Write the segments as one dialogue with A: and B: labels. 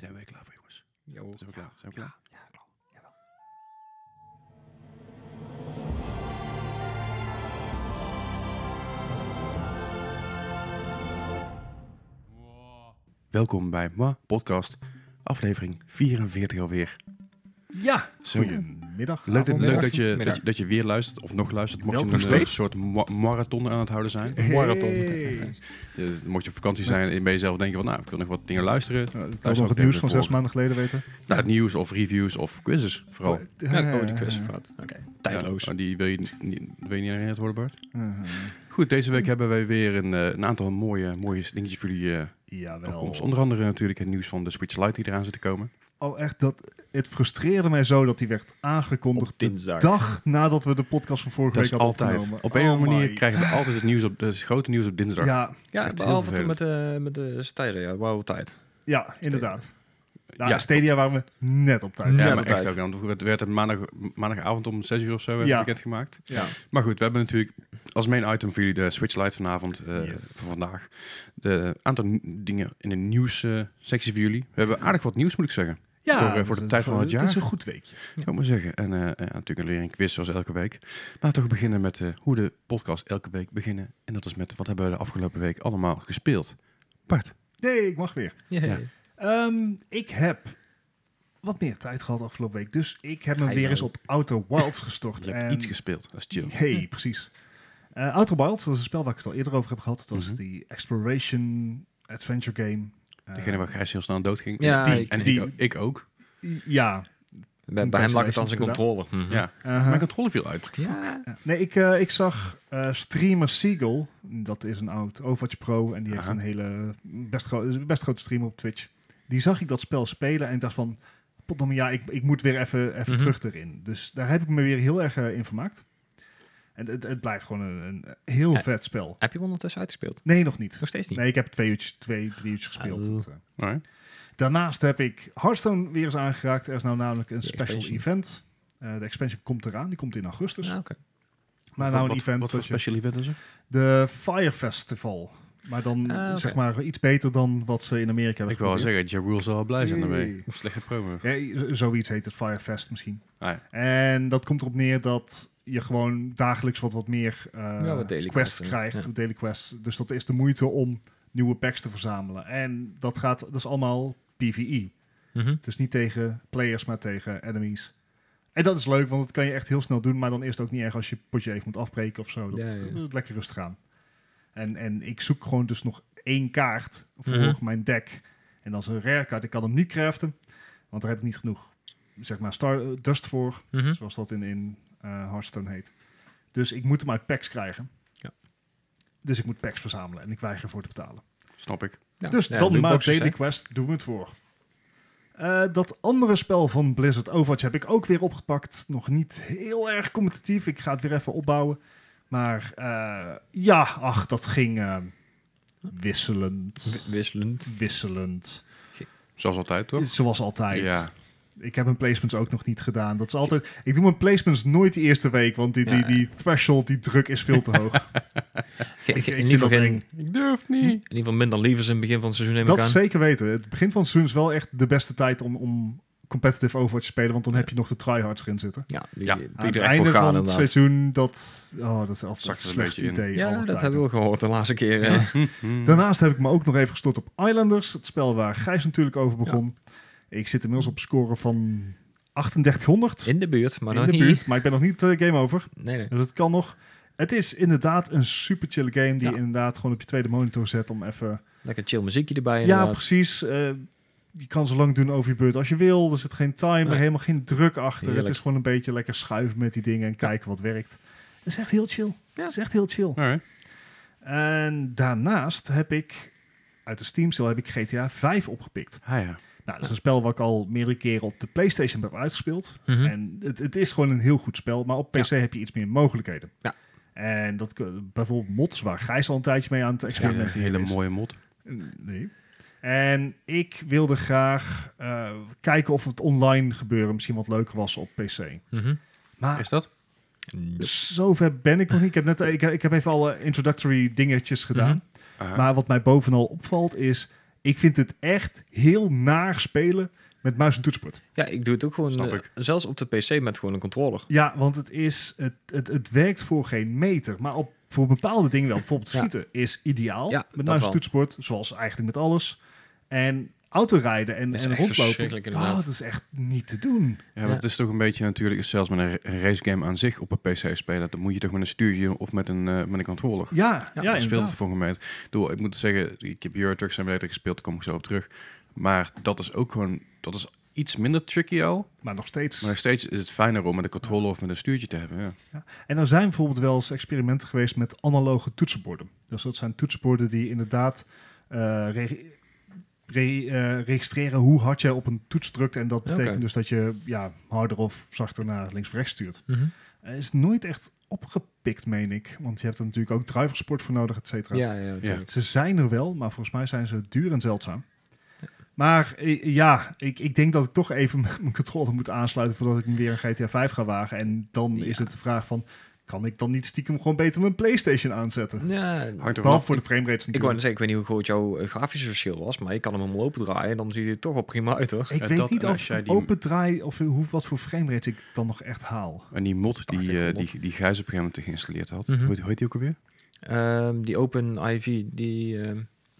A: ben je klaar voor, jongens?
B: Ja, hoor.
A: Zijn we klaar? Zijn we klaar?
B: Ja, klopt. Jawel.
A: Welkom bij MA Podcast, aflevering 44 alweer.
C: Ja,
A: Zo,
C: goedemiddag.
A: Leuk, dat,
C: avond.
A: leuk dat, je,
B: Middag.
A: dat, je, dat je weer luistert, of nog luistert, mocht
C: Wel,
A: je
C: nog
A: een eh,
C: steeds?
A: soort ma- marathon aan het houden zijn.
C: Hey.
B: Marathon.
A: Dus mocht je op vakantie zijn en bij jezelf denken van, nou, ik wil nog wat dingen luisteren.
C: Nou, ik wil
A: Luister
C: nog
A: ook
C: het nieuws
A: even
C: van zes
A: voor.
C: maanden geleden weten.
A: Nou, het nieuws of reviews of quizzes vooral.
B: Ja, oh, die
C: Eh,
B: quiz.
C: eh,
B: fout. Oké, tijdloos.
C: oh,
A: Ja, die wil je, niet- niet- wil je niet herinnerd worden, Bart?
C: eh,
A: Goed, deze week hebben wij weer een, eh, een aantal mooie, mooie dingetjes voor jullie eh
C: Jawel.
A: opkomst. Onder andere natuurlijk het nieuws van de Switch Lite die eraan zit te komen.
C: Al Oh, echt, dat, het frustreerde mij zo dat die werd aangekondigd
B: Op
C: de
B: dinsdag.
C: dag nadat we de podcast van vorige
A: Dat is
C: week hadden
A: altijd.
C: opgenomen.
A: Op een of
C: Oh
A: andere manier
C: my.
A: krijgen we altijd het nieuws op, het grote nieuws op dinsdag.
C: Ja,
B: Ja,
A: Echt heel
B: behalve toen
A: vervelend.
B: met, eh met de stijden. Ja, wauw, tijd.
C: ja, inderdaad. Nou,
A: Ja.
C: Stadia waren we net op tijd.
B: Ja,
A: Ja,
B: dat
A: maar
B: tijd.
A: echt ook. want Het werd het maandag, maandagavond om 6 uur of zo
C: Ja.
A: heb ik het gemaakt.
C: Ja.
A: Maar goed, we hebben natuurlijk als main item voor jullie de Switch Lite vanavond, eh
C: Yes.
A: voor vandaag. De aantal n- dingen in de nieuwssectie sectie voor jullie. We hebben aardig wat nieuws, moet ik zeggen.
C: Ja,
A: Voor, eh, voor de
C: dat is
A: tijd van
C: wel-
A: het jaar.
C: Het is een goed weekje.
A: Kan ik maar zeggen. En eh, eh, natuurlijk weer een quiz zoals elke week. Laten we beginnen met eh, hoe de podcast elke week beginnen. En dat is met wat hebben we de afgelopen week allemaal gespeeld. Bart,
C: Nee, ik mag weer.
A: Ja.
C: Ehm, ik heb wat meer tijd gehad afgelopen week. Dus ik heb me
B: Hij
C: weer
B: wel.
C: eens op Outer Wilds gestort.
A: je hebt
C: En-
A: iets gespeeld. Dat is chill.
C: Hey, precies. Eh Outer Wilds, dat is een spel waar ik het al eerder over heb gehad. Dat was
A: Mhm.
C: die exploration adventure game. Eh,
A: Degene waar Gijs heel snel aan dood ging.
B: Ja,
C: Die-
B: ik-
A: en
C: die-
A: ik, ik ook.
C: i- Ja.
B: bij, bij hem lag het aan zijn
C: Incarceration
B: controller.
A: Ja.
C: eh,
A: Mijn controle viel uit.
B: Mhm. Ja.
C: ja. Nee, ik, eh, ik zag eh, streamer Seagull. Dat is een oud Overwatch pro en die heeft
A: Aha.
C: een hele best, gro- best grote stream op Twitch. Die zag ik dat spel spelen en ik dacht van... Potdomme, ja, ik, ik moet weer even, even
B: Mhm.
C: terug erin. Dus daar heb ik me weer heel erg eh, in vermaakt. En het, het blijft gewoon een, een heel
B: Ja.
C: vet spel.
B: Heb je hem ondertussen uitgespeeld?
C: Nee, nog niet.
B: Nog steeds niet.
C: Nee, ik heb twee, uurtjes, twee drie uurtjes gespeeld.
B: Ah,
C: Het, eh,
A: Alright.
C: Daarnaast heb ik Hearthstone weer eens aangeraakt. Er is nou namelijk een
B: De
C: special
B: expansion.
C: event. Eh, de expansion komt eraan, die komt in augustus.
B: Ah, oké.
C: Maar
A: Wat-
C: nou een
A: wat-
C: event.
A: Wat voor
C: dat je-
A: special event is er?
C: de Fire Festival. Maar dan
B: Ah, oké.
C: zeg maar iets beter dan wat ze in Amerika hebben
A: Ik wil wel
C: geprobeerd.
A: zeggen, Ja Rule zal wel blij zijn daarmee.
C: Nee.
A: Slechte promo.
C: Ja, z- zoiets heet het Firefest misschien.
A: Ah, ja.
C: En dat komt erop neer dat je gewoon dagelijks wat, wat meer eh,
B: Ja, wat daily
C: quests
B: quests,
C: krijgt.
B: ja.
C: Daily quests. Dus dat is de moeite om nieuwe packs te verzamelen. En dat, gaat, dat is allemaal PvE.
B: Mhm.
C: Dus niet tegen players, maar tegen enemies. En dat is leuk, want dat kan je echt heel snel doen. Maar dan is het ook niet erg als je potje even moet afbreken of zo. Dat
B: Ja, ja.
C: eh, dat lekker rustig aan. En, en ik zoek gewoon dus nog één kaart voor
B: Mhm.
C: mijn deck. En dat is een rare kaart. Ik kan hem niet craften, want daar heb ik niet genoeg zeg maar star, eh, dust voor.
B: Mhm.
C: Zoals dat in, in eh, Hearthstone heet. Dus ik moet hem uit packs krijgen.
B: Ja.
C: Dus ik moet packs verzamelen en ik weiger voor te betalen.
A: Snap ik.
B: Ja,
C: Dus
B: ja,
C: dan maar
B: lootboxes,
C: Daily
B: hè.
C: Quest doen we het voor. Eh, dat andere spel van Blizzard Overwatch heb ik ook weer opgepakt. Nog niet heel erg competitief. Ik ga het weer even opbouwen. Maar eh, ja, ach, dat ging eh, wisselend.
B: Wi- Wisselend.
C: Wisselend.
A: Zoals altijd, toch?
C: Zoals altijd.
A: Ja.
C: Ik heb mijn placements ook nog niet gedaan. Dat is altijd. Ik doe mijn placements nooit de eerste week, want die, die,
B: Ja.
C: die threshold, die druk is veel te hoog.
B: Ik, ik,
C: ik
B: in,
C: vind
B: ieder geval
C: dat
B: geen-
C: eng.
B: in
A: Ik durf niet.
B: ieder geval minder liefers in het begin van het seizoen neem
C: Dat
B: ik aan.
C: zeker weten. Het begin van het seizoen is wel echt de beste tijd om, om competitive Overwatch te spelen, want dan heb je nog de tryhards erin zitten.
B: Ja, die,
A: Ja.
B: die
C: Aan het
B: er echt voor
C: einde van
B: gaan
C: het
B: inderdaad.
C: seizoen, dat, oh, dat is altijd
A: Zakt
C: een
A: er een
C: slecht
A: beetje in.
C: idee.
B: Ja,
C: altijd.
B: dat hebben we gehoord de laatste keer. eh.
A: Hm,
C: Daarnaast heb ik me ook nog even gestort op Islanders, het spel waar Gijs natuurlijk over begon. Ik zit inmiddels op score van 3800
B: In de buurt, maar
C: in
B: nog
C: de
B: niet.
C: buurt, maar ik ben nog niet eh, game over.
B: Nee, nee.
C: Dus het kan nog. Het is inderdaad een super chill game die
B: Ja.
C: inderdaad gewoon op je tweede monitor zet om even...
B: Lekker chill muziekje erbij
C: Ja,
B: inderdaad.
C: precies. eh, je kan zo lang doen over je beurt als je wil. Er zit geen timer,
B: Nee.
C: helemaal geen druk achter.
B: Heerlijk.
C: Het is gewoon een beetje lekker schuiven met die dingen en kijken wat werkt. Het is echt heel chill.
B: Ja.
C: Het is echt heel chill.
A: Alright.
C: En daarnaast heb ik uit de Steam sale heb ik GTA 5 opgepikt.
A: Ah ja.
C: Nou, dat is een spel wat ik al meerdere keren op de PlayStation heb uitgespeeld.
B: Mhm.
C: En het, het is gewoon een heel goed spel, maar op PC heb je iets meer mogelijkheden.
B: Ja.
C: En dat kun- bijvoorbeeld mods, waar Gijs al een tijdje mee aan het
A: Hele,
C: experimenteren
A: hele
C: is.
A: mooie mod.
C: Nee. En ik wilde graag eh, kijken of het online gebeuren misschien wat leuker was op PC.
B: Mhm.
C: Maar
A: Is dat?
C: Dus zover ben ik nog niet. Ik heb, net, ik, ik heb even alle introductory dingetjes gedaan.
B: Mhm.
A: Aha.
C: Maar wat mij bovenal opvalt is, Ik vind het echt heel naar spelen met muis en toetsenbord.
B: Ja, ik doe het ook gewoon,
A: Snap
B: eh,
A: ik.
B: zelfs op de PC met gewoon een controller.
C: Ja, want het, is, het, het, het werkt voor geen meter. Maar op, voor bepaalde dingen wel. Bijvoorbeeld
B: Ja.
C: schieten is ideaal.
B: Ja,
C: met
B: dat
C: muis en
B: wel.
C: toetsenbord, zoals eigenlijk met alles. En autorijden en,
B: Dat is
C: en
B: echt
C: rondlopen.
B: verschrikkelijk,
C: Oh,
B: inderdaad.
C: dat is echt niet te doen.
A: Ja, maar
B: Ja.
A: het is toch een beetje natuurlijk, zelfs met een ra- race game aan zich op een PC spelen, dan moet je toch met een stuurtje of met een, eh, met een controller.
C: Ja, ja,
B: Ja,
A: dan speelt
C: inderdaad.
A: het voor mij. Ik, bedoel, ik moet zeggen, ik heb Euro Truck Simulator gespeeld, daar kom ik zo op terug. Maar dat is ook gewoon, dat is iets minder tricky al.
C: Maar nog steeds.
A: Maar nog steeds is het fijner om met een controller of met een stuurtje te hebben. Ja.
C: En er zijn bijvoorbeeld wel eens experimenten geweest met analoge toetsenborden. Dus dat zijn toetsenborden die inderdaad eh, re- re- eh, registreren hoe hard jij op een toets drukt. En dat betekent
B: Oké.
C: dus dat je ja, harder of zachter naar links of rechts stuurt. Er is nooit echt opgepikt, meen ik. Want je hebt er natuurlijk ook driversport voor nodig, et cetera.
B: Ja, ja, natuurlijk.
C: Ze zijn er wel, maar volgens mij zijn ze duur en zeldzaam. Maar eh, ja, ik, ik denk dat ik toch even mijn controller moet aansluiten voordat ik me weer een GTA 5 ga wagen. En dan
B: Ja.
C: is het de vraag van, kan ik dan niet stiekem gewoon beter mijn Playstation aanzetten?
B: Ja,
A: Hangt er
C: Behalve
A: vanaf.
C: voor de framerates
B: ik
C: natuurlijk.
B: wou net zeggen, ik weet niet hoe groot jouw eh, grafische verschil was, maar je kan hem helemaal open draaien en dan ziet hij er toch al prima uit, hoor.
C: Ik,
A: En
C: weet
A: dat-
C: niet
A: en
C: of
A: als jij
C: ik
A: die-
C: open draai of hoe, wat voor framerates ik dan nog echt haal.
A: En die mod die,
B: Ach, zeg,
A: eh,
B: mod.
A: die, die Gijs op een gegeven moment geïnstalleerd had,
B: Mhm.
A: hoe heet- hoe heet die ook alweer?
B: Ehm, die Open IV, die... ehm,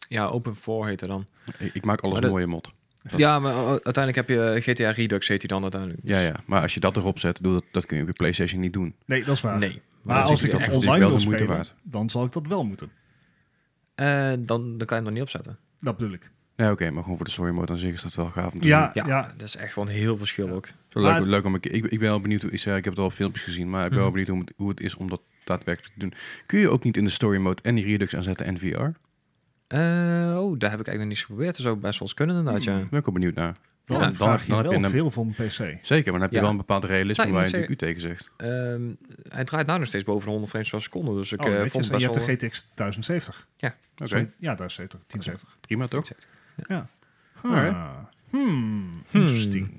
B: ja, Open 4 heet er dan.
A: Ik, ik maak alles
B: Maar dat-
A: mooie mod.
B: Ja, maar u- uiteindelijk heb je eh, GTA Redux, heet hij dan uiteindelijk.
A: Ja,
B: Dus-
A: ja, maar als je dat erop zet, doe dat, dat kun je op je PlayStation niet doen.
C: Nee, dat is waar.
B: Dus Nee.
C: Maar,
A: dan zit
C: als ik
A: je
C: dat
A: echt
C: online
A: wel
C: wil
A: de moeite
C: spelen,
A: waard.
C: dan zal ik dat wel moeten.
B: Eh, dan, dan kan je hem nog niet opzetten.
C: Dat bedoel ik.
A: Nee, oké, maar gewoon voor de story mode aan zich is dat wel gaaf om te
C: Ja,
A: doen.
B: Ja,
C: Ja.
B: dat is echt gewoon heel verschil ook.
A: Zo
C: Maar- Mhm.
A: leuk, leuk om een keer- ik, ik ben wel benieuwd hoe ik zei, ik heb het al op filmpjes gezien, maar ik ben wel benieuwd hoe het, hoe het is om dat daadwerkelijk te doen. Kun je ook niet in de story mode en die Redux aanzetten en VR?
B: Eh, oh, daar heb ik eigenlijk nog niet geprobeerd. Dat zou best wel eens kunnen inderdaad, ja.
A: Daar ben ik wel benieuwd naar.
C: Dan
B: Ja, dan-
C: vraag je
A: dan heb je
C: wel
A: hem-
C: veel van een Oh, PC.
A: Zeker, maar dan heb je
B: Ja.
A: wel een bepaald realisme
B: Nou, ik
A: waar je
B: moet
A: natuurlijk u tegen zegt.
B: Ehm, hij draait nou nog steeds boven de 100 frames per seconde, dus ik
C: oh,
B: eh,
C: netjes.
B: vond het
C: en je
B: best
C: hebt
B: wel...
C: de GTX 1070.
A: Oké,
C: Sorry, Ja, 1070, 1070.
A: prima toch?
C: Ah. Hmm, interesting.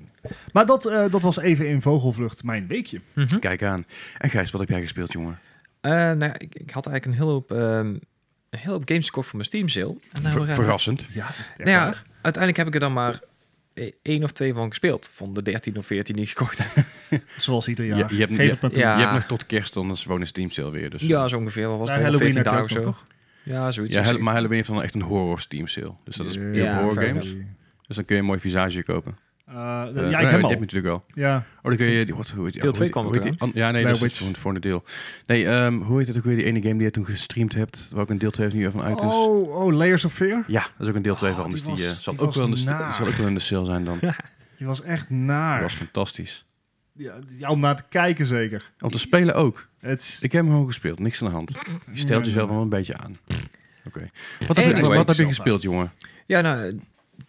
C: Maar dat, eh, dat was even in vogelvlucht mijn weekje.
B: Mhm.
A: Kijk aan. En Gijs, wat heb jij gespeeld, jongen?
B: Eh, nou, ja, ik, ik had eigenlijk een hele hoop, ehm, een hele hoop games gekocht voor mijn Steam sale. En nou,
A: Ver-
B: we gaan-
A: verrassend.
C: Ja,
B: Nou ja, uiteindelijk heb ik er dan maar eh, één of twee van gespeeld. Van de 13 of 14 die ik gekocht heb.
C: Zoals ieder
A: Je-
C: jaar.
A: je hebt-
C: Geef het maar toe.
B: Ja.
A: Je hebt nog tot kerst, dan is gewoon een Steam sale weer. Dus.
B: Ja, zo ongeveer. Wat was
C: Bij
B: het?
C: Halloween heb
B: 14
C: je
B: dagen
C: ook
B: of
C: nog,
B: zo.
C: toch?
B: Ja, zoiets.
A: Ja,
B: Dus
A: Hel-
B: ik-
A: maar Halloween heeft dan echt een horror Steam sale. Dus dat is
C: Ja,
A: puur
B: ja,
A: horror
B: fair
A: games.
B: enough.
A: Dus dan kun je een mooi visage kopen.
C: Eh,
A: Eh,
C: ja,
A: nee,
C: ik heb hem
A: dit
C: al.
A: natuurlijk al.
C: Ja,
A: Oh, dan kun je... die- Wat, hoe heet die-
B: Deel
A: hoe
B: twee
A: heet die-
B: kwam
A: hoe
B: er
A: heet die- an- Ja, nee,
C: Blair
A: dat is
C: Witch.
A: voor het volgende deel. Nee, ehm, hoe heet dat ook weer? Die ene game die je toen gestreamd hebt, waar ook een deel 2 nu even uit Ah, is.
C: oh, oh, Layers of Fear.
A: Ja, dat is ook een deel 2
C: Oh,
A: van. Dus
C: die
A: die, eh,
C: was-
A: zal,
C: die
A: ook wel in de,
C: was
A: st-
C: naar.
A: zal ook wel in de sale zijn dan. Dat
C: Die was echt naar.
A: was fantastisch.
C: Ja, ja, om naar te kijken zeker.
A: Om te spelen ook.
C: Het is- Hmm.
A: Ik heb hem gewoon gespeeld. Niks aan de hand. Je stelt jezelf wel een beetje aan. Oké. Wat, heb je,
B: Anyway.
A: wat heb je gespeeld, jongen?
B: Ja, nou,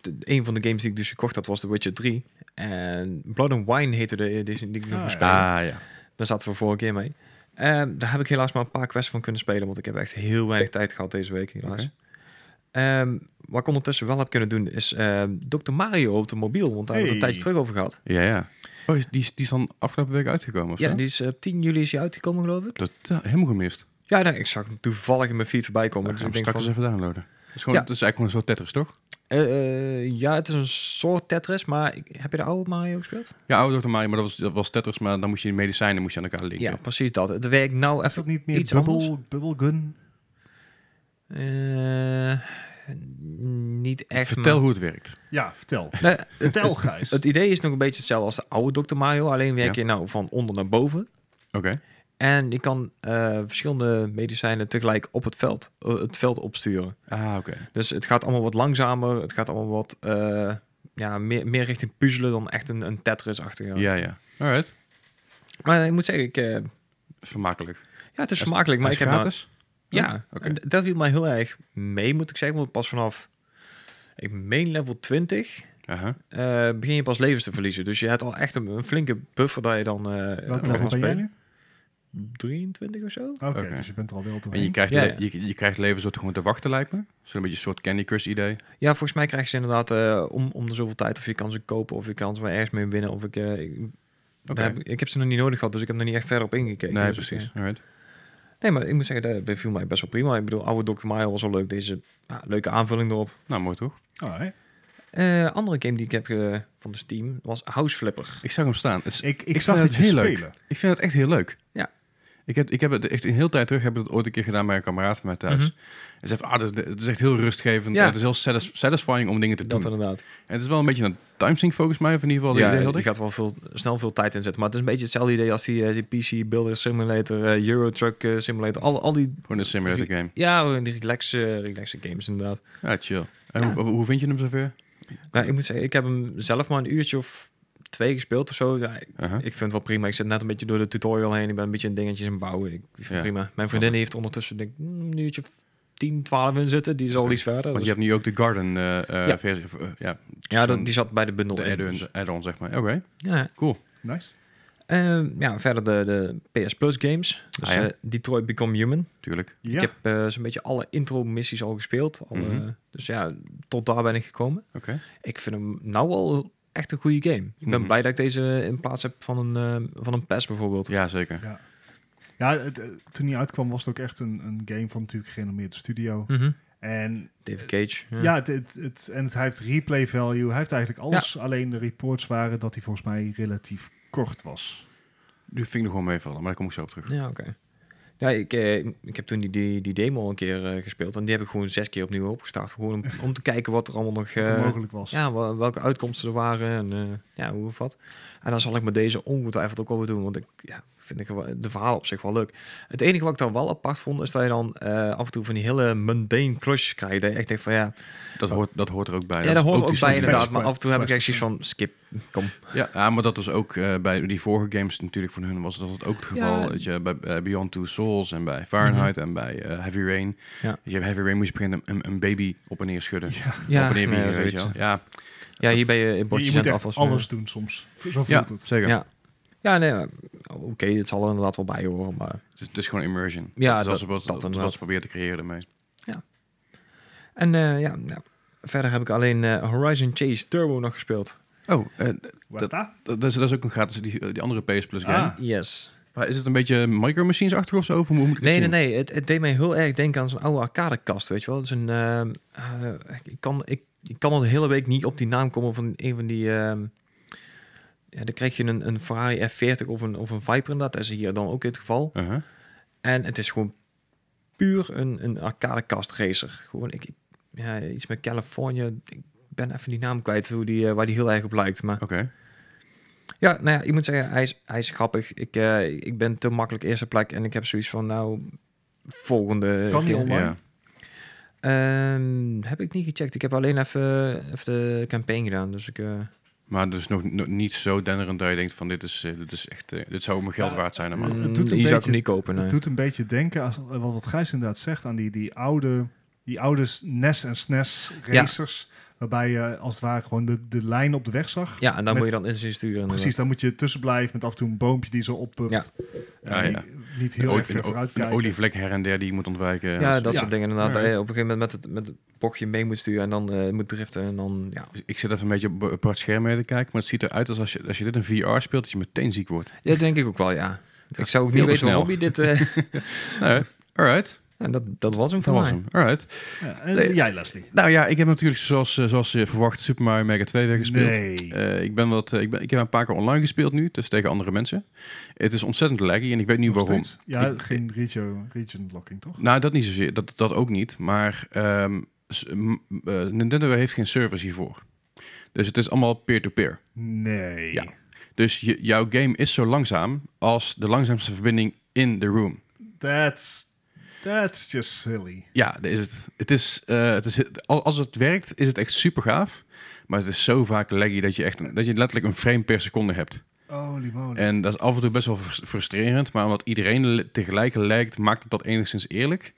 B: de- een van de games die ik dus gekocht had was The Witcher 3. En Blood and Wine heette de, deze die ik nog
C: Ah,
B: moest
C: ja.
B: spelen.
A: Ah, ja.
B: Daar zaten we vorige keer mee. Ehm, daar heb ik helaas maar een paar quests van kunnen spelen, want ik heb echt heel weinig tijd gehad deze week helaas.
A: Oké.
B: Ehm, wat ik ondertussen wel heb kunnen doen is ehm Dr. Mario op de mobiel, want daar hebben we het een
C: Hey.
B: tijdje terug over gehad.
A: Ja, ja. Oh, is, die, is- die is dan afgelopen week uitgekomen, of
B: Ja,
A: zo?
B: die is eh, op 10 juli is die uitgekomen geloof ik.
A: Totaal, helemaal gemist.
B: Ja, nou, ik zag hem toevallig in mijn feed voorbij komen.
A: Dan
B: Dus
A: gaan
B: ik
A: we
B: denk
A: straks
B: van,
A: eens even downloaden. Het is, gewoon,
B: Ja.
A: het is eigenlijk gewoon een soort Tetris, toch?
B: eh, eh, ja, het is een soort Tetris, maar ik- heb je de oude Mario gespeeld?
A: Ja, oude dokter Mario, maar dat was, dat was Tetris, maar dan moest je die medicijnen moest je aan elkaar linken.
B: Ja, precies dat. Het werkt nou
C: is
B: even
C: dat niet meer
B: iets
C: bubble,
B: anders?
C: Bubblegun?
B: Eh, niet echt.
A: Vertel
B: maar-
A: hoe het werkt.
C: Ja, vertel.
B: Nou,
C: Vertel, Gijs.
B: het idee is nog een beetje hetzelfde als de oude Dr. Mario. Alleen werk je nou van onder naar boven.
A: Oké.
B: En je kan eh, verschillende medicijnen tegelijk op het veld, eh, het veld opsturen.
A: Ah, oké.
B: Dus het gaat allemaal wat langzamer. Het gaat allemaal wat eh, ja, meer, meer richting puzzelen dan echt een, een Tetris-achtige.
A: Ja, ja. Alright.
B: Maar ik moet zeggen, ik, eh,
A: Vermakelijk.
B: ja, het is vermakelijk. Maar
A: Hij is
B: ik heb nou-
A: gratis? Oh,
B: Ja,
A: Oké.
B: en d- dat viel mij heel erg mee, moet ik zeggen. Want pas vanaf, ik meen level 20,
A: Aha.
B: eh, begin je pas levens te verliezen. Dus je hebt al echt een, een flinke buffer dat je dan... eh
C: Welke
B: kan
C: level ben jij
B: spelen.
C: nu?
B: 23 of zo?
C: Oké,
A: Oké.
C: dus je bent er al wel
A: En je
C: doorheen.
A: krijgt,
B: Ja,
A: le-
B: ja.
A: Je, je krijgt leven soort gewoon te wachten, lijkt me. Zo'n beetje een soort Candy Crush idee.
B: Ja, volgens mij krijg je ze inderdaad eh, om, om de zoveel tijd of je kan ze kopen of je kan ze maar ergens mee winnen. Of ik, eh, ik,
A: Oké.
B: daar heb, ik- ik heb ze nog niet nodig gehad, dus ik heb er niet echt verder op ingekeken.
A: Nee,
B: Dus,
A: precies.
B: eh,
A: Alright.
B: Nee, maar ik moet zeggen, dat beviel mij best wel prima. Ik bedoel, oude Dr. Mario was al leuk. Deze ja, leuke aanvulling erop.
A: Nou, mooi toch?
C: Alright.
B: Eh, andere game die ik heb eh, van de Steam was House Flipper.
A: Ik zag hem staan. Het is-
C: Ik, ik,
A: vind
C: zag
A: het
C: het je
A: heel leuk.
C: spelen.
A: ik vind het echt heel leuk.
B: Ja.
A: Ik heb, ik heb het echt een heel tijd terug, heb ik het ooit een keer gedaan bij een kameraad van mij thuis.
B: Mhm.
A: En ze heeft, ah, dat- dat- het is echt heel rustgevend.
B: Ja.
A: Het is heel satis- satisfying om dingen te doen.
B: Dat inderdaad.
A: En het is wel een beetje een timesync volgens mij, of in ieder geval. Ja, idee had
B: je
A: ik.
B: gaat wel veel, snel veel tijd inzetten. Maar het is een beetje hetzelfde idee als die, eh, die PC Builder Simulator, eh, Euro Truck eh, Simulator. Al, al die,
A: Gewoon een simulator game.
B: ja, die relaxe, relaxe games inderdaad.
A: Ja, chill. En
B: Ja.
A: Hoe, hoe vind je hem zover?
B: Nou, ik moet zeggen, ik heb hem zelf maar een uurtje of twee gespeeld of zo. Ja, ik
A: Aha.
B: ik vind het wel prima. Ik zit net een beetje door de tutorial heen. Ik ben een beetje in dingetjes aan het bouwen. Ik vind het
A: Ja.
B: prima. Mijn vriendin heeft ondertussen denk, ik, mm, een uurtje of 10, 12 in zitten. Die is al iets verder.
A: Want
B: Dus-
A: je hebt nu ook de Garden eh, eh,
B: Ja.
A: versie. of, eh, ja,
B: ja, dat,
A: zo'n-
B: die zat bij de bundel
A: de
B: in,
A: add-on,
B: dus-
A: de add-on, zeg maar. Oké,
B: Ja.
A: cool.
C: Nice.
B: Ehm, ja, verder de, de PS Plus games. Dus
A: Ah, ja.
B: eh, Detroit Become Human.
A: Tuurlijk.
C: Ja.
B: Ik heb eh, zo'n beetje alle intro missies al gespeeld. Alle,
A: Mhm.
B: Dus ja, tot daar ben ik gekomen.
A: Oké.
B: Ik vind hem nou al echt een goede game. Ik ben
A: Mhm.
B: blij dat ik deze in plaats heb van een, eh, van een PES bijvoorbeeld.
A: Ja, zeker.
C: Ja, het, eh, toen die uitkwam was het ook echt een, een game van natuurlijk gerenommeerde studio.
B: Mhm.
C: En
B: David Cage.
C: ja, het, het, het- en het, hij heeft replay value. Hij heeft eigenlijk alles. Alleen de reports waren dat hij volgens mij relatief kort was.
A: Nu vind ik nog wel meevallen, maar daar kom ik zo op terug.
B: Ja, oké. Ja, ik, eh, ik heb toen die, die, die demo een keer eh, gespeeld. En die heb ik gewoon zes keer opnieuw opgestart. Gewoon om, om te kijken wat er allemaal nog...
C: Dat
B: eh,
C: het mogelijk was.
B: ja, wa- welke uitkomsten er waren en eh, ja, hoe of wat. En dan zal ik met deze ongetwijfeld ook wel weer doen. Want ik ja, vind ik wel- de verhaal op zich wel leuk. Het enige wat ik dan wel apart vond, is dat je dan eh, af en toe van die hele mundane klusjes krijgt. Dat je echt denkt van ja,
A: Dat, hoort, dat hoort er ook bij.
B: ja daar hoort ook,
A: die
B: bij
A: side
B: inderdaad.
C: quest-
B: Maar af en toe heb ik echt
C: quest-
B: zoiets van skip, kom.
A: Ja, ah, maar dat was ook eh, bij die vorige games natuurlijk van hun was dat het ook het geval. Weet je, bij eh, Beyond Two Souls en bij Fahrenheit en bij eh, Heavy Rain.
B: Mhm. Ja.
A: Je hebt Heavy Rain moest je beginnen een, een baby op en neer schudden. op en neer
B: nee,
A: biegen, weet je
B: zoiets.
A: wel. Ja,
B: ja, hier ben je in
C: Je,
B: bordjes
C: moet
B: aan
C: echt
B: het afwassen.
C: alles doen soms. Zo voelt
A: ja
C: het.
A: zeker.
B: Ja. Ja, nee, maar- oké, het zal er inderdaad wel bij horen, maar...
A: Het, is, het is gewoon immersion.
B: Ja,
A: dat,
B: dat-
A: is wat,
B: dat
A: dat,
B: inderdaad.
A: wat ze proberen te creëren daarmee.
B: En eh, ja, ja, verder heb ik alleen eh, Horizon Chase Turbo nog gespeeld.
A: Oh, eh,
C: Waar is dat?
A: dat, is, dat is ook een gratis, die, die andere PS Plus game.
C: Ah.
B: Yes.
A: Maar is het een beetje micro machines achter of zo? Of hoe moet ik het
B: Nee, nee,
A: zien?
B: nee, het, het deed mij heel erg denken aan zo'n oude arcadekast, weet je wel. Dus een, ehm, eh, ik, kan, ik, ik kan al de hele week niet op die naam komen van een van die... ehm, ja, dan krijg je een, een Ferrari F40 of een, of een Viper inderdaad. Dat is hier dan ook het geval.
A: Uh-huh.
B: En het is gewoon puur een, een arcadekast racer. Gewoon ik, ik- ja, iets met Californië. Ik ben even die naam kwijt hoe die, eh, waar die heel erg op lijkt. Maar
A: Oké.
B: ja, nou ja, ik moet zeggen, hij is, hij is grappig. Ik, eh, ik ben te makkelijk eerste plek en ik heb zoiets van, nou, volgende
C: Kan die
B: keer.
C: online?
A: Ja.
B: Ehm, heb ik niet gecheckt. Ik heb alleen even, even de campaign gedaan. Dus ik, eh,
A: Maar dus nog, nog niet zo denderend dat je denkt van dit is, eh, dit is echt, eh, dit zou mijn geld
C: Ja,
A: waard zijn. normaal.
C: het
B: mm,
C: doet een
B: hier zou ik
C: beetje-
B: hem niet kopen.
C: Het
B: nee.
C: doet een beetje denken, als, eh, wat wat Gijs inderdaad zegt, aan die, die oude, die oude E s- NES en SNES
B: Ja.
C: racers. Waarbij je als het ware gewoon de, de lijn op de weg zag.
B: Ja, en dan
C: Met-
B: moet je dan inzien sturen.
C: Precies, daar moet je tussen blijven met af en toe een boompje die zo oppupt.
B: Ja.
C: Eh,
A: Ja, ja.
C: Niet
A: Een
C: heel
A: o-
C: erg ver
A: een o-
C: vooruit
A: Een
C: kijken.
A: olievlek her en der die je moet ontwijken.
B: Ja,
A: Dus
B: dat
C: Ja.
B: soort dingen inderdaad.
A: Ja.
B: Dat je op een gegeven moment met het, met het bochtje mee moet sturen en dan eh, moet driften en dan, ja.
A: Dus Ik zit even een beetje op apart scherm mee te kijken, maar het ziet eruit als als je, als je dit in VR speelt, dat je meteen ziek wordt.
B: Ja, denk ik ook wel, ja. Ik zou ook
A: Veel
B: niet
A: te
B: weten
A: snel.
B: waarom hij dit... eh,
A: Nou, alright.
B: en dat, dat was hem
A: Dat
B: voor
A: was
B: mij.
A: hem. Alright.
C: Ja, en
A: Nee.
C: jij, Leslie?
A: Nou ja, ik heb natuurlijk zoals, eh, zoals je verwacht Super Mario Mega 2 weer gespeeld.
C: Nee.
A: Eh, ik, ben wat, eh, ik, ben, ik heb een paar keer online gespeeld nu, dus tegen andere mensen. Het is ontzettend laggy en ik weet niet
C: Nog
A: waarom.
C: steeds? Ja,
A: Ik-
C: geen region, region locking, toch?
A: Nou, dat niet zozeer. Dat, dat ook niet. Maar ehm, s- m- eh, Nintendo heeft geen service hiervoor. Dus het is allemaal peer-to-peer.
C: Nee.
A: Ja. Dus je- jouw game is zo langzaam als de langzaamste verbinding in de room.
C: That's, that's just silly.
A: Ja, dat is het. Het is, eh, het is, het- al- als het werkt, is het echt super gaaf. Maar het is zo vaak laggy dat je, echt een- dat je letterlijk een frame per seconde hebt.
C: Holy moly.
A: En dat is af en toe best wel frus- frustrerend. Maar omdat iedereen le- tegelijk lijkt, maakt het dat enigszins eerlijk.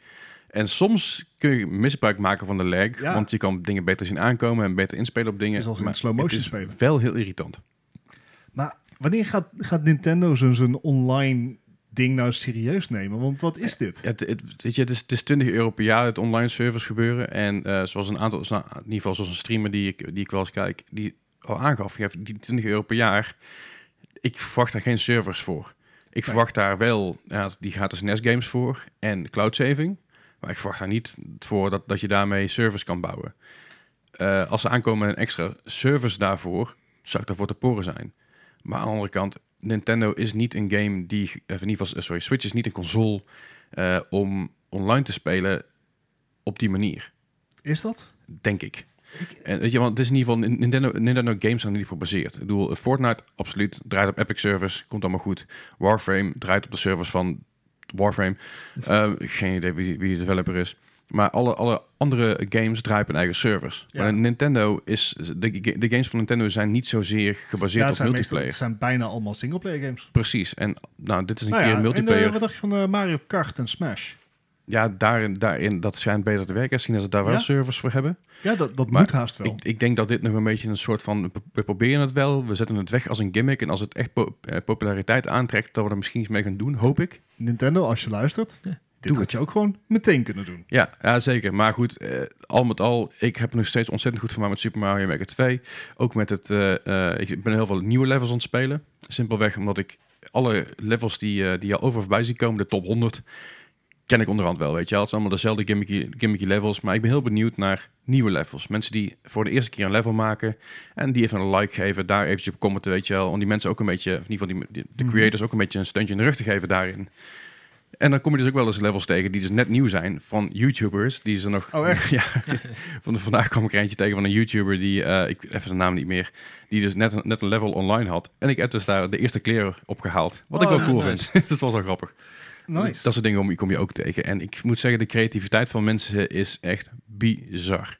A: En soms kun je misbruik maken van de lag.
C: Ja.
A: Want je kan dingen beter zien aankomen en beter inspelen op dingen.
C: Het is als in
A: maar
C: slow motion
A: het is
C: spelen.
A: wel heel irritant.
C: Maar wanneer gaat, gaat Nintendo zo'n zo'n online ding nou serieus nemen? Want wat is dit?
A: Ja, Het, het, weet je, het, is, het is 20 euro per jaar het online service gebeuren. En eh, zoals een aantal, nou, in ieder geval zoals een streamer die ik, die ik wel eens kijk, die al aangaf, je hebt die 20 euro per jaar. Ik verwacht daar geen servers voor. Ik verwacht daar wel, ja, die gaat dus NES games voor en cloud saving. Maar ik verwacht daar niet voor dat, dat je daarmee service kan bouwen. Eh, als ze aankomen met een extra service daarvoor, zou ik daarvoor te poren zijn. Maar aan de andere kant, Nintendo is niet een game die, of in ieder geval, eh, sorry, Switch is niet een console eh, om online te spelen op die manier,
C: Is dat?
A: denk ik. En weet je, want het is in ieder geval Nintendo, Nintendo games zijn er niet op gebaseerd. Ik bedoel, Fortnite absoluut draait op Epic Servers, komt allemaal goed. Warframe draait op de servers van Warframe. Eh, geen idee wie, wie de developer is. Maar alle, alle andere games draaien op hun eigen servers.
C: Ja.
A: Maar Nintendo is de, de games van Nintendo zijn niet zozeer gebaseerd
C: Ja, het
A: op
C: zijn, meestal,
A: multiplayer.
C: het zijn bijna allemaal singleplayer games.
A: Precies. En nou, dit is een
C: Nou
A: keer
C: ja, en, eh,
A: multiplayer.
C: wat dacht je van eh, Mario Kart en Smash?
A: ja, daarin, daarin dat schijnt beter te werken. Zien dat ze daar wel
C: Ja?
A: servers voor hebben.
C: Ja, dat, dat
A: Maar
C: moet haast wel.
A: Ik, ik denk dat dit nog een beetje een soort van, we proberen het wel, we zetten het weg als een gimmick. En als het echt po- eh, populariteit aantrekt, dat we er misschien iets mee gaan doen, hoop ik.
C: Nintendo, als je luistert,
B: Ja,
C: dit
A: doe
C: had
A: het.
C: je ook gewoon meteen kunnen doen.
A: Ja, ja zeker. Maar goed, eh, al met al, ik heb er nog steeds ontzettend goed van mij met Super Mario Maker 2. Ook met het, eh, eh, ik ben heel veel nieuwe levels aan het spelen. Simpelweg omdat ik alle levels die, eh, die je al over voorbij ziet komen, de top 100, ken ik onderhand wel, weet je wel. Het zijn allemaal dezelfde gimmicky, gimmicky levels, maar ik ben heel benieuwd naar nieuwe levels. Mensen die voor de eerste keer een level maken en die even een like geven, daar eventjes op commenten, weet je wel. Om die mensen ook een beetje, of in ieder geval die, de
C: Mhm.
A: creators ook een beetje een steuntje in de rug te geven daarin. En dan kom je dus ook wel eens levels tegen die dus net nieuw zijn van YouTubers. Die ze nog...
C: Oh, echt?
A: Ja. Van, vandaag kwam ik er eentje tegen van een YouTuber die... eh, ik even de naam niet meer. Die dus net, een- net een level online had. En ik heb dus daar de eerste kleren op gehaald. Wat ik
C: Oh,
A: wel cool
B: nice.
A: vind. dat was wel grappig. Dus
C: Nice.
A: Dat soort dingen kom- kom je ook tegen. En ik moet zeggen, de creativiteit van mensen is echt bizar.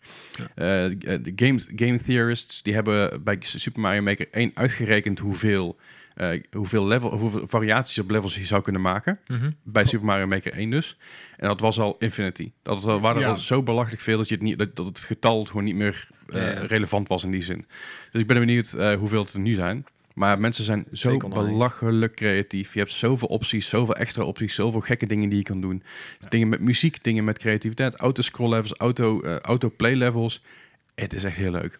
B: Ja.
A: Eh, de game, game theorists die hebben bij Super Mario Maker 1 uitgerekend hoeveel, eh, hoeveel, level, hoeveel variaties op levels je zou kunnen maken.
B: Mhm.
A: Bij Super Mario Maker 1 dus. En dat was al Infinity. Dat was al, waren er
C: Ja.
A: al zo belachelijk veel dat, je het niet, dat, dat het getal gewoon niet meer eh,
B: Ja, ja.
A: relevant was in die zin. Dus ik ben benieuwd eh, hoeveel het er nu zijn. Maar mensen zijn zo
B: Zeker online.
A: belachelijk creatief. Je hebt zoveel opties, zoveel extra opties, zoveel gekke dingen die je kan doen.
C: Ja.
A: Dingen met muziek, dingen met creativiteit, auto-scroll levels, auto, eh, auto-play levels. Het is echt heel leuk.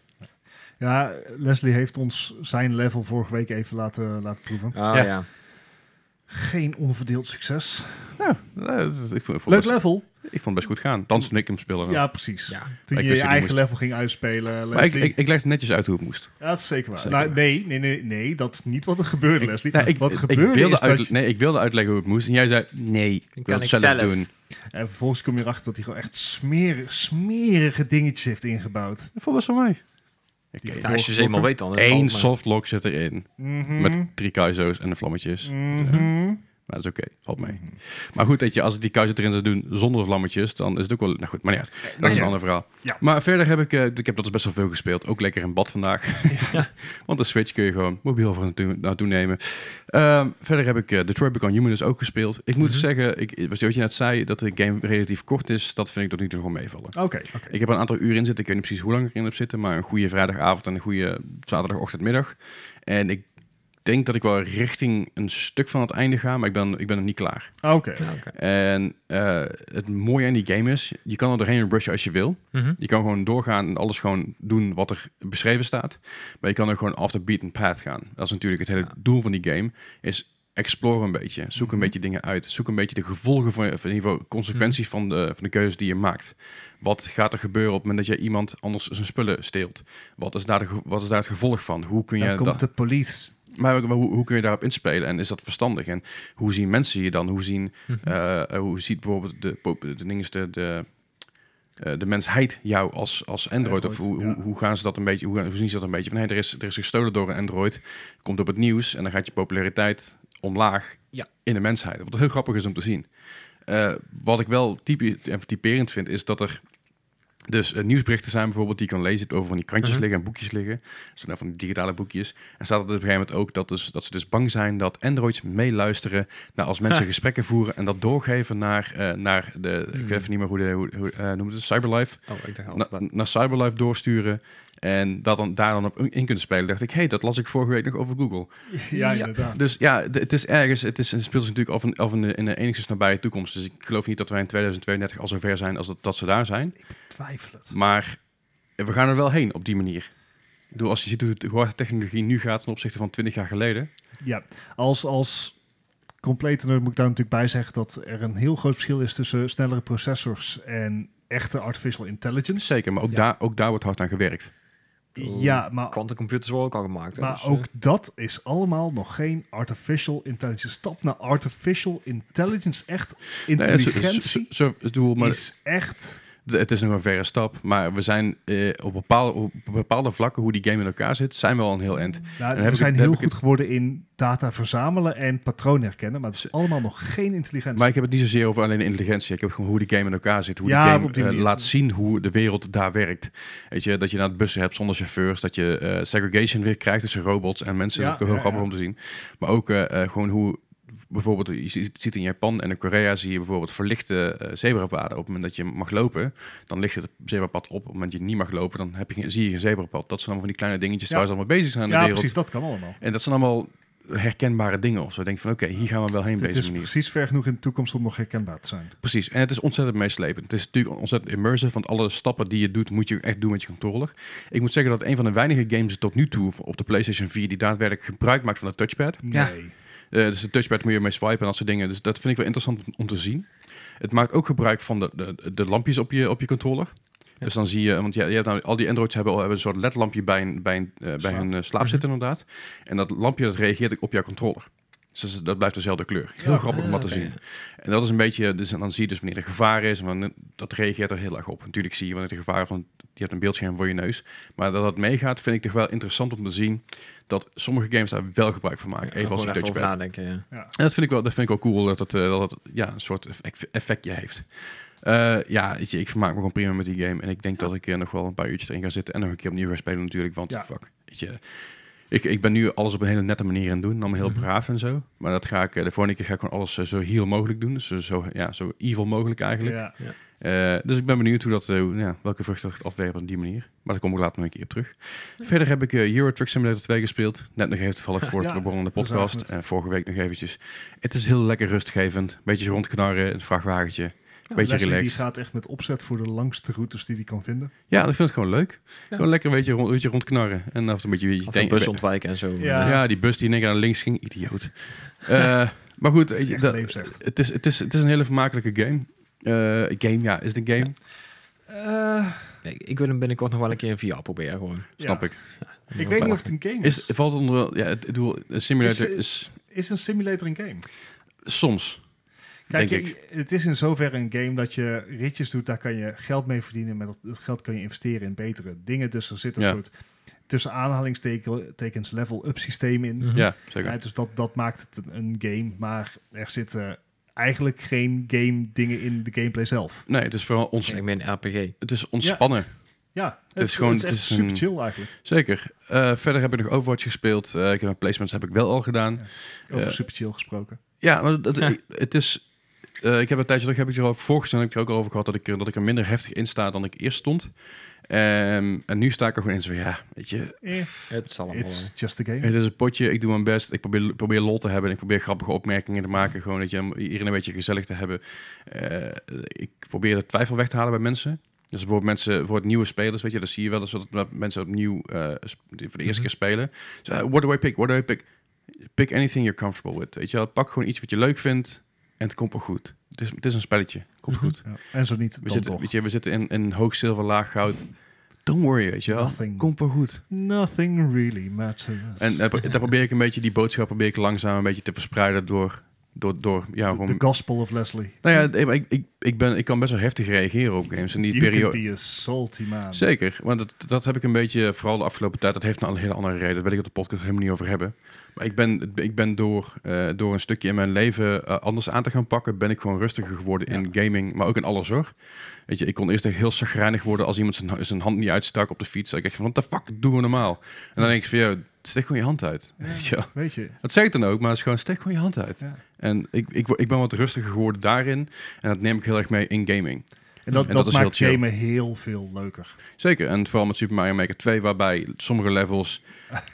C: Ja, Leslie heeft ons zijn level vorige week even laten, laten proeven.
B: Ah,
A: Ja.
B: ja.
C: Geen onverdeeld succes.
A: Nou, eh, ik, vond- ik vond,
C: Leuk
A: het best,
C: level.
A: ik vond het best goed gaan. Dan toen ik hem spelen.
C: Ja, precies.
B: Ja.
C: Toen
A: Ik
C: je
A: wist
C: je
A: dat je
C: eigen
A: moest.
C: level ging uitspelen,
A: Maar ik,
C: Leslie.
A: ik, ik legde netjes uit hoe het moest.
C: ja, dat is zeker waar.
A: Zeker
C: Nou,
A: waar.
C: nee, nee, nee, nee, dat is niet wat er gebeurde, Leslie.
A: Nou, ik,
C: wat
A: ik
C: gebeurde
A: wilde
C: is dat
A: uitle-
C: je-
A: Nee, ik wilde uitleggen hoe het moest. En jij zei, nee, ik wil
B: kan
A: het
B: ik
A: zelf,
B: zelf.
A: doen.
C: En vervolgens kom je erachter dat hij gewoon echt smerige, smerige dingetjes heeft ingebouwd.
A: Dat vond best wel mij.
C: Die
B: Ja, als je ze eenmaal weet dan. hè,
A: Eén
B: valt, maar-
A: softlock zit erin.
C: Mhm.
A: Met drie kaizo's en de vlammetjes.
C: Mhm.
A: Maar dat is oké, valt mee. Maar goed, weet je, als het die kaizo erin zou doen zonder vlammetjes, dan is het ook wel... Nou goed, maar ja, dat
C: Maar
A: is een
C: ja,
A: ander verhaal.
C: Ja.
A: Maar verder heb ik... eh, ik heb dat dus best wel veel gespeeld. Ook lekker in bad vandaag. Want de Switch kun je gewoon mobiel voor naartoe, naartoe nemen. Ehm, verder heb ik eh, Detroit Become Human dus ook gespeeld. Ik moet
B: Mhm.
A: zeggen, ik, wat je net zei, dat de game relatief kort is. Dat vind ik tot nu toe gewoon meevallen.
C: Oké, oké.
A: Ik heb er een aantal uren in zitten. Ik weet niet precies hoe lang ik erin heb zitten. Maar een goede vrijdagavond en een goede zaterdagochtendmiddag. En ik denk dat ik wel richting een stuk van het einde ga. Maar ik ben, ik ben nog niet klaar.
C: Oké.
B: Ja, oké.
A: En eh, het mooie aan die game is... Je kan er doorheen rushen als je wil.
B: Mhm.
A: Je kan gewoon doorgaan en alles gewoon doen wat er beschreven staat. Maar je kan ook gewoon off the beaten path gaan. Dat is natuurlijk het hele
B: Ja. Mhm.
A: doel van die game. Is explore een beetje. Zoek een beetje dingen uit. Zoek een beetje de gevolgen van, of in ieder geval consequenties
B: Mhm.
A: van de, van de keuzes die je maakt. Wat gaat er gebeuren op het moment dat je iemand anders zijn spullen steelt? Wat is daar, de, ge- wat is daar het gevolg van? Hoe kun je
C: Dan
A: dat-
C: komt de police.
A: maar ook, maar hoe, hoe kun je daarop inspelen en is dat verstandig? En hoe zien mensen je dan? Hoe, zien,
B: Mhm.
A: eh, eh, hoe ziet bijvoorbeeld de, pop- de, dingen- de, de, eh, de mensheid jou als, als Android? Of
C: Android,
A: hoe,
C: ja.
A: hoe, hoe gaan ze dat een beetje? Hoe, gaan- hoe zien ze dat een beetje? Van, hey, er, is, er is gestolen door een Android, komt op het nieuws en dan gaat je populariteit omlaag
B: Ja.
A: in de mensheid. Wat heel grappig is om te zien. Eh, wat ik wel type, en typerend vind, is dat er dus eh, nieuwsberichten zijn bijvoorbeeld die je kan lezen over van die krantjes
B: Mhm.
A: liggen en boekjes liggen. Dat zijn dan van die digitale boekjes. En staat er dus op een gegeven moment ook dat, dus, dat ze dus bang zijn dat androids meeluisteren naar als mensen gesprekken voeren en dat doorgeven naar, eh, naar de, ik
B: Hmm.
A: weet even niet meer hoe, de, hoe, hoe eh, noemt het, Cyberlife.
B: Oh, ik dacht al.
A: Na- naar Cyberlife doorsturen en dat dan, daar dan op in in kunnen spelen. dacht ik, hé, hey, dat las ik vorige week nog over Google.
C: Ja,
B: Ja.
C: inderdaad.
A: Dus ja, d- het is ergens, het, is, het speelt zich natuurlijk af in, af in de, in de enigszins nabije toekomst. Dus ik geloof niet dat wij in 2032 al zover zijn als dat, dat ze daar zijn.
C: Twijfel het.
A: Maar we gaan er wel heen op die manier. Ik bedoel, als je ziet hoe, het- hoe hard de technologie nu gaat ten opzichte van 20 jaar geleden.
C: Ja, als, als complete nerd moet ik daar natuurlijk bij zeggen dat er een heel groot verschil is tussen snellere processors en echte artificial intelligence.
A: Zeker, maar ook,
B: Ja.
A: daar, ook daar wordt hard aan gewerkt.
B: Oh,
C: Ja, maar,
B: Kwantumcomputers worden ook al gemaakt. hè,
C: maar
B: dus,
C: ook
B: eh,
C: dat is allemaal nog geen artificial intelligence. Stap naar artificial intelligence, echt
A: Nee, zo- zo-
C: intelligentie,
A: zo- ik bedoel, maar
C: is echt...
A: d- het is nog een verre stap, maar we zijn eh, op, bepaalde, op bepaalde vlakken, hoe die game in elkaar zit, zijn we al een heel eind.
C: Nou,
A: heb ik
C: we zijn
A: het-
C: heel
A: heb ik
C: goed geworden in data verzamelen en patroon herkennen, maar het is allemaal nog geen intelligentie.
A: Maar ik heb het niet zozeer over alleen de intelligentie. Ik heb gewoon hoe die game in elkaar zit. Hoe
C: Ja,
A: die game
C: op die
A: eh,
C: manier.
A: laat zien hoe de wereld daar werkt. Weet je, dat je naar bussen hebt zonder chauffeurs. Dat je eh, segregation weer krijgt tussen robots en mensen.
C: Ja,
A: dat is
C: ja,
A: heel grappig
C: ja.
A: om te zien. Maar ook eh, eh, gewoon hoe... Bijvoorbeeld, je ziet- ziet in Japan en in Korea zie je bijvoorbeeld verlichte eh, zebrapaden. Op het moment dat je mag lopen, dan ligt het zebrapad op. Op het moment dat je niet mag lopen, dan heb je, geen- zie je geen zebrapad. Dat zijn allemaal van die kleine dingetjes
C: Ja.
A: waar ze allemaal bezig zijn in
C: ja,
A: de wereld.
C: precies, dat kan allemaal.
A: En dat zijn allemaal herkenbare dingen of zo. Denk van, oké, hier gaan we wel heen op
C: Dit
A: deze
C: is
A: manier.
C: precies ver genoeg in de toekomst om nog herkenbaar te zijn.
A: Precies, en het is ontzettend meeslepend. Het is natuurlijk ontzettend immersive, want alle stappen die je doet, moet je echt doen met je controller. Ik moet zeggen dat een van de weinige games tot nu toe op de PlayStation 4 die daadwerkelijk gebruik maakt van de touchpad.
B: Ja.
C: Nee.
A: Eh, dus de touchpad moet je mee swipen en dat soort dingen. Dus dat vind ik wel interessant om- om te zien. Het maakt ook gebruik van de, de, de lampjes op je, op je controller. Dus dan zie je, want ja, je hebt nou, al die Androids hebben, al- hebben een soort ledlampje bij, een, bij, een, eh, bij
C: Slaap.
A: hun eh, slaap zitten inderdaad. En dat lampje dat reageert ook op jouw controller. Dus dat is- dat blijft dezelfde kleur. Heel
C: Ja.
A: grappig om
B: Ah,
A: dat te
B: oké.
A: zien. En dat is een beetje, dus, en dan zie je dus wanneer er gevaar is, en wanneer- dat reageert er heel erg op. Natuurlijk zie je wanneer er gevaar is, want je hebt een beeldscherm voor je neus. Maar dat dat meegaat, vind ik toch wel interessant om te zien dat sommige games daar wel gebruik van maken.
B: ja,
A: even als
B: gewoon
A: een
B: over
A: touchpad.
B: nadenken, ja.
A: En dat vind ik wel, dat vind ik wel cool dat het, eh, dat het, ja, een soort effect- effectje heeft. Eh, ja, weet je, ik vermaak me gewoon prima met die game. En ik denk dat ik eh, nog wel een paar uurtjes erin ga zitten. En nog een keer opnieuw ga spelen natuurlijk. Want
C: Ja.
A: fuck, weet je, ik, ik ben nu alles op een hele nette manier aan het doen. Allemaal heel
B: Mhm.
A: braaf en zo. Maar dat ga ik, eh, de volgende keer ga ik gewoon alles eh, zo heel mogelijk doen. Dus eh, zo, ja, zo evil mogelijk eigenlijk.
C: Ja.
A: Eh, dus ik ben benieuwd hoe dat, eh, hoe- ja, welke vruchten het afwerpt op die manier. Maar daar kom ik later nog een keer op terug. Verder heb ik eh, Euro Truck Simulator 2 gespeeld. Net nog even toevallig voor
C: Ja,
A: het begonnen de
C: daar zagen we
A: podcast.
C: het.
A: En vorige week nog eventjes. Het is heel lekker rustgevend. Beetje rondknarren, een vrachtwagentje. beetje
C: Leslie die
A: relaxed.
C: gaat echt met opzet voor de langste routes die hij kan vinden.
A: Ja, ik vind het gewoon leuk.
B: Ja.
A: Gewoon lekker een beetje, rond, beetje rondknarren. En af en toe een beetje... je
B: Of een
A: denkt-
B: bus ontwijken en zo.
C: Ja.
A: ja. die bus die in één keer naar links ging. Idioot. Eh, maar goed,
C: Dat
A: weet
C: is
A: je,
C: echt
A: dat-
C: leefzegd.
A: het is, het, is, het is een hele vermakelijke game. Eh, game, ja, is het een game?
C: Eh,
B: Nee, ik wil hem binnenkort nog wel een keer in VR proberen, gewoon.
A: Snap
C: ja.
A: ik.
C: Ik weet niet of het een game
A: Is,
C: is.
A: valt onder... Ja, het, ik bedoel, een simulator
C: Is-
A: is
C: Is een simulator een game?
A: soms...
C: Kijk,
A: Denk
C: je- het is in zoverre een game dat je ritjes doet, daar kan je geld mee verdienen. Met dat, dat geld kan je investeren in betere dingen. Dus er zit een
A: Ja.
C: soort tussen aanhalingstekens level-up systeem in.
B: Mhm.
A: Ja, zeker.
C: Ja, dus dat, dat maakt het een, een game. Maar er zitten eigenlijk geen game dingen in de gameplay zelf.
A: Nee, het is vooral ons,
B: Ik meen RPG.
A: het is ontspannen.
C: Ja,
A: is
C: het, is
A: gewoon-
C: gewoon het is
A: het
C: echt
A: is
C: super
A: een-
C: chill eigenlijk.
A: Zeker. Eh, verder heb ik nog Overwatch gespeeld. Eh, ik heb mijn placements heb ik wel al gedaan.
C: Ja. Over
A: Ja.
C: super chill gesproken.
A: Ja, maar dat,
B: Ja.
A: het is... eh, ik heb een tijdje terug, heb ik er al voorgesteld, heb ik er ook al over gehad, dat ik, er- dat ik er minder heftig in sta dan ik eerst stond. Ehm, en nu sta ik er gewoon in zo, ja, weet je,
C: Eh,
B: Het zal allemaal wel.
C: it's just a game.
A: het is een potje, ik doe mijn best, ik probeer, probeer lol te hebben, en ik probeer grappige opmerkingen te maken, gewoon dat je om iedereen een beetje gezellig te hebben. Eh, ik probeer de twijfel weg te halen bij mensen. Dus bijvoorbeeld mensen, voor het nieuwe spelers, weet je, dat zie je wel eens dat- dat mensen opnieuw eh, sp- die voor
C: Mhm.
A: de eerste keer spelen. Zo, eh, what do I pick? What do I pick? Pick anything you're comfortable with. Weet je wel, pak gewoon iets wat je leuk vindt en het komt wel goed. Het is, het is een spelletje. Komt
B: Mhm.
A: goed.
C: Ja, en zo niet,
A: We
C: dan
A: zitten,
C: toch.
A: weet je, we zitten in, in hoog zilver, laag goud. Don't worry, weet je wel.
C: Nothing.
A: Komt wel goed.
C: Nothing really matters.
A: En eh, daar, daar probeer ik een beetje, die boodschap probeer ik langzaam een beetje te verspreiden door, door, door ja,
C: The- the
A: gewoon...
C: gospel of Leslie.
A: Nou ja, ik- ik, ik, ik, ben, ik kan best wel heftig reageren op games. In die
C: you
A: periode,
C: can be a salty man.
A: Zeker, want dat, dat heb ik een beetje, vooral de afgelopen tijd, dat heeft nou een hele andere reden. Daar wil ik het de podcast helemaal niet over hebben. Maar ik ben, ik ben door, eh, door een stukje in mijn leven eh, anders aan te gaan pakken, ben ik gewoon rustiger geworden in gaming, maar ook in alles hoor. Weet je, ik kon eerst echt heel chagrijnig worden als iemand zijn, zijn hand niet uitstak op de fiets. Dan denk ik echt van, what the fuck, doen we normaal? En dan denk ik van, joh, steek gewoon je hand uit.
C: Ja,
A: Weet je wel.
C: Weet je.
A: Dat zeg ik dan ook, maar het is gewoon, steek gewoon je hand uit.
C: Ja.
A: En ik, ik, wo- ik ben wat rustiger geworden daarin en dat neem ik heel erg mee in gaming.
C: En dat,
A: En
C: dat,
A: dat is
C: maakt
A: heel chill.
C: gamen heel veel leuker.
A: Zeker, en vooral met Super Mario Maker 2, waarbij sommige levels,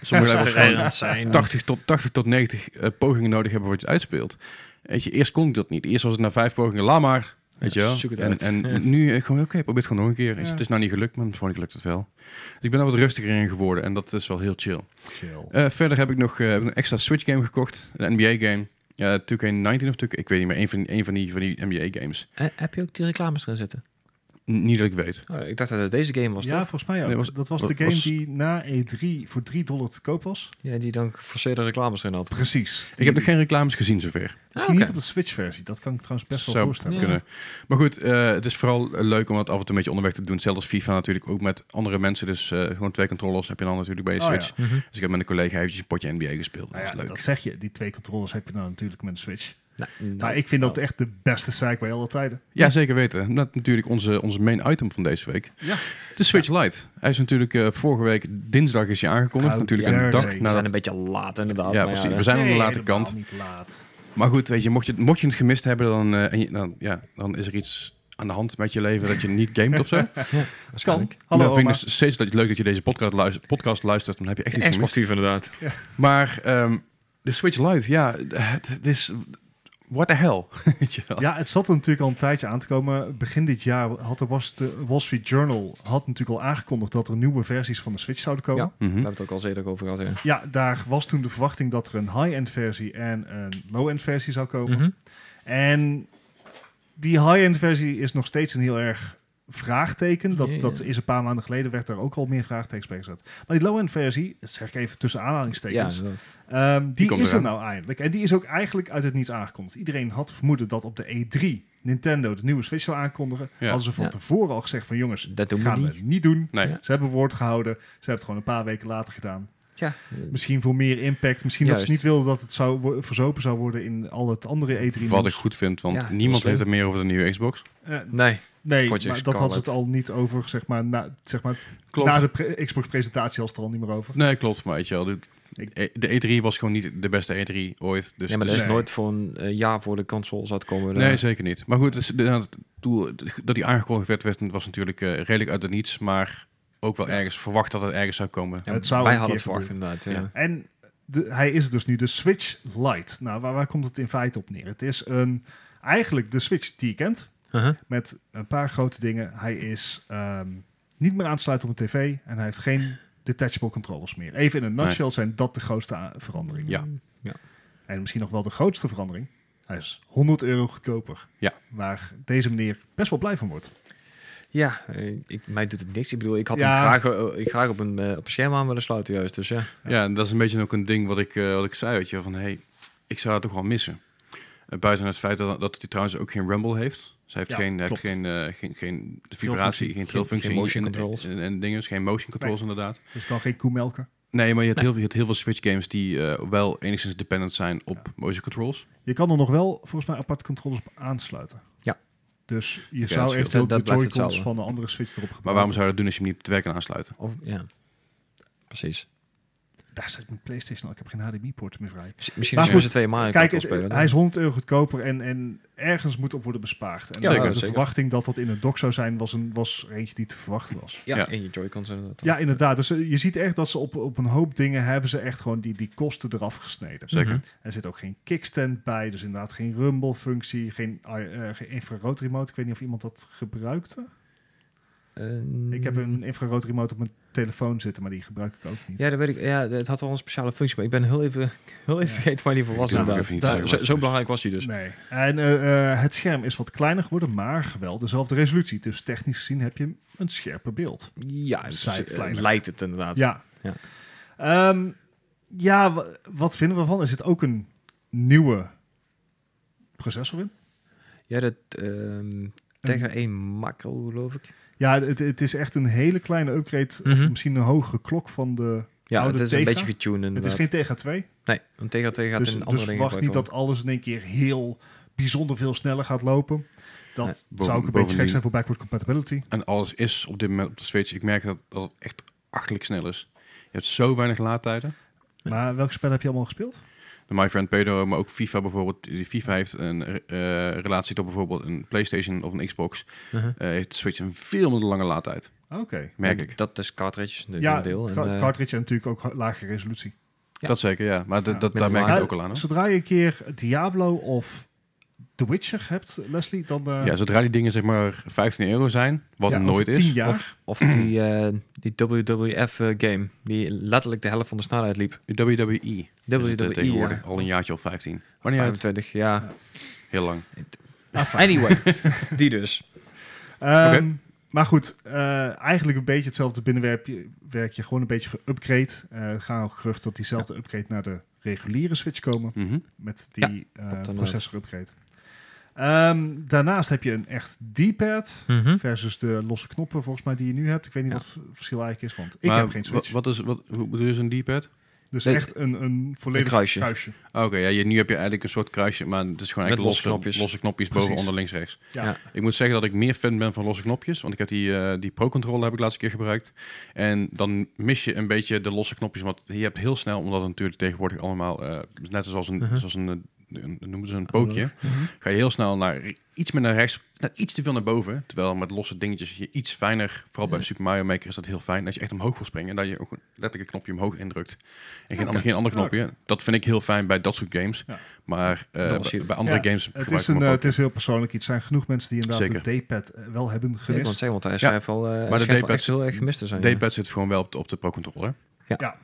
A: sommige levels gewoon
B: Frustrerend zijn.
A: 80 tot, 80 tot 90 eh, pogingen nodig hebben voordat je het uitspeelt. Weet je, eerst kon ik dat niet. Eerst was het na vijf pogingen, laat maar. Weet je
B: Ja,
A: wel?
B: zoek het
A: en,
B: uit.
A: en
B: Ja.
A: nu eh, gewoon, oké, probeer het gewoon nog een keer. Weet je,
C: Ja.
A: Het is nou niet gelukt, maar de volgende keer lukt het wel. Dus ik ben daar wat rustiger in geworden en dat is wel heel chill.
C: Chill.
A: Eh, verder heb ik nog eh, een extra Switch game gekocht, een NBA game. Ja, 2K19 of 2K, ik weet niet meer, een van, een van die, van die NBA-games.
B: Eh, heb je ook die reclames erin zitten?
A: Niet dat ik weet.
B: Oh, ik dacht dat het deze game was,
C: ja,
B: toch?
C: volgens mij ook.
A: Nee, was-
C: dat was
A: was-
C: de game
A: was-
C: die na E3 voor 3 dollar te koop was.
B: Ja, die dan geforceerde reclames erin had.
C: Precies.
A: Ik heb nog geen reclames gezien zover.
C: Misschien
B: Ah, oké.
C: niet op de Switch-versie. Dat kan ik trouwens best wel
A: Zou
C: voorstellen.
B: Ja.
A: kunnen. Maar goed, eh, het is vooral eh, leuk om dat af en toe een beetje onderweg te doen. Zelfs als FIFA natuurlijk ook met andere mensen. Dus eh, gewoon twee controllers heb je dan natuurlijk bij je
C: Oh,
A: Switch.
C: ja.
B: Mhm.
A: Dus ik heb met een collega eventjes een potje NBA gespeeld.
C: Nou
A: dat
C: ja,
A: is leuk.
C: dat zeg je. Die twee controllers heb je nou natuurlijk met de Switch.
B: Nou, nou,
C: maar ik vind dat
B: nou.
C: echt de beste site bij alle tijden.
A: Ja, zeker weten. Dat is natuurlijk onze, onze main item van deze week.
C: Ja. Nou,
A: De Switch Lite. Hij is natuurlijk eh, vorige week dinsdag is hij aangekomen.
C: How
A: natuurlijk
C: dare
A: een dag
C: they.
A: na
B: We zijn
A: dat-
B: een beetje laat, inderdaad.
A: Ja,
B: maar
A: precies.
B: hè.
A: We zijn aan de
C: Nee,
A: late
C: helemaal
A: kant.
C: niet laat.
A: Maar goed, weet je, mocht je, het- mocht je het gemist hebben, dan, eh, en je- dan, ja, dan is er iets aan de hand met je leven dat je niet gamet of zo.
C: Kan.
B: Waarschijnlijk.
C: Hallo
A: dan vind
C: oma.
A: ik dus steeds dat het leuk dat je deze podcast luistert, podcast luistert dan heb je echt iets
B: Echt
A: gemist.
B: sportief, inderdaad.
A: Maar ehm, de Switch Lite, ja, het, het is... What the hell? Weet je wel.
C: Ja, het zat er natuurlijk al een tijdje aan te komen. Begin dit jaar had de Wall St- Wall Street Journal had natuurlijk al aangekondigd dat er nieuwe versies van de Switch zouden komen.
B: Ja.
C: Ja,
A: Mhm.
B: We hebben het ook al zeker over gehad. Ja.
C: daar was toen de verwachting dat er een high-end versie en een low-end versie zou komen.
B: Mhm.
C: En die high-end versie is nog steeds een heel erg vraagteken. Dat,
B: Ja, ja.
C: dat is een paar maanden geleden, werd er ook al meer vraagtekens bij gezet. Maar die low-end versie, dat zeg ik even tussen
B: Ja, dus-
C: aanhalingstekens,
B: inderdaad.
C: ehm, die,
A: komt
C: is er
A: eraan.
C: nou eindelijk. En die is ook eigenlijk uit het niets aangekondigd. Iedereen had vermoeden dat op de E3 Nintendo de nieuwe Switch zou aankondigen.
A: Ja.
C: Hadden ze van
B: Ja.
C: tevoren al gezegd van jongens,
B: dat doen we
C: gaan we
B: niet.
C: het niet doen.
A: Nee.
B: Ja.
C: Ze hebben woord gehouden. Ze hebben het gewoon een paar weken later gedaan.
B: Ja,
C: Misschien voor meer impact. Misschien dat ze
B: Juist.
C: niet wilden dat het zou wo- verzopen zou worden in al het andere E3
A: Wat ik
C: nieuws.
A: goed vind, want
B: Ja, dat is
A: niemand
B: slim.
A: heeft het meer over de nieuwe Xbox.
C: Eh,
B: nee.
C: Nee,
B: Project
C: maar dat had ze het
B: Scarlet.
C: al niet over, zeg maar, na, zeg maar,
A: Klopt.
B: Nou,
C: na de pre- Xbox-presentatie had ze het er al niet meer over.
A: Nee, klopt. Maar weet je wel, de, E- de E3 was gewoon niet de beste E3 ooit. Dus
B: Ja, maar
A: het
B: dat
A: is-
B: is
C: Nee.
B: nooit voor een eh, jaar voor de consoles uitkomen.
A: Nee, zeker niet. Maar goed, dus, de- het doel dat die aangekondigd werd, werd- was natuurlijk eh, redelijk uit het niets. Maar ook wel ergens verwacht dat het ergens zou komen.
C: Het zou
B: wij
C: een
B: hadden het
C: keer
B: verwacht, inderdaad. Ja.
A: Ja.
C: En de, hij is dus nu de Switch Lite. Nou, waar, waar komt het in feite op neer? Het is een, eigenlijk de Switch die je kent,
B: Uh-huh.
C: met een paar grote dingen. Hij is ehm, niet meer aansluiten op een tv en hij heeft geen detachable controllers meer. Even in een
A: Nee.
C: nutshell zijn dat de grootste a- verandering.
A: Ja.
C: En misschien nog wel de grootste verandering. Hij is 100 euro goedkoper.
A: Ja.
C: Waar deze meneer best wel blij van wordt.
B: Ja, eh, ik, mij doet het niks. Ik bedoel, ik had
C: Ja.
B: hem graag, eh, ik graag op, een, eh, op een scherm aan willen sluiten juist. Dus ja,
A: Ja, en dat is een beetje ook een ding wat ik, eh, wat ik zei, weet je, wel, van hey, ik zou het toch wel missen. Eh, buiten het feit dat, dat hij trouwens ook geen rumble heeft. Zij heeft
C: Ja,
A: geen, heeft
C: klopt.
A: geen, eh, geen, geen
C: Trilfunctie.
A: vibratie, geen trillfunctie.
B: geen motion
A: en-
B: controls.
A: En, en dingen, dus geen motion controls inderdaad.
C: Dus kan geen koe melken.
A: Nee, maar je hebt, Heel, je hebt heel veel Switch games die eh, wel enigszins dependent zijn op motion controls.
C: Je kan er nog wel volgens mij aparte controllers op aansluiten.
B: Ja.
C: Dus je
A: dat
C: zou
A: scheelt.
C: eventueel
B: Dat- dat
C: de
B: blijft
C: Joy-Cons
B: hetzelfde.
C: van de andere Switch erop gebruiken.
A: Maar waarom zou je dat doen als je hem niet te werk kan aansluiten?
B: of, ja. precies.
C: Daar zit mijn PlayStation al. Ik heb geen HDMI-poort meer vrij.
B: Miss- Misschien
C: Maar
B: is
C: goed,
B: het twee maanden
C: Kijk, het-
B: spelen.
C: hij is 100 euro goedkoper en, en ergens moet op worden bespaard. En
A: Ja,
C: de
A: zeker,
B: zeker.
C: verwachting dat dat in het dock zou zijn, was, een, was er eentje die te verwachten was.
B: ja,
A: Ja.
B: en je Joy-Cons inderdaad.
C: Ja, inderdaad. Dus eh, je ziet echt dat ze op, op een hoop dingen hebben ze echt gewoon die, die kosten eraf gesneden.
A: Zeker.
B: Mhm.
C: Er zit ook geen kickstand bij, dus inderdaad geen rumble-functie, geen, eh, eh, geen infrarood remote. Ik weet niet of iemand dat gebruikte.
B: Eh,
C: Ik heb een infrarood remote op mijn telefoon zitten, maar die gebruik ik ook niet.
B: Ja, dat weet ik. Ja, het had wel een speciale functie, maar ik ben heel even, heel even
C: Ja.
B: vergeten waar die voor was
A: Ik durf ook
B: inderdaad.
A: even niet te zeggen
B: Daar- zo,
A: wat het
B: zo
A: is.
B: belangrijk was hij dus.
C: Nee. En eh, eh, het scherm is wat kleiner geworden, maar wel dezelfde resolutie. Dus technisch gezien heb je een scherper beeld.
B: Ja, het,
C: Zij het
B: eh,
C: kleiner.
B: lijkt het inderdaad.
C: Ja.
B: Ja.
C: Ehm, ja, wa- wat vinden we ervan? Is het ook een nieuwe processor in?
B: Ja, dat ehm Tegra 1 macro, geloof ik.
C: Ja, het, het is echt een hele kleine upgrade. Of
B: Mhm.
C: misschien een hogere klok van de...
B: Ja,
C: Oude
B: het is
C: Tegra?
B: een beetje getuned
C: Het
B: inderdaad.
C: is geen Tegra 2.
B: Nee, want Tegra 2 gaat
C: Dus,
B: in andere
C: dus
B: dingen
C: verwacht niet dat alles in één keer heel bijzonder veel sneller gaat lopen. Dat
B: Nee,
C: zou ook een beetje
A: bovendien-
C: gek zijn voor backward compatibility.
A: En alles is op dit moment op de Switch. Ik merk dat, dat het echt achterlijk snel is. Je hebt zo weinig laadtijden.
C: Maar welke spellen heb je allemaal gespeeld?
A: De My Friend Pedro, maar ook FIFA bijvoorbeeld. Die FIFA heeft een eh, relatie tot bijvoorbeeld een PlayStation of een Xbox.
B: Uh-huh.
A: Eh, heeft Switch een veel minder lange laadtijd,
C: Ah, Oké.
A: merk
B: Ja,
A: ik.
B: Dat is cartridge, de
C: Ja,
B: ja, deel.
C: het
B: En,
C: ca-
B: eh,
C: cartridge en natuurlijk ook ho- lage resolutie.
B: Ja.
A: Dat zeker, ja. Maar dat- dat,
C: Ja.
A: daar
B: Minder
A: merk ik het
C: laag.
A: ook al aan. hoor.
C: Zodra je een keer Diablo of The Witcher hebt, Leslie, dan... eh,
A: ja, zodra die dingen zeg maar 15 euro zijn, wat
C: ja,
A: nooit
C: over tien
A: is.
C: jaar.
B: Of die, eh, die WWF-game, eh, die letterlijk de helft van de snelheid liep.
A: De WWE.
B: WWE,
A: is het, eh, tegenwoordig
B: E, ja.
A: al een jaartje of 15. Maar niet uit,
B: 25, ja.
A: heel lang.
C: Ah,
B: Anyway, die dus.
C: Ehm,
A: Oké.
C: Maar goed, eh, eigenlijk een beetje hetzelfde binnenwerkje. Werk je gewoon een beetje geüpgrade. Eh, Er gaan ook gerucht dat diezelfde upgrade naar de reguliere Switch komen.
A: Mhm.
C: Met
B: Ja,
C: die eh,
B: inderdaad.
C: processor-upgrade. Ehm, daarnaast heb je een echt D-pad.
A: Mhm. Hm?
C: Versus de losse knoppen volgens mij die je nu hebt. Ik weet niet
B: Ja.
C: wat het verschil eigenlijk is, want ik
A: Maar
C: heb geen Switch.
A: wa- Wat is, wat, hoe bedoel je zo'n D-pad?
C: dus
B: Nee.
C: echt een, een volledig
B: Een kruisje.
A: Ah, Oké, ja, je- nu heb je eigenlijk een soort kruisje, maar het is gewoon
B: Met
A: eigenlijk
B: losse
A: losse,
B: knopjes.
A: losse knopjes boven,
C: Precies.
A: onder, links, rechts.
C: Ja.
B: Ja.
A: Ik moet zeggen dat ik meer fan ben van losse knopjes, want ik heb die, eh, die Pro-controller heb ik laatst een keer gebruikt. En dan mis je een beetje de losse knopjes, want je hebt heel snel, omdat het natuurlijk tegenwoordig allemaal, eh, net zoals een,
B: Mhm.
A: zoals een, eh, een noemen ze een pookje,
C: Mhm.
A: ga je heel snel naar iets meer naar rechts, net iets te veel naar boven. Terwijl met losse dingetjes je iets fijner, vooral bij
B: Ja.
A: Super Mario Maker is dat heel fijn, dat je echt omhoog wil springen en dat je ook letterlijk een knopje omhoog indrukt. En geen,
B: Oké.
A: geen ander knopje. Dat vind ik heel fijn bij dat soort games.
C: Ja.
A: Maar eh,
B: Dat was hier-
A: bij andere
C: Ja,
A: games
C: Het,
A: gebruik ik
C: is
A: hem
C: een,
A: ook
C: eh,
A: ook.
C: het is heel persoonlijk iets. Er zijn genoeg mensen die inderdaad
A: Zeker.
C: de D-pad eh, wel hebben
B: Ik wil het
C: gemist.
B: zeggen, want hij
A: Ja.
B: schrijft wel, eh, hij
A: de
B: schijnt wel
A: D-pad-
B: echt heel erg gemist te zijn. ja.
A: D-pad zit gewoon wel op de, op de Pro Controller.
C: Ja, ja.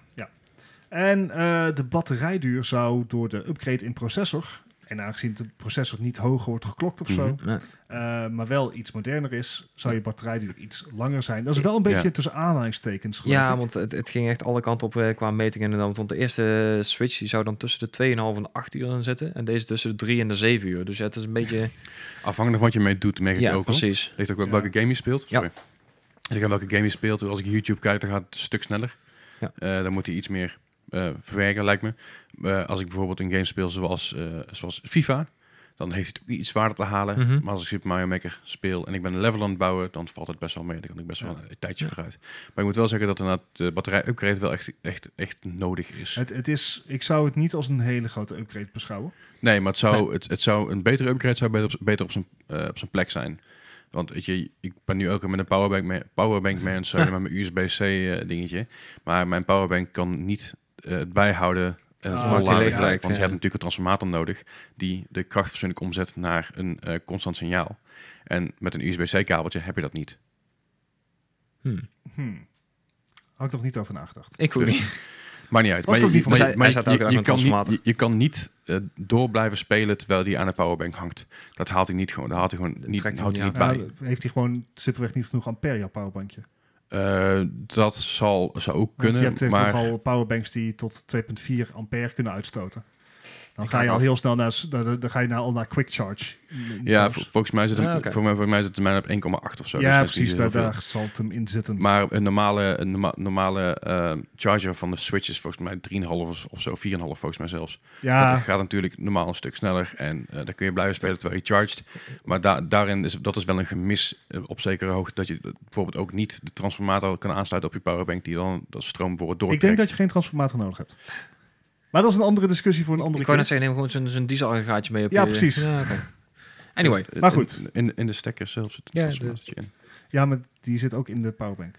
C: En eh, de batterijduur zou door de upgrade in processor, en aangezien de processor niet hoger wordt geklokt of zo,
A: Mhm.
B: Nee.
C: eh, maar wel iets moderner is, zou je batterijduur iets langer zijn. Dat is wel een beetje
A: Ja.
C: tussen aanhalingstekens. geloof
B: Ja,
C: ik.
B: want het, het ging echt alle kanten op eh, qua metingen. en Want de eerste eh, Switch die zou dan tussen de 2,5 en de 8 uur in zitten. En deze tussen de 3 en de 7 uur. Dus ja, het is een beetje...
A: Afhankelijk van wat je mee doet, merk ik
B: ja,
A: ook al.
B: precies.
A: Ligt ook wel
C: Ja.
A: welke game je speelt.
B: Ja.
A: Sorry. Ligt aan welke game je speelt. Als ik YouTube kijk, dan gaat het een stuk sneller.
B: Ja.
A: Eh, dan moet hij iets meer eh, verwerken, lijkt me. Eh, als ik bijvoorbeeld een game speel zoals, eh, zoals FIFA, dan heeft hij het ook iets zwaarder te halen.
B: Mhm.
A: Maar als ik Super Mario Maker speel en ik ben een level aan het bouwen, dan valt het best wel mee. Dan kan ik best wel
C: Ja.
A: een tijdje
B: Ja.
A: vooruit. Maar ik moet wel zeggen dat inderdaad de batterij-upgrade wel echt, echt, echt nodig is.
C: Het, het is, ik zou het niet als een hele grote upgrade beschouwen.
A: Nee, maar het zou, Het, het zou een betere upgrade zou beter op, beter op, zijn, eh, op zijn plek zijn. Want weet je, ik ben nu ook met een powerbank mee, powerbank mee aan het zeulen met mijn USB-C eh, dingetje. Maar mijn powerbank kan niet eh, het bijhouden en het
C: Ah,
A: vol
C: wat die
A: laden
C: leeg
A: krijgt,
B: lijkt,
A: Want je
B: ja.
A: hebt natuurlijk een transformator nodig die de kracht verzoenlijk omzet naar een eh, constant signaal. En met een USB-C-kabeltje heb je dat niet.
B: Hm.
C: Hmm. Had ik nog niet over nagedacht.
B: Ik ook
A: Dus-
B: niet.
A: Maar niet uit.
C: Was
A: Maar
C: ik ook
A: je,
C: niet van
A: maar je-
B: mij.
A: maar
B: Hij
A: je-
B: staat elke dag
A: je
B: met een
A: kan niet,
B: transformator.
A: je, je kan niet eh, door blijven spelen terwijl die aan de powerbank hangt. Dat haalt hij niet gewoon. Dat haalt hij gewoon niet,
B: trekt hij
A: houdt hij
B: niet
A: niet bij.
C: Nou, heeft hij gewoon simpelweg niet genoeg ampère, jouw powerbankje?
A: Eh, dat zal, zou ook
C: Want je
A: kunnen,
C: hebt tegenwoordig
A: maar
C: al powerbanks die tot 2,4 ampère kunnen uitstoten. Dan
B: Ik
C: ga je
B: haak
C: al
B: af.
C: heel snel naar, naar- dan ga je naar, al naar quick charge.
A: ja,
C: Dus-
A: vol- volgens mij zit hem,
B: Ah, oké.
A: voor mij, voor mij zit de mijn op 1,8 of zo.
C: ja,
A: dus dat is niet
C: precies.
A: zo
C: Daar,
A: heel
C: daar zal het hem in zitten.
A: veel. Maar een normale, een norma- normale eh, charger van de Switch is volgens mij 3,5 of- of zo, 4,5 volgens mij zelfs. Dat
C: ja,
A: gaat natuurlijk normaal een stuk sneller en eh dan kun je blijven spelen terwijl je charged. Maar da- daarin is dat is wel een gemis eh, op zekere hoogte dat je eh, bijvoorbeeld ook niet de transformator kan aansluiten op je powerbank die dan dat stroom bijvoorbeeld
C: ik
A: doortrekt.
C: denk dat je geen transformator nodig hebt. Maar dat is een andere discussie voor een andere
B: Ik wou net
C: keer.
B: zeggen, neem gewoon zo'n- zo'n dieselaggregaatje mee op
C: Ja,
B: je-
C: precies.
B: Ja, oké. Anyway.
A: Eh,
C: Maar
A: in-
C: goed.
A: In, in de stekker zelf zit een
B: Ja,
A: transformatortje in.
C: Ja, maar die zit ook in de powerbank.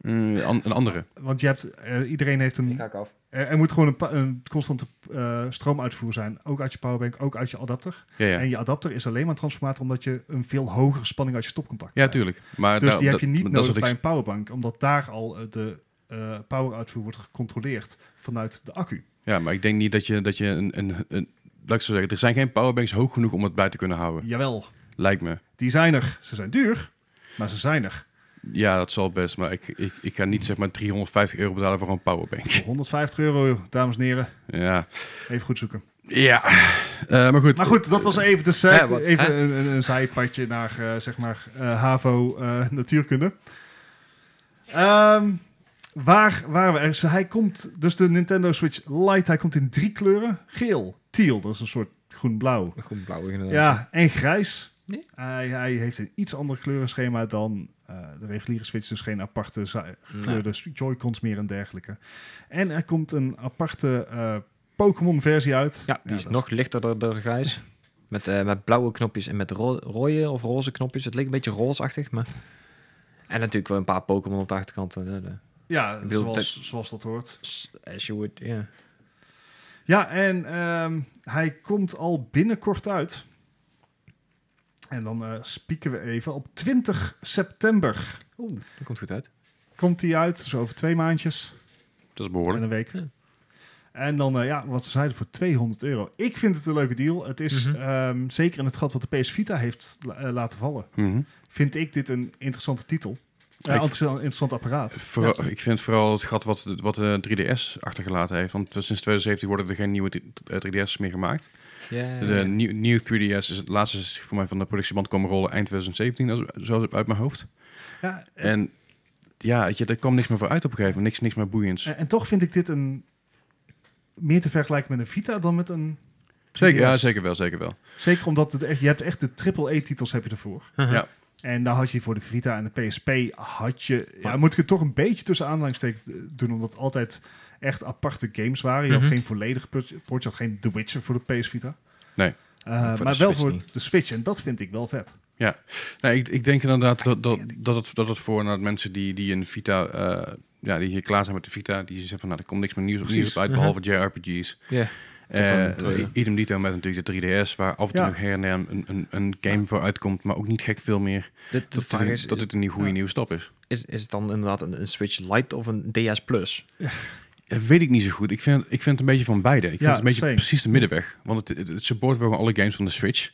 A: Mm, an- een andere.
C: Want je hebt, eh, iedereen heeft een...
B: ik af.
C: Eh, Er er moet gewoon een, pa- een constante eh, stroomuitvoer zijn. Ook uit je powerbank, ook uit je adapter.
A: Ja, ja.
C: En je adapter is alleen maar een transformator... omdat je een veel hogere spanning uit je stopcontact
A: Ja,
C: krijgt.
A: tuurlijk. Maar
C: Dus
A: daar-
C: die heb
A: dat-
C: je niet
A: dat is
C: nodig
A: wat ik
C: bij een powerbank, omdat daar al eh, de eh power outvoer wordt gecontroleerd vanuit de accu.
A: Ja, maar ik denk niet dat je, dat je een, een, een... Laat ik zo zeggen, er zijn geen powerbanks hoog genoeg om het bij te kunnen houden.
C: Jawel,
A: Lijkt me.
C: die zijn er. Ze zijn duur, maar ze zijn er.
A: Ja, dat zal best. Maar ik, ik, ik ga niet zeg maar 350 euro betalen voor een powerbank.
C: Voor 150 euro, dames en heren.
A: Ja.
C: Even goed zoeken.
A: Ja. Eh, maar goed.
C: Maar goed, dat was even, dus,
B: Ja, wat, hè?
C: even een, een, een zijpadje naar, eh, zeg maar, eh, HAVO eh, natuurkunde. Ehm, waar waren we ergens? Hij komt, dus de Nintendo Switch Lite, hij komt in drie kleuren. Geel, teal, dat is een soort groen-blauw.
B: Goed blauw inderdaad.
C: Ja, en grijs.
B: Nee?
C: Hij, hij heeft een iets ander kleurenschema dan eh, de reguliere Switch. Dus geen aparte za- gekleurde Joy-Cons meer en dergelijke. En er komt een aparte eh, Pokémon-versie uit.
B: Ja, die is
C: dat
B: nog lichter dan, dan grijs. Met, eh, met blauwe knopjes en met ro rode of roze knopjes. Het leek een beetje roosachtig, maar... En natuurlijk wel een paar Pokémon op de achterkant. eh, eh,
C: Ja,
B: Ik bedoel,
C: zoals, zoals dat hoort.
B: As you would, ja.
C: Ja, en ehm, hij komt al binnenkort uit. En dan eh spieken we even op 20 september.
B: Oeh, dat komt goed uit.
C: Komt die uit, zo over twee maandjes.
A: Dat is behoorlijk.
C: In een week.
B: Ja.
C: En dan, eh, ja, wat ze zeiden, voor 200 euro. Ik vind het een leuke deal. Het is
B: Mhm.
C: ehm, zeker in het gat wat de PS Vita heeft la- eh, laten vallen.
A: Mhm.
C: Vind ik dit een interessante titel.
A: Ik-
C: Ja, een interessant apparaat.
A: Vooral- Ik vind vooral het gat wat, wat eh, de 3DS achtergelaten heeft. Want sinds 2017 worden er geen nieuwe t- eh, 3DS meer gemaakt.
B: Ja,
A: De nieuw, nieuw 3DS is het laatste is voor mij van de productieband komen rollen eind 2017, als, zo uit mijn hoofd.
C: Ja, en,
A: En ja, weet je, er kwam niks meer voor uit op een gegeven moment. Niks, niks meer boeiends.
C: Eh, en toch vind ik dit een meer te vergelijken met een Vita dan met een 3DS.
A: Zeker, ja, zeker wel, zeker wel.
C: Zeker omdat het echt, je hebt echt de AAA-titels heb je ervoor.
B: Uh-huh.
A: Ja.
C: En daar had je voor de Vita en de PSP had je... Ja, moet ik het toch een beetje tussen aanhalingstekens eh, doen, omdat het altijd echt aparte games waren. Je had
B: Mhm.
C: geen volledige port, port, je had geen The Witcher voor de PS Vita.
A: Nee.
C: Eh,
B: Voor de
C: maar wel
B: Switch
C: voor
B: niet.
C: de Switch en dat vind ik wel vet.
A: Nou, ik, ik denk inderdaad dat, dat, dat, het, dat het voor inderdaad mensen die, die een Vita... eh, ja, die hier klaar zijn met de Vita, die zeggen van, nou, er komt niks meer nieuws op,
C: Precies.
A: nieuws op uit, behalve JRPG's.
B: Ja. Tot dan de
A: Eh
B: tweede.
A: i- idem dito met natuurlijk de 3DS, waar af en toe
C: Ja.
A: nog her en der een, een, een game voor uitkomt, maar ook niet gek veel meer.
B: De, de
A: Dat,
B: vraag
A: dit, een-
B: is,
A: dat
B: is,
A: dit een nieuwe goede
C: ja.
A: nieuwe stap is.
B: is, is het dan inderdaad een, een Switch Lite of een DS Plus?
A: Dat weet ik niet zo goed. Ik vind, ik vind het een beetje van beide. Ik vind
C: Ja,
A: het een beetje
C: same.
A: precies de middenweg. Want het, het, het support wel gewoon alle games van de Switch,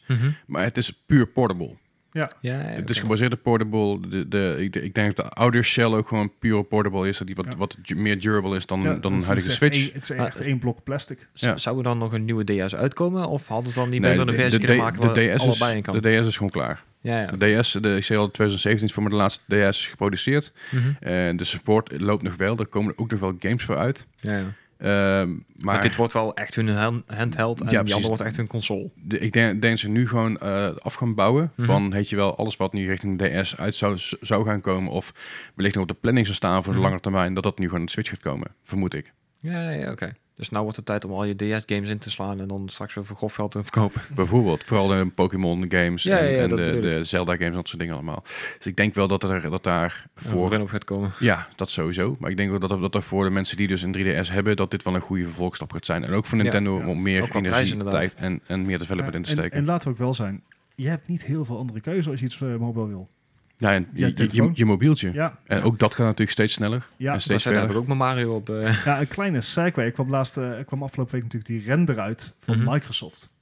A: maar het is puur portable.
B: Ja, ja,
A: Mhm. Het is
B: oké.
A: gebaseerd op portable. De, de, ik, ik denk dat de ouder shell ook gewoon puur portable is. Dat die wat,
C: Ja.
A: wat du- meer durable is dan,
C: Ja,
A: dan
C: het
A: een
C: is E.
A: huidige
C: echt
A: Switch.
C: één- het is
B: Maar-
C: echt één blok plastic.
B: Z-
A: ja.
B: Zou er dan nog een nieuwe DS uitkomen? Of hadden ze dan niet
A: Nee,
B: beter een versie
A: de-
B: kunnen
A: de-
B: maken
A: de
B: waar
A: DS is-
B: allebei in kan?
A: De DS is gewoon klaar.
B: ja, ja.
A: De DS, de, ik zei al, 2017 is voor mij de laatste DS geproduceerd.
B: Mhm.
A: En de support loopt nog wel. Er komen ook nog wel games voor uit.
B: ja, ja.
A: Ehm,
B: Maar
A: maar
B: dit wordt wel echt hun hand- handheld en
A: Ja,
B: die
A: precies.
B: andere wordt echt hun console.
A: de- ik denk, denk ze nu gewoon eh, af gaan bouwen.
B: Mhm.
A: Van, heet je wel, alles wat nu richting de DS uit zou, zou gaan komen... of wellicht nog op de planning zou staan voor de
B: Mhm.
A: lange termijn... dat dat nu gewoon op de Switch gaat komen, vermoed ik.
B: Ja, ja, oké. Dus nou wordt het tijd om al je DS-games in te slaan en dan straks weer voor grof geld te verkopen.
A: Bijvoorbeeld, vooral in Pokémon games
B: Ja,
A: en,
B: ja, ja,
A: en
B: dat
A: de,
B: bedoel ik.
A: de Zelda games en dat soort dingen allemaal. Dus ik denk wel dat er dat daar voor...
B: op gaat komen.
A: Ja, dat sowieso. Maar ik denk wel dat, er- dat er voor de mensen die dus een 3DS hebben... dat dit wel een goede vervolgstap gaat zijn. En ook voor
B: Ja,
A: Nintendo
C: ja.
A: om meer
B: Ook qua
A: energie,
B: prijs inderdaad.
A: tijd en, en meer development
C: Ja,
A: in te
C: en-
A: steken.
C: En, laten we ook wel zijn, je hebt niet heel veel andere keuze als je iets eh, mobile wil.
A: ja, en
C: Ja,
A: je, je, je,
C: telefoon.
A: mobieltje.
C: Ja,
A: En ook dat gaat natuurlijk steeds sneller
C: ja.
A: en
B: Maar
A: steeds
B: zij hebben
A: verder.
B: ook met Mario op. eh,
C: ja een kleine segue. Ik kwam, laatst, eh, ik kwam afgelopen week natuurlijk die render uit van
B: Mhm.
C: Microsoft.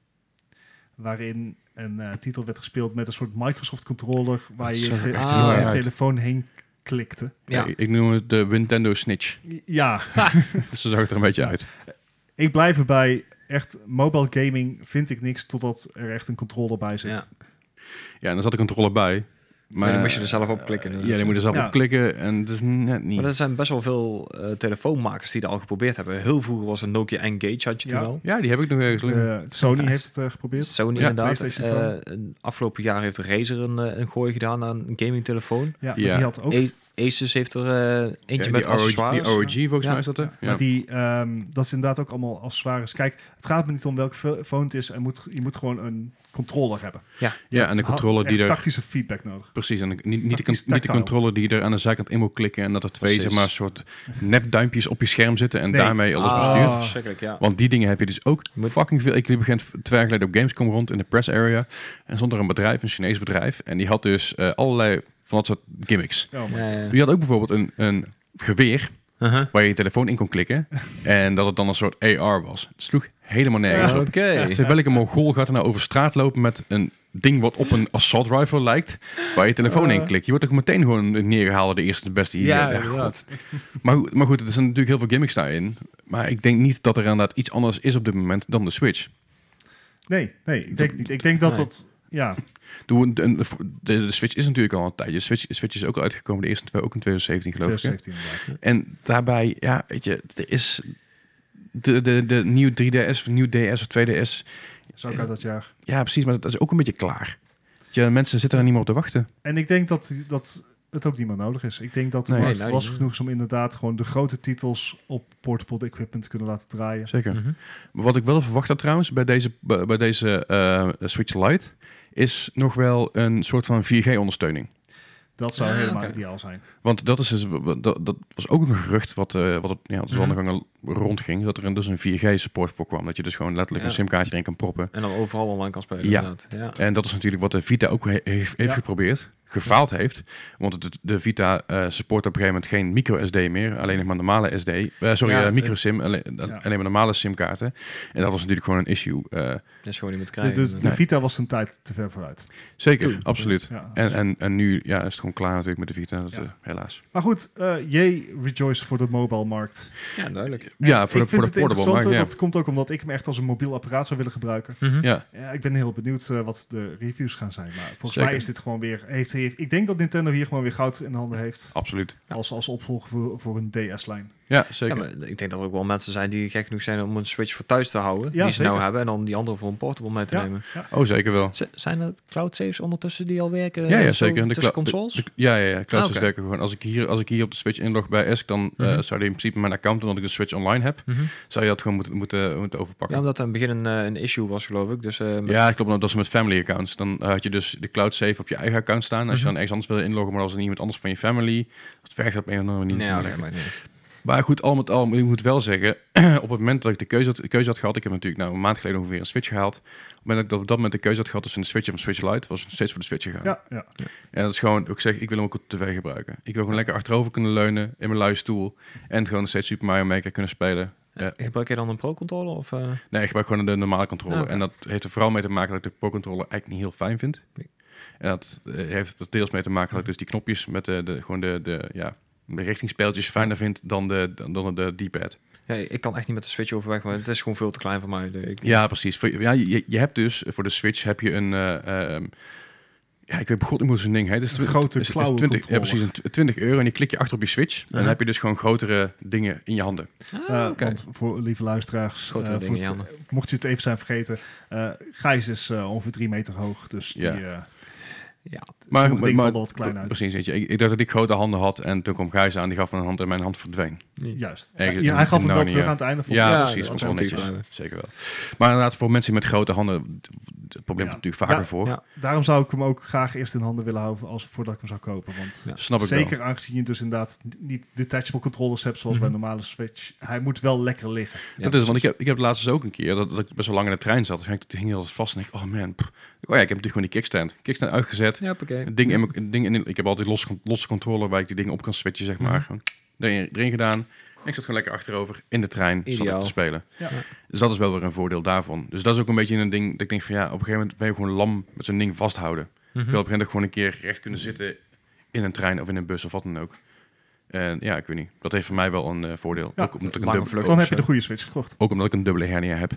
C: Waarin een eh, titel werd gespeeld met een soort Microsoft controller waar
A: Dat
C: je
A: zag er
C: te-
A: echt
C: je
B: heel erg
C: je
A: uit.
C: telefoon heen klikte.
A: Ja.
B: Ja.
A: ik, ik noem het de Nintendo Snitch.
C: Ja,
A: Dus zo zag het er een beetje uit.
C: ik blijf erbij. Echt, mobile gaming vind ik niks totdat er echt een controller bij zit.
B: ja.
A: Ja, en dan zat ik een controller bij. Maar eh,
B: Maar dan moest je er zelf op klikken.
A: ja, dan moet je er zelf
C: Ja.
A: op klikken en het is net niet.
B: Maar er zijn best wel veel eh, telefoonmakers die dat al geprobeerd hebben. Heel vroeger was een Nokia Engage, had je toen
C: Ja.
B: al.
A: Ja, die heb ik nog ergens liggen.
C: Eh, Sony
B: Nice.
C: heeft het eh, geprobeerd.
B: Sony
A: Ja,
B: inderdaad.
C: PlayStation phone.
B: Eh, een- afgelopen jaar heeft Razer een, eh, een gooi gedaan aan een gamingtelefoon.
C: Ja, maar
A: Ja.
C: die had ook.
B: A- Asus heeft er eh, eentje
A: Ja, die
B: met
A: ROG, die
B: accessoires.
A: ROG volgens
B: Ja.
A: mij is dat hè? Ja.
C: Maar die, ehm, dat is inderdaad ook allemaal als zwaar is. Kijk, het gaat me niet om welke phone het is. Er moet, je moet gewoon een controller hebben.
A: ja, en de controller die
C: er...
A: er...
C: tactische feedback nodig.
A: Precies, en de- niet, niet, de,
C: tactisch
A: con- niet de
C: tactile.
A: controller die er aan de zijkant in moet klikken en dat er twee
B: Precies.
A: zeg maar, soort nepduimpjes op je scherm zitten en
C: Nee.
A: daarmee alles
B: Ah,
A: bestuurt.
B: verschrikkelijk, ja.
A: Want die dingen heb je dus ook
B: Moet-
A: fucking veel. Ik liep begin twee jaar geleden op Gamescom rond in de press area. En stond er een bedrijf, een Chinees bedrijf. En die had dus eh, allerlei van dat soort gimmicks.
C: Oh,
B: Ja, ja.
A: Die had ook bijvoorbeeld een, een geweer
B: Uh-huh.
A: waar je je telefoon in kon klikken. en dat het dan een soort AR was. Het sloeg helemaal nergens
B: Oké.
A: op. Zeg, welke mongool gaat er nou over straat lopen met een ding wat op een assault rifle lijkt, waar je telefoon in klikt? Je wordt toch meteen gewoon neergehaald de eerste de beste hier.
B: Oh. Ja,
A: Ja,
B: inderdaad.
A: maar, goed- maar goed, er zijn natuurlijk heel veel gimmicks daarin. Maar ik denk niet dat er inderdaad iets anders is op dit moment dan de Switch.
C: Nee, nee, ik denk het niet. Ik denk dat
B: Nee.
C: dat... Ja,
A: Doe een- een- de, de Switch is natuurlijk al een tijdje. De Switch, de Switch is ook al uitgekomen, de eerste twee ook in 2017 geloof ik. hè?
C: 2017 inderdaad.
A: En daarbij, ja, weet je, er is de, de, de nieuwe 3DS, of nieuw DS of 2DS.
C: Is ook uit dat jaar.
A: Ja, precies, maar dat is ook een beetje klaar. Weet Je, mensen zitten er niet meer op te wachten.
C: En ik denk dat, dat het ook niet meer nodig is. Ik denk dat de
A: Nee.
C: markt
B: Nee, nou,
C: was
B: niet.
C: genoeg is om inderdaad gewoon de grote titels op portable equipment te kunnen laten draaien.
A: Zeker.
B: Mhm.
A: Maar wat ik wel verwacht had trouwens bij deze, bij bij deze eh, Switch Lite, is nog wel een soort van 4G-ondersteuning.
C: Dat zou
B: Ah,
C: helemaal
B: oké.
C: ideaal zijn.
A: Want dat, is dus, w- w- dat, dat was ook een gerucht wat, eh, wat op, ja, dat is wel
B: Mhm.
A: nog een rondging. Dat er een, dus een 4G-support voor kwam. Dat je dus gewoon letterlijk
B: Ja.
A: een simkaartje erin kan proppen.
B: En dan overal online kan spelen.
A: Ja.
B: inderdaad. ja.
A: En dat is natuurlijk wat de Vita ook he- heeft, heeft
C: Ja.
A: geprobeerd. Gefaald heeft. Want de, de Vita eh, support op een gegeven moment geen micro-SD meer. Alleen nog maar normale SD. eh, sorry,
B: Ja,
A: eh, micro-SIM. Alleen, alleen maar normale SIM-kaarten. En dat was natuurlijk gewoon een issue. eh,
B: Dat is gewoon niet meer te
C: De,
B: krijgen.
C: de- de
A: Nee.
C: Vita was zijn tijd te ver vooruit.
A: zeker,
B: Toen.
A: absoluut.
C: Ja.
A: En, en, en nu ja, is het gewoon klaar natuurlijk met de Vita. Dat,
C: Ja.
A: eh, helaas.
C: Maar goed, eh jee, rejoice voor de mobile markt.
B: ja, duidelijk.
A: Ja, voor de,
C: ik vind
A: voor de
C: het
A: portable.
C: interessant,
A: Maar,
C: eh,
A: ja.
C: dat komt ook omdat ik hem echt als een mobiel apparaat zou willen gebruiken.
B: Hm?
A: ja.
C: Ja, ik ben heel benieuwd eh, wat de reviews gaan zijn. Maar volgens
A: Zeker.
C: mij is dit gewoon weer... Heeft, heeft, ik denk dat Nintendo hier gewoon weer goud in handen heeft.
A: Absoluut.
C: Als, als opvolger voor, voor een DS-lijn.
A: Ja,
B: Ja,
A: zeker.
B: maar ik denk dat er ook wel mensen zijn die gek genoeg zijn om een Switch voor thuis te houden.
C: Ja,
B: die ze nou
C: zeker.
B: hebben. En dan die andere voor een portable mee te
C: Ja.
B: nemen.
A: Oh, zeker wel.
B: Z- zijn er cloud saves ondertussen die al werken?
A: Ja, ja
B: eh, zo
A: zeker. En
B: Tussen
A: clou- de-
B: consoles?
A: de- ja, ja, ja. Cloud
B: Ah, oké.
A: werken gewoon. Als ik, hier, als ik hier op de Switch inlog bij Esk, dan eh,
B: Mhm.
A: zou die in principe mijn account, omdat ik de Switch online heb,
B: Mhm.
A: zou je dat gewoon moeten, moeten, moeten
B: Ja,
A: overpakken.
B: omdat er aan het begin een, eh, een issue was, geloof ik. Dus, eh, met-
A: Ja, klopt. want Dat is met family accounts. Dan eh, had je dus de cloud save op je eigen account staan. Als
B: Mhm.
A: je dan ergens anders wil inloggen, maar als er iemand anders van je family, dat werkt op een of andere manier.
B: Nee,
A: niet.
B: ja, maar niet.
A: Maar goed, al met al, ik moet wel zeggen, op het moment dat ik de keuze had, de keuze had gehad, ik heb natuurlijk nou een maand geleden ongeveer een Switch gehaald. Op het moment dat ik dat- op dat moment de keuze had gehad tussen de Switch en de Switch Lite, was ik steeds voor de Switch gegaan.
C: Ja, ja.
A: En dat is gewoon, ik zeg, ik wil hem ook op tv gebruiken. Ik wil gewoon lekker achterover kunnen leunen in mijn luie stoel. En gewoon nog steeds Super Mario Maker kunnen spelen. Ja.
B: Gebruik je dan een pro-controller? Of, eh?
A: Nee, ik gebruik gewoon de normale controller.
B: Ah, oké.
A: En dat heeft er vooral mee te maken dat ik de Pro Controller eigenlijk niet heel fijn vind. En dat eh, heeft er deels mee te maken dat ik dus die knopjes met de, de, gewoon de, de, ja, de richtingspeeltjes fijner vind dan de, dan, dan de D-pad.
B: Ja, ik kan echt niet met de Switch overweg, want het is gewoon veel te klein voor mij. dus Ik,
A: Ja, precies. Voor- Ja, je, je hebt dus, voor de Switch heb je een... eh, ehm, ja, ik weet god niet hoe zo'n ding heet. Het is
C: Een
A: tw-
C: grote
A: het is- het is
C: klauwen
A: 20, ja,
C: controller.
A: precies, een tw- 20 euro en die klik je achter op je Switch. En
B: Aha.
A: dan heb je dus gewoon grotere dingen in je handen.
B: Ah,
C: Eh,
B: oké.
C: Want voor lieve luisteraars,
B: Grotere
C: eh,
B: dingen in je
C: voor-
B: handen.
C: mocht je het even zijn vergeten, eh Gijs is eh, ongeveer drie meter hoog. Dus
A: Ja.
C: die, eh,
B: Ja,
A: Maar,
C: Sommige
A: maar,
C: dingen
A: maar-
C: vallen wat klein uit.
A: Precies, weet je. Ik, ik dacht dat ik grote handen had en toen kwam Gijs aan, die gaf me een hand en mijn hand verdween.
C: juist.
A: Eigenlijk
C: Ja, hij gaf
A: een-
C: hem wel
A: nou
C: terug
A: niet,
C: aan het einde van
A: Ja,
B: Ja,
A: precies. Vond
B: dat
A: ik wel
B: is
A: netjes.
B: natuurlijk
A: Zeker wel. Maar inderdaad, voor mensen met grote handen, d- het probleem
C: Ja.
A: komt natuurlijk vaker
C: Ja.
A: voor.
B: Ja.
C: Daarom zou ik hem ook graag eerst in handen willen houden als, voordat ik hem zou kopen. Want
B: Ja.
A: Snap ik
C: zeker
A: wel.
C: aangezien je dus inderdaad niet detachable controllers hebt zoals bij
B: Mhm.
C: een normale Switch. Hij moet wel lekker liggen.
A: dat is, want ik heb, ik heb laatst dus ook een keer dat, dat ik best wel lang in de trein zat. Dus ik hing heel vast en ik, oh man. pff. Oh ja, ik heb natuurlijk gewoon die kickstand. Kickstand uitgezet.
B: Ja, oké.
A: Het ding in mijn- het ding in, ik heb altijd los, losse controller waar ik die dingen op kan switchen, zeg maar.
B: Mhm.
A: Gewoon Erin, erin gedaan. En ik zat gewoon lekker achterover in de trein zat ik
B: Ideaal.
A: te spelen.
C: Ja.
B: Ja.
A: Dus dat is wel weer een voordeel daarvan. Dus dat is ook een beetje een ding dat ik denk van ja, op een gegeven moment ben je gewoon lam met zo'n ding vasthouden.
B: Mhm.
A: Ik wil op een gegeven moment gewoon een keer recht kunnen zitten in een trein of in een bus of wat dan ook. En ja, ik weet niet. Dat heeft voor mij wel een eh, voordeel.
C: Ja,
A: ook, omdat ik een
B: lange
A: dubbele-
B: vlucht.
C: Dan heb je de goede Switch gekocht.
A: ook omdat ik een dubbele hernia heb.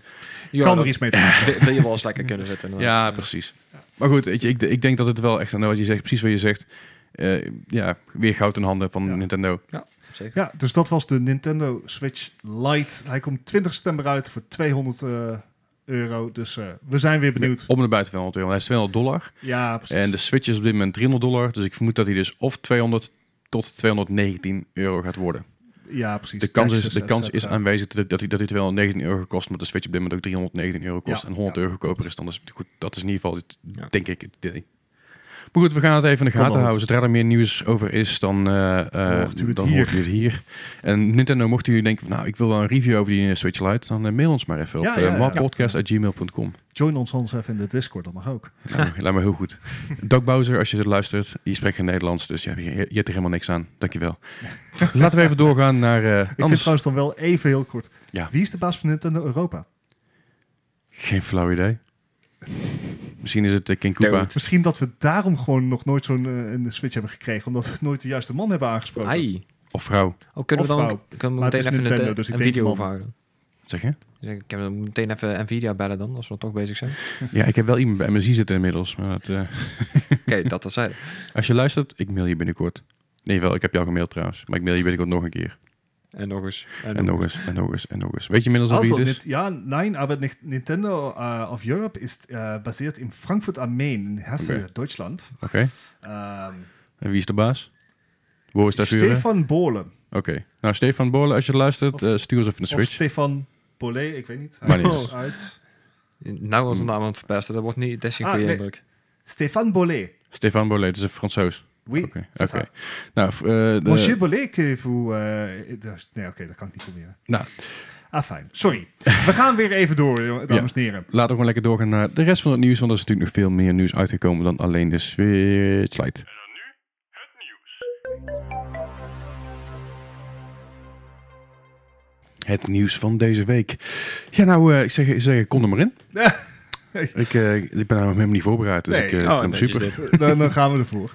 B: Ja,
C: kan
B: dat-
C: er iets mee te doen.
B: wil- Wil je wel eens lekker kunnen zitten. dus, eh,
A: Ja,
B: inderdaad.
A: precies. Maar goed, weet je, ik, ik denk dat het wel echt, nou, wat je zegt, precies wat je zegt, eh, ja, weer goud in handen van
C: Ja.
A: Nintendo.
B: Zeker.
C: Ja, dus dat was de Nintendo Switch Lite. Hij komt 20 september uit voor 200 eh, euro. Dus eh, we zijn weer benieuwd.
A: Om en bij 200 euro. Hij is 200 dollar.
C: Ja, precies.
A: En de Switch is op dit moment 300 dollar. Dus ik vermoed dat hij dus of 200 tot 219 euro gaat worden.
C: ja, precies.
A: De kans is,
C: Taxes,
A: de kans is
C: etcetera.
A: aanwezig dat, dat hij, dat hij 219 euro kost, maar de Switch op dit moment ook 319 euro kost
C: Ja,
A: en 100
C: ja,
A: euro goedkoper is. Dan is goed, dat is in ieder geval, het-
B: Ja.
A: denk ik, het idee. Maar goed, we gaan het even in de
C: Kan
A: gaten
C: wel
A: houden.
C: goed.
A: Zodra er meer nieuws over is, dan, eh, eh,
C: Hoort u het
A: dan
C: hier.
A: hoort u het hier. En Nintendo, mocht u denken, van, nou, ik wil wel een review over die eh, Switch Lite, dan eh, mail ons maar even op
C: Ja,
A: ja,
C: ja, ja.
A: marpodcast.gmail.com.
C: Join ons anders even in de Discord, dat mag ook.
A: Lijkt me- Lijkt me heel goed. Doc Bowser, als je dit luistert, je spreekt geen Nederlands, dus je, hebt- je, je hebt er helemaal niks aan. Dankjewel. Laten we even doorgaan naar eh
C: Ik vind
A: anders.
C: trouwens dan wel even heel kort.
A: Ja.
C: Wie is de baas van Nintendo Europa?
A: Geen flauw idee. Misschien is het eh, King Koopa.
B: Dude.
C: Misschien dat we daarom gewoon nog nooit zo'n eh, een Switch hebben gekregen. Omdat we nooit de juiste man hebben aangesproken.
B: Ai.
A: Of vrouw,
B: Oh, kunnen we
C: Of
B: dan
C: vrouw.
B: kunnen we
C: Maar het
B: meteen
C: is
B: even een,
C: Nintendo,
B: te-
C: dus ik
B: een
C: denk
B: video
C: man.
B: overhouden?
A: zeg je?
B: Dus ik kan hem meteen even Nvidia bellen dan, als we toch bezig zijn.
A: Ja, ik heb wel iemand bij MSI zitten inmiddels. Maar dat, eh,
B: Oké, dat terzijde.
A: als je luistert, ik mail je binnenkort. Nee, wel, ik heb jou gemaild trouwens. Maar ik mail je binnenkort nog een keer.
B: En nog eens.
A: En nog eens, en nog eens, en nog eens. Weet je inmiddels al wie
C: Also,
A: het is?
C: Nit- ja, nein, aber nicht- Nintendo äh, of Europe ist äh, basiert in Frankfurt am Main, in Hesse,
A: Okay.
C: Deutschland.
A: Oké.
C: Ähm,
A: En wie is de baas? Wo is dat vuur? Oké.
C: Stefan Bohle.
A: Nou, Stefan Borle, als je luistert,
C: Of-
A: eh, stuur ons even een
C: Of
A: switch.
C: Stefan Bolle, ik weet niet.
A: Maar niet.
C: Hij is Uit.
B: Nou was een naam aan het verpesten, dat wordt niet, dat is geen
C: Ah,
B: goede
C: nee.
B: indruk.
C: Stefan Bolle.
A: Stefan Borle, dat is een Fransoos.
C: Oui,
A: Oké,
C: c'est
A: oké.
C: ça.
A: Nou, v- eh, de-
C: Monsieur Bollet, que vous... eh, dat- nee, oké, dat kan ik niet proberen.
A: nou,
C: Ah, fijn. Sorry. We gaan weer even door, jongen- dames en heren.
A: laten we gewoon lekker doorgaan naar de rest van het nieuws. Want er is natuurlijk nog veel meer nieuws uitgekomen dan alleen de Switch Lite. Het nieuws van deze week. Ja, nou, eh, ik zeg, ik zeg, kom er maar in. ik, eh, ik ben daar nog helemaal niet voorbereid, dus
C: Nee.
A: ik eh,
B: Oh,
A: vind hem
B: netjes
A: super.
B: dit.
C: dan, dan gaan we ervoor.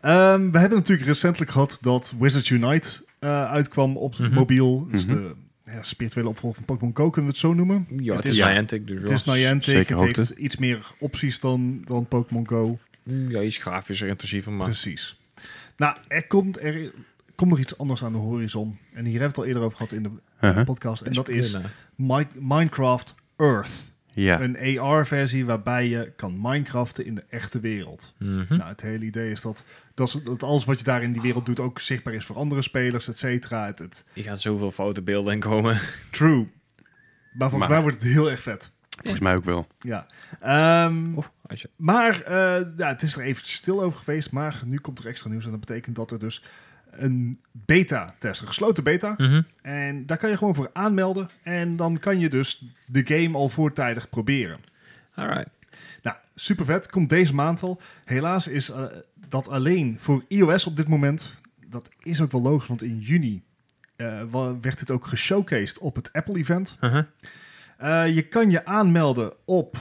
C: Ehm, we hebben natuurlijk recentelijk gehad dat Wizards Unite eh, uitkwam op
B: Mhm.
C: mobiel. Dus
A: Mhm.
C: de ja, spirituele opvolger van Pokémon Go, kunnen we het zo noemen.
B: Ja, het
C: Het
B: is
A: is-
B: Niantic, dus
C: Het
B: ja.
C: is nou Niantic,
A: zeker
C: het heeft iets meer opties dan, dan Pokémon Go.
B: Hm, Ja, iets grafischer, intensiever, maar...
C: Precies. Nou, er komt, er komt nog iets anders aan de horizon. En hier hebben we het al eerder over gehad in de
A: Uh-huh.
C: podcast. En dat
B: Best
C: is
B: prima.
C: Mi- Minecraft Earth.
A: Ja,
C: Een AR-versie waarbij je kan Minecraften in de echte wereld.
A: Hm?
B: Mhm.
C: Nou, het hele idee is dat, dat, is- dat alles wat je daar in die wereld doet ook zichtbaar is voor andere spelers, et cetera. Het, het,
B: Die gaan zoveel foute beelden in komen.
C: true. Maar volgens
A: Maar-
C: mij wordt het heel erg vet.
A: volgens mij ook wel.
C: Ja. Ehm,
B: Oh, als je...
C: maar eh, ja, het is er eventjes stil over geweest, maar nu komt er extra nieuws. En dat betekent dat er dus een beta-test, een gesloten beta. En daar kan je gewoon voor aanmelden. En dan kan je dus de game al voortijdig proberen.
B: Alright.
C: Nou, super vet. Komt deze maand al. Helaas is eh, dat alleen voor iOS op dit moment. Dat is ook wel logisch, want in juni eh, wa- werd dit ook geshowcased op het Apple-event.
B: Uh-huh.
C: Eh, je kan je aanmelden op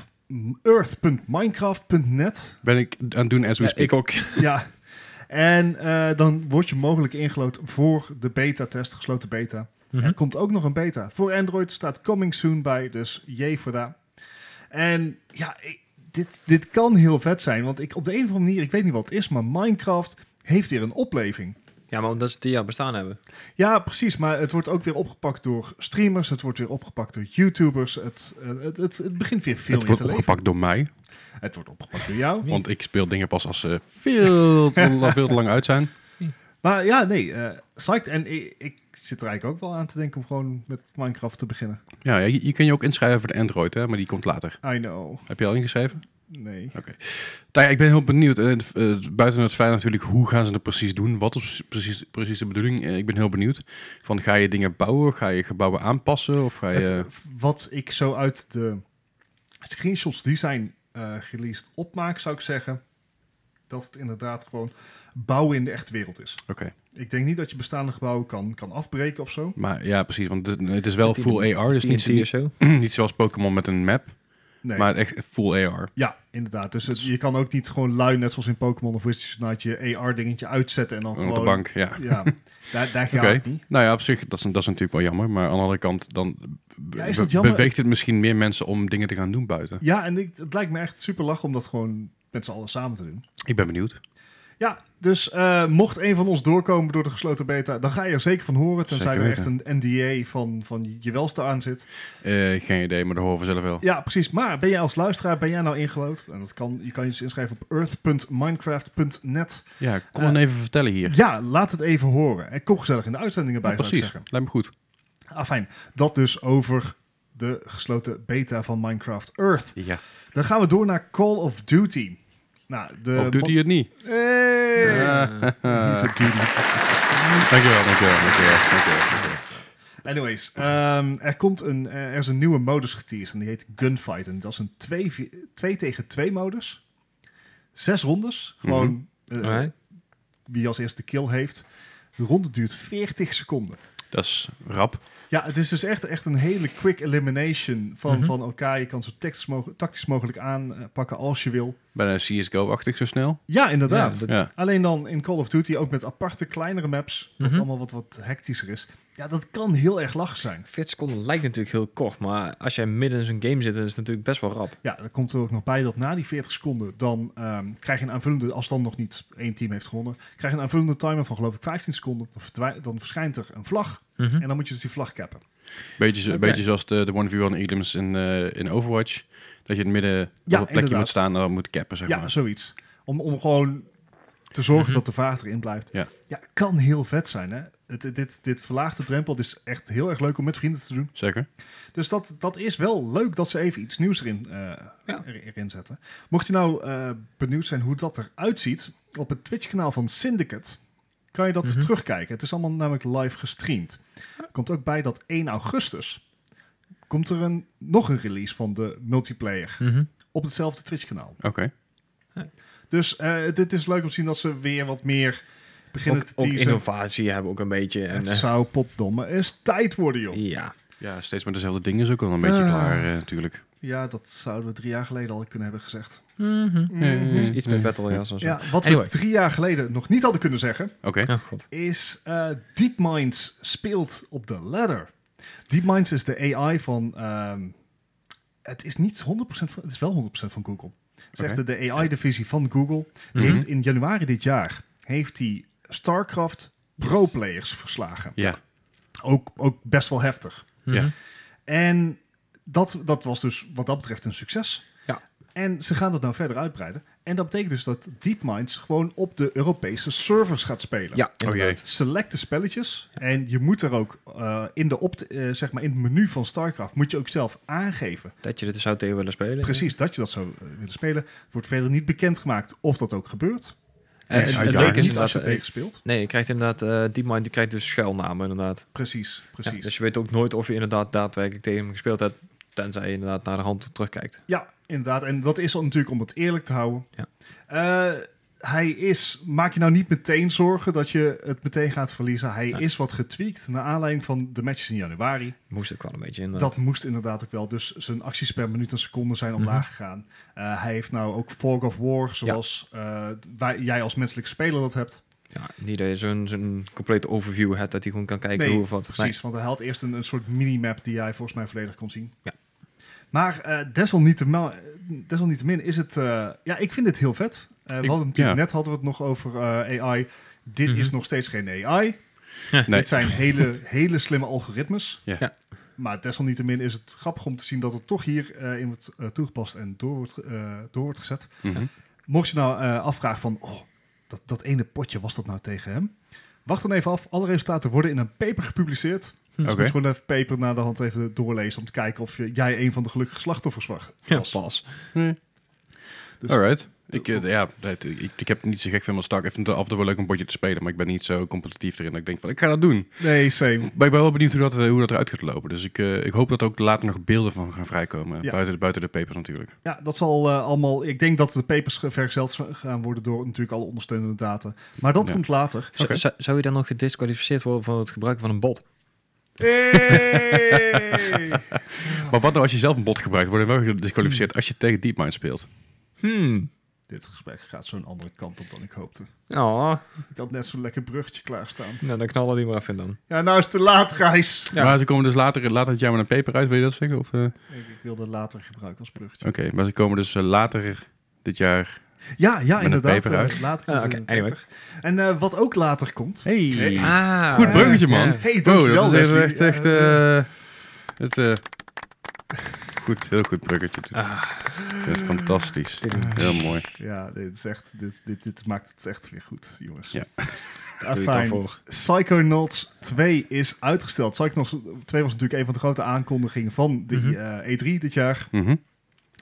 C: earth.minecraft.net.
A: Ben ik aan het doen as we
B: Ja,
A: speak.
B: ik ook.
C: ja. En eh, dan word je mogelijk ingelood voor de beta-test, gesloten beta.
A: Mhm.
C: Er komt ook nog een beta. Voor Android staat coming soon bij, dus jee voor daar. En ja, ik- dit, dit kan heel vet zijn, want ik op de een of andere manier, ik weet niet wat het is, maar Minecraft heeft weer een opleving.
B: Ja, maar omdat ze tien jaar bestaan hebben.
C: Ja, precies, maar het wordt ook weer opgepakt door streamers, het wordt weer opgepakt door YouTubers, het, eh, het, het, het begint weer veel
A: het
C: meer
A: wordt
C: te leven.
A: opgepakt door mij,
C: Het wordt opgepakt door jou.
A: want ik speel dingen pas als ze veel, te- veel te lang uit zijn.
C: Maar ja, nee, eh psyched. En ik, ik zit er eigenlijk ook wel aan te denken om gewoon met Minecraft te beginnen.
A: Ja, je, je kan je ook inschrijven voor de Android, hè, maar die komt later.
C: I know.
A: Heb je al ingeschreven?
C: Nee.
A: Nou ja, ik ben heel benieuwd. Eh, eh, buiten het feit natuurlijk, hoe gaan ze dat precies doen? Wat is precies, precies de bedoeling? Eh, ik ben heel benieuwd. Van, ga je dingen bouwen? Ga je gebouwen aanpassen? Of ga je...
C: Het, wat ik zo uit de screenshots die zijn eh, released opmaak, zou ik zeggen dat het inderdaad gewoon bouwen in de echte wereld is.
A: Oké.
C: Ik denk niet dat je bestaande gebouwen kan, kan afbreken of zo.
A: Maar ja, precies. Want het, het is wel
B: Die-
A: full AR. Dus
B: TNT
A: niet,
B: of
A: niet,
B: zo.
A: niet zoals Pokémon met een map.
C: Nee.
A: Maar echt full AR.
C: ja, inderdaad. Dus het- je kan ook niet gewoon lui, net zoals in Pokémon of Wizards Unite, je AR-dingetje uitzetten en dan
A: Op de
C: gewoon...
A: bank, ja.
C: Ja, daar, daar gaat
A: Oké.
C: het niet.
A: Nou ja, op zich, dat is, dat is natuurlijk wel jammer. Maar aan de andere kant, dan be-
C: Ja, is dat
A: be-
C: jammer?
A: beweegt het misschien meer mensen om dingen te gaan doen buiten.
C: Ja, en ik, het lijkt me echt super lach om dat gewoon met z'n allen samen te doen.
A: Ik ben benieuwd.
C: Ja, dus eh, mocht een van ons doorkomen door de gesloten beta, dan ga je er zeker van horen. Tenzij
A: Zeker
C: er echt een NDA van, van je welste aan zit.
A: Eh, geen idee, maar dat horen we zelf wel.
C: Ja, precies. Maar ben jij als luisteraar, ben jij nou ingelood? En dat kan, je kan je dus inschrijven op earth.minecraft.net.
A: Ja, kom dan
C: Eh,
A: even vertellen hier.
C: Ja, laat het even horen. En kom gezellig in de uitzendingen bij,
A: Ja,
C: zou ik
A: precies.
C: zeggen.
A: Lijkt me goed.
C: Ah, fijn. Dat dus over de gesloten beta van Minecraft Earth.
A: Ja.
C: Dan gaan we door naar Call of Duty. Nou, de
A: Of doet hij het niet?
C: Hey!
A: Ja.
C: He's a duty.
A: Dankjewel, dankjewel, dankjewel. dankjewel, dankjewel.
C: Anyways, ehm, er, komt een, eh, er is een nieuwe modus geteased en die heet Gunfight. En dat is een 2 tegen 2 modus. Zes rondes. Gewoon eh,
B: Mhm. Alright.
C: wie als eerste de kill heeft. De ronde duurt 40 seconden.
A: Dat is rap.
C: Ja, het is dus echt, echt een hele quick elimination van,
B: Mhm.
C: van elkaar. Je kan zo tactisch, moge- tactisch mogelijk aanpakken als je wil.
A: Bijna CSGO-achtig zo snel.
C: Ja, inderdaad.
B: Ja, dat-
A: Ja.
C: Alleen dan in Call of Duty ook met aparte kleinere maps. Dat
B: Mhm.
C: het allemaal wat, wat hectischer is. Ja, dat kan heel erg lach zijn.
B: 40 seconden lijkt natuurlijk heel kort, maar als jij midden in zo'n game zit, dan is het natuurlijk best wel rap.
C: Ja, dan komt er ook nog bij dat na die 40 seconden, dan ehm, krijg je een aanvullende, als dan nog niet één team heeft gewonnen, krijg je een aanvullende timer van geloof ik 15 seconden. Dan, verdwij- dan verschijnt er een vlag en dan moet je dus die vlag cappen.
A: Beetje, zo-
B: Oké.
A: beetje zoals de, de 1v1 items in, eh, in Overwatch. Dat je in het midden op een plekje
C: inderdaad.
A: moet staan en dan moet cappen, zeg
C: Ja,
A: maar.
C: zoiets. Om, om gewoon te zorgen dat de vaart erin blijft.
A: Ja.
C: ja, kan heel vet zijn hè. Het, dit, dit verlaagt de drempel. Het is echt heel erg leuk om met vrienden te doen.
A: Zeker.
C: Dus dat, dat is wel leuk dat ze even iets nieuws erin, eh, er- erin zetten. Mocht je nou eh, benieuwd zijn hoe dat eruit ziet, op het Twitch-kanaal van Syndicate kan je dat
B: Mhm.
C: terugkijken. Het is allemaal namelijk live gestreamd. Komt ook bij dat 1 augustus komt er een, nog een release van de multiplayer
B: Mhm.
C: op hetzelfde Twitch-kanaal.
A: Oké.
C: Dus eh, dit is leuk om te zien dat ze weer wat meer beginnen
B: Ook,
C: te
B: ook
C: teasen.
B: innovatie hebben ook een beetje. En,
C: het
B: eh,
C: zou potdomme eens tijd worden, joh.
B: ja.
A: Ja, steeds met dezelfde dingen is ook wel een beetje
C: Ah.
A: klaar eh, natuurlijk.
C: Ja, dat zouden we drie jaar geleden al kunnen hebben gezegd.
A: Mhm.
B: Mm-hmm. Iets, iets met Battle Royale. Ja.
C: Ja, wat
B: Anyway.
C: we drie jaar geleden nog niet hadden kunnen zeggen,
A: Oké.
B: Oh, god.
C: is eh Deep Minds speelt op de ladder. Deep Minds is de AI van. ehm, het is niet 100% van, het is wel 100% van Google. Zegt
A: Oké.
C: de AI-divisie van Google. Die
B: Mhm.
C: heeft in januari dit jaar heeft die StarCraft pro-players verslagen.
A: Ja.
C: Ook, ook best wel heftig.
A: Ja.
B: Mhm.
C: En dat, dat was dus wat dat betreft een succes.
B: Ja.
C: En ze gaan dat nou verder uitbreiden. En dat betekent dus dat DeepMinds gewoon op de Europese servers gaat spelen.
B: Ja,
A: Oh jee.
B: inderdaad.
C: Selecte spelletjes. En je moet er ook eh, in, de opt, eh, zeg maar in het menu van StarCraft moet je ook zelf aangeven.
B: Dat je dit zou tegen willen spelen.
C: Precies dat je dat zou eh, willen spelen. Wordt verder niet bekendgemaakt of dat ook gebeurt.
B: En,
A: Ja,
B: het-
A: ja,
B: het
A: ja.
B: leuke is
C: niet als
B: inderdaad...
C: je
B: eh,
C: tegenspeelt.
B: Nee, je krijgt inderdaad... eh DeepMind die krijgt dus schuilnamen inderdaad.
C: Precies, precies.
B: Ja, dus je weet ook nooit of je inderdaad daadwerkelijk tegen hem gespeeld hebt. Tenzij je inderdaad naar de hand terugkijkt.
C: Ja, inderdaad. En dat is al natuurlijk om het eerlijk te houden.
B: Ja.
C: Eh, hij is, maak je nou niet meteen zorgen dat je het meteen gaat verliezen. Hij
B: Nee.
C: is wat getweakt naar aanleiding van de matches in januari.
B: Moest ook wel een beetje inderdaad.
C: Dat moest inderdaad ook wel. Dus zijn acties per minuut en seconde zijn omlaag
B: Mhm.
C: gegaan. Eh, hij heeft nou ook Fog of War, zoals eh, wij, jij als menselijke speler dat hebt.
B: Ja, niet dat je zo'n zo'n complete overview hebt dat hij gewoon kan kijken
C: Nee,
B: hoe of wat.
C: Precies, want hij had eerst een, een soort minimap die jij volgens mij volledig kon zien.
B: Ja.
C: Maar eh, desalniettemin, desalniettemin is het... eh, ja, ik vind dit heel vet. Eh, we
A: Ik-
C: hadden natuurlijk,
A: ja.
C: Net hadden we het nog over eh, AI. Dit
B: Mhm.
C: is nog steeds geen AI.
A: Nee.
C: Dit zijn hele, hele slimme algoritmes.
A: Ja.
B: Ja.
C: Maar desalniettemin is het grappig om te zien dat het toch hier eh, in wordt eh, toegepast en door wordt, eh, door wordt gezet.
A: Mhm.
C: Mocht je nou eh, afvragen van, oh, dat, dat ene potje, was dat nou tegen hem? Wacht dan even af. Alle resultaten worden in een paper gepubliceerd.
A: Oké.
C: Dus moet je gewoon even paper naar de hand even doorlezen om te kijken of je- jij een van de gelukkige slachtoffers was.
B: Ja, pas.
C: Dus-
A: Alright.
C: Tot-
A: Ik, eh,
C: tot-
A: ja, dat- ik, ik heb niet zo gek veel van Stark. Ik vind het af en toe wel leuk om een potje te spelen, maar ik ben niet zo competitief erin dat ik denk van, ik ga dat doen.
C: Nee, same.
A: Maar ik ben wel benieuwd hoe dat, eh, hoe dat eruit gaat lopen. Dus ik, eh, ik hoop dat er ook later nog beelden van gaan vrijkomen.
C: Ja.
A: Buiten, de, buiten de papers natuurlijk.
C: Ja, dat zal eh, allemaal... Ik denk dat de papers ge- vergezeld z- gaan worden door natuurlijk alle ondersteunende data. Maar dat
A: Ja.
C: komt later.
B: Z-
A: Oké.
B: z- Zou je dan nog gedisqualificeerd worden van het gebruiken van een bot?
C: Hey!
A: Maar wat nou als je zelf een bot gebruikt? Word je wel
C: Hmm.
A: gedisqualificeerd als je tegen DeepMind speelt?
B: Hmm.
C: Dit gesprek gaat zo'n andere kant op dan ik hoopte.
B: Oh,
C: Ik had net zo'n lekker bruggetje klaarstaan.
B: nou, dan knallen die maar even dan.
C: Ja, nou is het te laat, Gijs.
B: Ja.
A: Maar ze komen dus later, later het jaar met een paper uit, wil je dat zeggen? Of, eh, Oké,
C: Ik, ik wilde later gebruiken als bruggetje.
A: maar ze komen dus eh, later dit jaar...
C: Ja, ja,
A: een
C: inderdaad.
A: paper uit.
C: eh, later
B: Ah,
C: komt
B: oké,
C: een
B: anyway.
C: paper. En eh, wat ook later komt...
A: Hey.
B: Ah,
A: Goed bruggetje, man.
B: Ja.
C: Hey,
A: Wow,
C: dankjewel,
A: Oh, dat is even
C: Leslie.
A: echt, echt
C: Eh,
A: eh, het, eh, goed, heel goed bruggetje.
C: Ah.
A: Ik vind het fantastisch. Heel mooi.
C: Ja, dit, is echt, dit, dit, dit maakt het echt weer goed, jongens.
A: Ja.
C: Ah,
B: Doe je het dan
C: fijn.
B: voor.
C: Psychonauts 2 is uitgesteld. Psychonauts 2 was natuurlijk een van de grote aankondigingen van de
B: Mhm.
C: eh, E3 dit jaar.
A: Mhm.